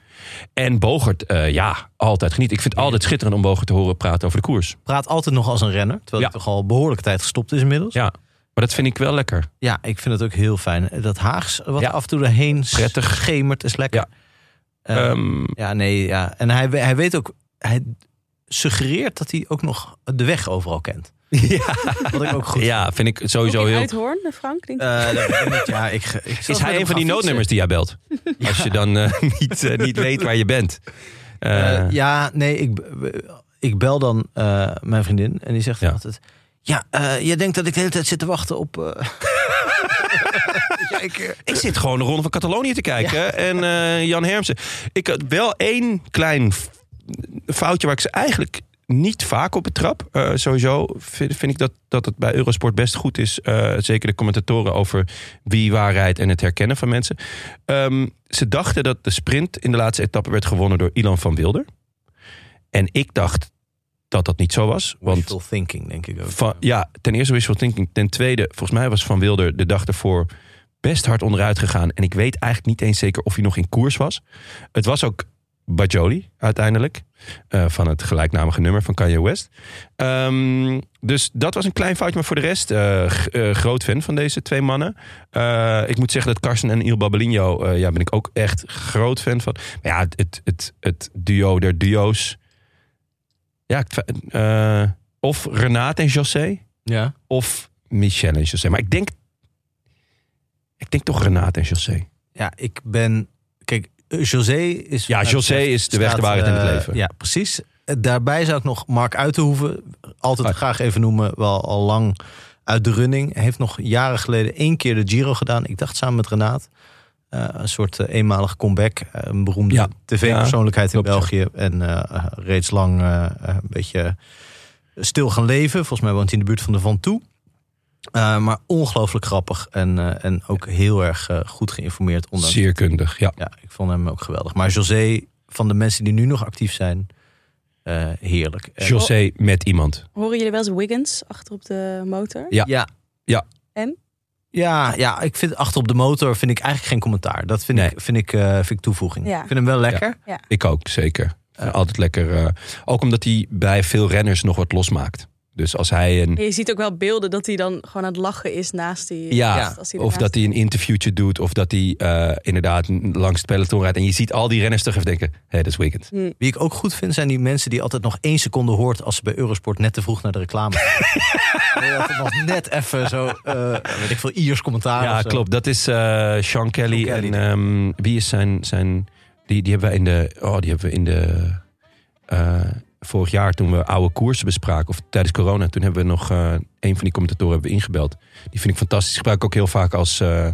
F: En Bogert, eh, ja, altijd geniet. Ik vind het altijd schitterend om Bogert te horen praten over de koers.
B: Praat altijd nog als een renner. Terwijl hij toch al behoorlijk tijd gestopt is inmiddels.
F: Ja, maar dat vind ik wel lekker.
B: Ja, ik vind het ook heel fijn. Dat Haags wat af en toe erheen Prettig. schemert is lekker. Ja,
F: Ehm.
B: ja nee. Ja. En hij, hij weet ook... Hij suggereert dat hij ook nog de weg overal kent. Ja. Wat ik ook goed
F: Ja, vind ik sowieso heel...
G: Uithoorn, de Frank? denk ik.
B: Eh, dat weet ik niet. ja, ik, ik zal
F: Is
B: met
F: hij
B: hem
F: een van die
B: gaan
F: noodnummers die jij belt? Als je dan eh, niet, eh, niet weet waar je bent. Eh,
B: Eh, ja, nee, ik, ik bel dan eh, mijn vriendin en die zegt
F: Ja.
B: altijd... Ja, eh, jij denkt dat ik de hele tijd zit te wachten op... eh, Ja, ik, eh,
F: Ik zit gewoon de Ronde van Catalonië te kijken. En eh, Jan Hermsen. Ik had wel één klein f- foutje waar ik ze eigenlijk niet vaak op betrap. Eh sowieso vind, vind ik dat, dat het bij Eurosport best goed is. eh, zeker de commentatoren over wie waarheid en het herkennen van mensen. Ehm, ze dachten dat de sprint in de laatste etappe werd gewonnen door Ilan van Wilder. En ik dacht dat dat niet zo was. Want
B: Wishful thinking, denk ik ook.
F: eh, van, ja, ten eerste wishful thinking. Ten tweede, volgens mij was Van Wilder de dag ervoor best hard onderuit gegaan. En ik weet eigenlijk niet eens zeker of hij nog in koers was. Het was ook Bajoli uiteindelijk. eh, van het gelijknamige nummer van Kanye West. Ehm, dus dat was een klein foutje. Maar voor de rest, eh, g- eh, groot fan van deze twee mannen. Eh, ik moet zeggen dat Carson en Il Babelinho, eh, ja, ben ik ook echt groot fan van. Maar ja, het, het, het, het duo der duo's. Ja, ik- eh, of Renate en José.
B: Ja.
F: Of Michel en José. Maar ik denk, ik denk toch Renate en José.
B: Ja, ik ben... Kijk, eh, José is...
F: Ja,
B: wat mij
F: José
B: betreft
F: is de weg, de
B: staat,
F: waarheid en het
B: eh,
F: leven.
B: ja, precies. Eh, Daarbij zou ik nog Mark Uitenhoeven altijd graag even noemen. Wel al lang uit de running. Hij Heeft nog jaren geleden één keer de Giro gedaan. Ik dacht samen met Renaat. Eh, een soort eh, eenmalig comeback. Eh, een beroemde
F: Ja.
B: tv-persoonlijkheid in
F: Ja, klopt,
B: België. En eh, eh, reeds lang eh, eh, een beetje stil gaan leven. Volgens mij woont hij in de buurt van de Van Toe. Eh, maar ongelooflijk grappig en, eh, en ook heel erg eh, goed geïnformeerd. Ondanks
F: Zeer kundig, ja.
B: ja, ik vond hem ook geweldig. Maar José, van de mensen die nu nog actief zijn, eh, heerlijk. En-
F: José met iemand.
G: Horen jullie wel eens Wiggins achter op de motor?
F: Ja.
B: Ja.
F: Ja.
G: En?
B: Ja, ja, ik vind achter op de motor vind ik eigenlijk geen commentaar. Dat vind ik, vind ik, eh, vind ik toevoeging.
G: Ja.
B: Ik vind hem wel lekker.
G: Ja.
F: Ik ook, zeker. Altijd lekker. eh, ook omdat hij bij veel renners nog wat losmaakt. Dus als hij een.
G: En Je ziet ook wel beelden dat hij dan gewoon aan het lachen is naast die.
F: Ja,
G: naast- als hij
F: of
G: ernaast-
F: dat hij een interviewtje doet. Of dat hij eh, inderdaad langs het peloton rijdt. En je ziet al die renners toch even denken: hé, dat is weekend.
B: Wie ik ook goed vind, zijn die mensen die altijd nog één seconde hoort als ze bij Eurosport net te vroeg naar de reclame gaan. Nee, dat het nog net even zo, eh, weet ik veel, Iers commentaar.
F: Ja,
B: of zo.
F: klopt. Dat is eh, Sean Kelly.
B: Sean Kelly.
F: en ehm, wie is zijn. zijn die, die hebben we in de. Oh, die hebben we in de. eh, vorig jaar toen we oude koersen bespraken. Of tijdens corona. Toen hebben we nog. eh, een van die commentatoren hebben we ingebeld. Die vind ik fantastisch. Gebruik ik ook heel vaak als. eh,
G: Oh,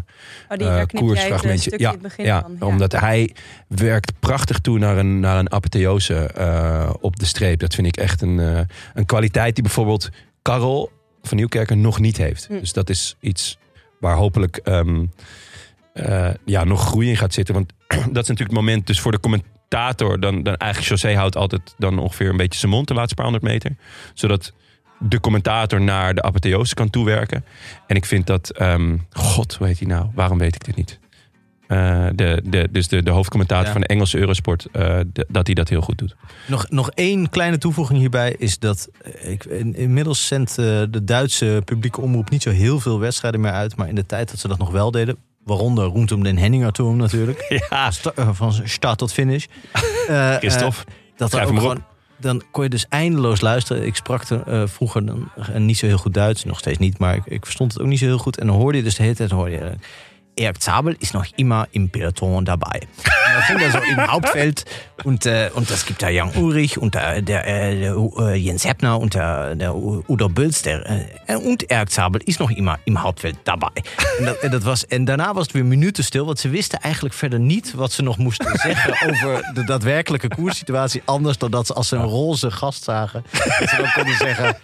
G: die, daar
F: eh,
G: knip jij het, eh, stukje in het begin van, ja.
F: omdat hij werkt prachtig toe naar een, naar een apotheose eh, op de streep. Dat vind ik echt een, eh, een kwaliteit die bijvoorbeeld Karel van Nieuwkerken nog niet heeft.
G: Hm.
F: Dus dat is iets waar hopelijk ehm, eh, ja, nog groei in gaat zitten. Want dat is natuurlijk het moment dus voor de commentator. Dan, dan eigenlijk José houdt altijd dan ongeveer een beetje zijn mond de laatste paar honderd meter. Zodat de commentator naar de apotheose kan toewerken. En ik vind dat... ehm, God, hoe heet hij nou? Waarom weet ik dit niet? Eh, de, de, dus de, de hoofdcommentator
B: Ja.
F: van de Engelse Eurosport, eh, de- dat hij dat heel goed doet.
B: Nog, nog één kleine toevoeging hierbij is dat eh, ik, in- inmiddels zendt eh, de Duitse publieke omroep niet zo heel veel wedstrijden meer uit. Maar in de tijd dat ze dat nog wel deden, waaronder Roentum den Henninger toen natuurlijk.
F: Ja,
B: Sta- eh, van start tot finish. Eh, eh,
F: Christophe,
B: dat er
F: schrijf
B: ook
F: hem maar op.
B: gewoon, dan kon je dus eindeloos luisteren. Ik sprak er, eh, vroeger dan, eh, niet zo heel goed Duits, nog steeds niet, maar ik, ik verstond het ook niet zo heel goed. En dan hoorde je dus de hele tijd, hoorde je, eh, Erik Zabel is nog immer im Peloton dabei. En dan ging er zo im Hauptfeld. Und, äh, und das gibt da Jan Ulrich und da, der, äh, der, äh, Jens Heppner und der, der U- Udo Bulz. Der, äh, und Erik Zabel ist noch immer im Hauptfeld dabei. En, dat, en, dat was, en daarna was het weer minuten stil, want ze wisten eigenlijk verder niet wat ze nog moesten zeggen over de daadwerkelijke koerssituatie. Anders dan dat ze als ze een roze gast zagen, dat ze dan konden zeggen: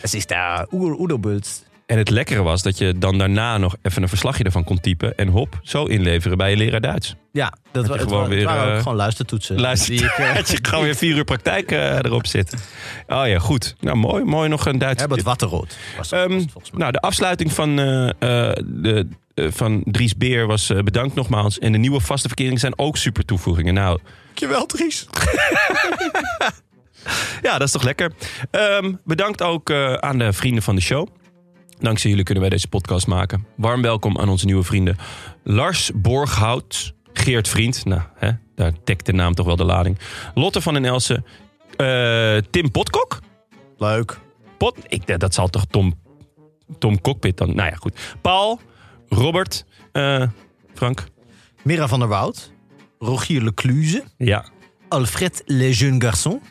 B: Het is daar Udo Udo Bulz.
F: En het lekkere was dat je dan daarna nog even een verslagje ervan kon typen. En hop, zo inleveren bij je leraar Duits.
B: Ja, dat
F: je
B: wa- het
F: gewoon
B: wa- het
F: weer,
B: waren ook
F: eh,
B: gewoon luistertoetsen.
F: Luister,
B: Die ik, eh,
F: dat je gewoon weer vier uur praktijk eh, erop zit. Oh ja, goed. Nou, mooi. Mooi nog een Duits.
B: Herbert Watterood was dat,
F: Ehm,
B: was het volgens mij.
F: nou, de afsluiting van eh, eh, de, eh, eh, van Dries Beer was eh, bedankt nogmaals. En de nieuwe vaste verkeringen zijn ook super toevoegingen. Nou,
B: Dankjewel, Dries.
F: ja, dat is toch lekker. Ehm, bedankt ook eh, aan de vrienden van de show. Dankzij jullie kunnen wij deze podcast maken. Warm welkom aan onze nieuwe vrienden. Lars Borghout, Geert Vriend. Nou, hè, daar dekt de naam toch wel de lading. Lotte van den Elsen. eh, Tim Potkok.
B: Leuk.
F: Pot, ik, dat- dat zal toch Tom, Tom Cockpit dan... Nou ja, goed. Paul, Robert, eh, Frank.
B: Mira van der Woud. Rogier Lecluze.
F: Ja,
B: Alfred Le Jeune Garçon.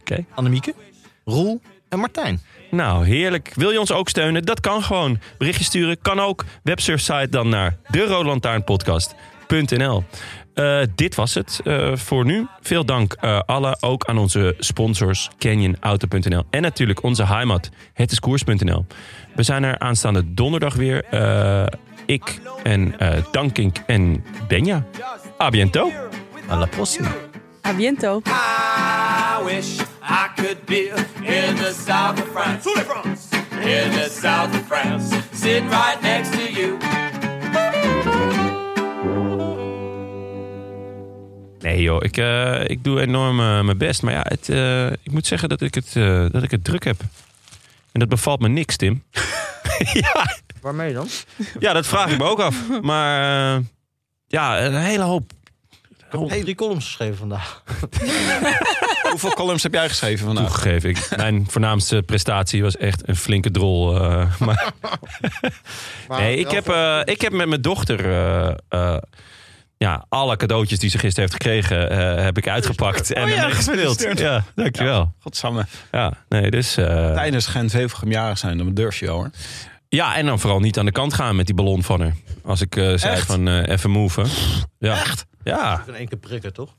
F: Oké.
B: Annemieke. Roel en Martijn.
F: Nou, heerlijk. Wil je ons ook steunen? Dat kan gewoon. Berichtje sturen kan ook. Websurfsite dan naar deroodlantaarnpodcast.nl Eh, dit was het eh, voor nu. Veel dank eh alle, ook aan onze sponsors CanyonAuto.nl en natuurlijk onze heimat, hetiskoers.nl. We zijn er aanstaande donderdag weer. Eh, ik en eh, Dankink en Benja. A biento.
B: A la prossima.
G: A biento.
H: I wish I could be in the south of France. In the south of France. Sit right next to you.
F: Nee joh, ik, eh, ik doe enorm eh, mijn best. Maar ja, het, eh, ik moet zeggen dat ik, het, eh, dat ik het druk heb. En dat bevalt me niks, Tim. ja.
L: Waarmee dan?
F: ja, dat vraag ik me ook af. Maar eh, ja, een hele hoop.
B: Hey, drie columns geschreven vandaag.
A: Hoeveel columns heb jij geschreven vandaag?
F: Toegegeven, ik, mijn voornaamste prestatie was echt een flinke drol. eh, maar nee, ik heb, eh, ik heb met mijn dochter eh, eh, ja, alle cadeautjes die ze gisteren heeft gekregen, eh, heb ik uitgepakt en
A: Oh ja,
F: ermee gespeeld.
A: gefeliciteerd.
F: Ja, dankjewel.
A: Godsamme.
F: Ja, nee, dus... eh,
A: Tijdens gent wevelgem jarig zijn, dan durf je wel hoor.
F: Ja, en dan vooral niet aan de kant gaan met die ballon van haar. Als ik eh, zei
A: Echt?
F: van eh, even move. Ja. Echt? Ja.
B: In één keer prikken, toch?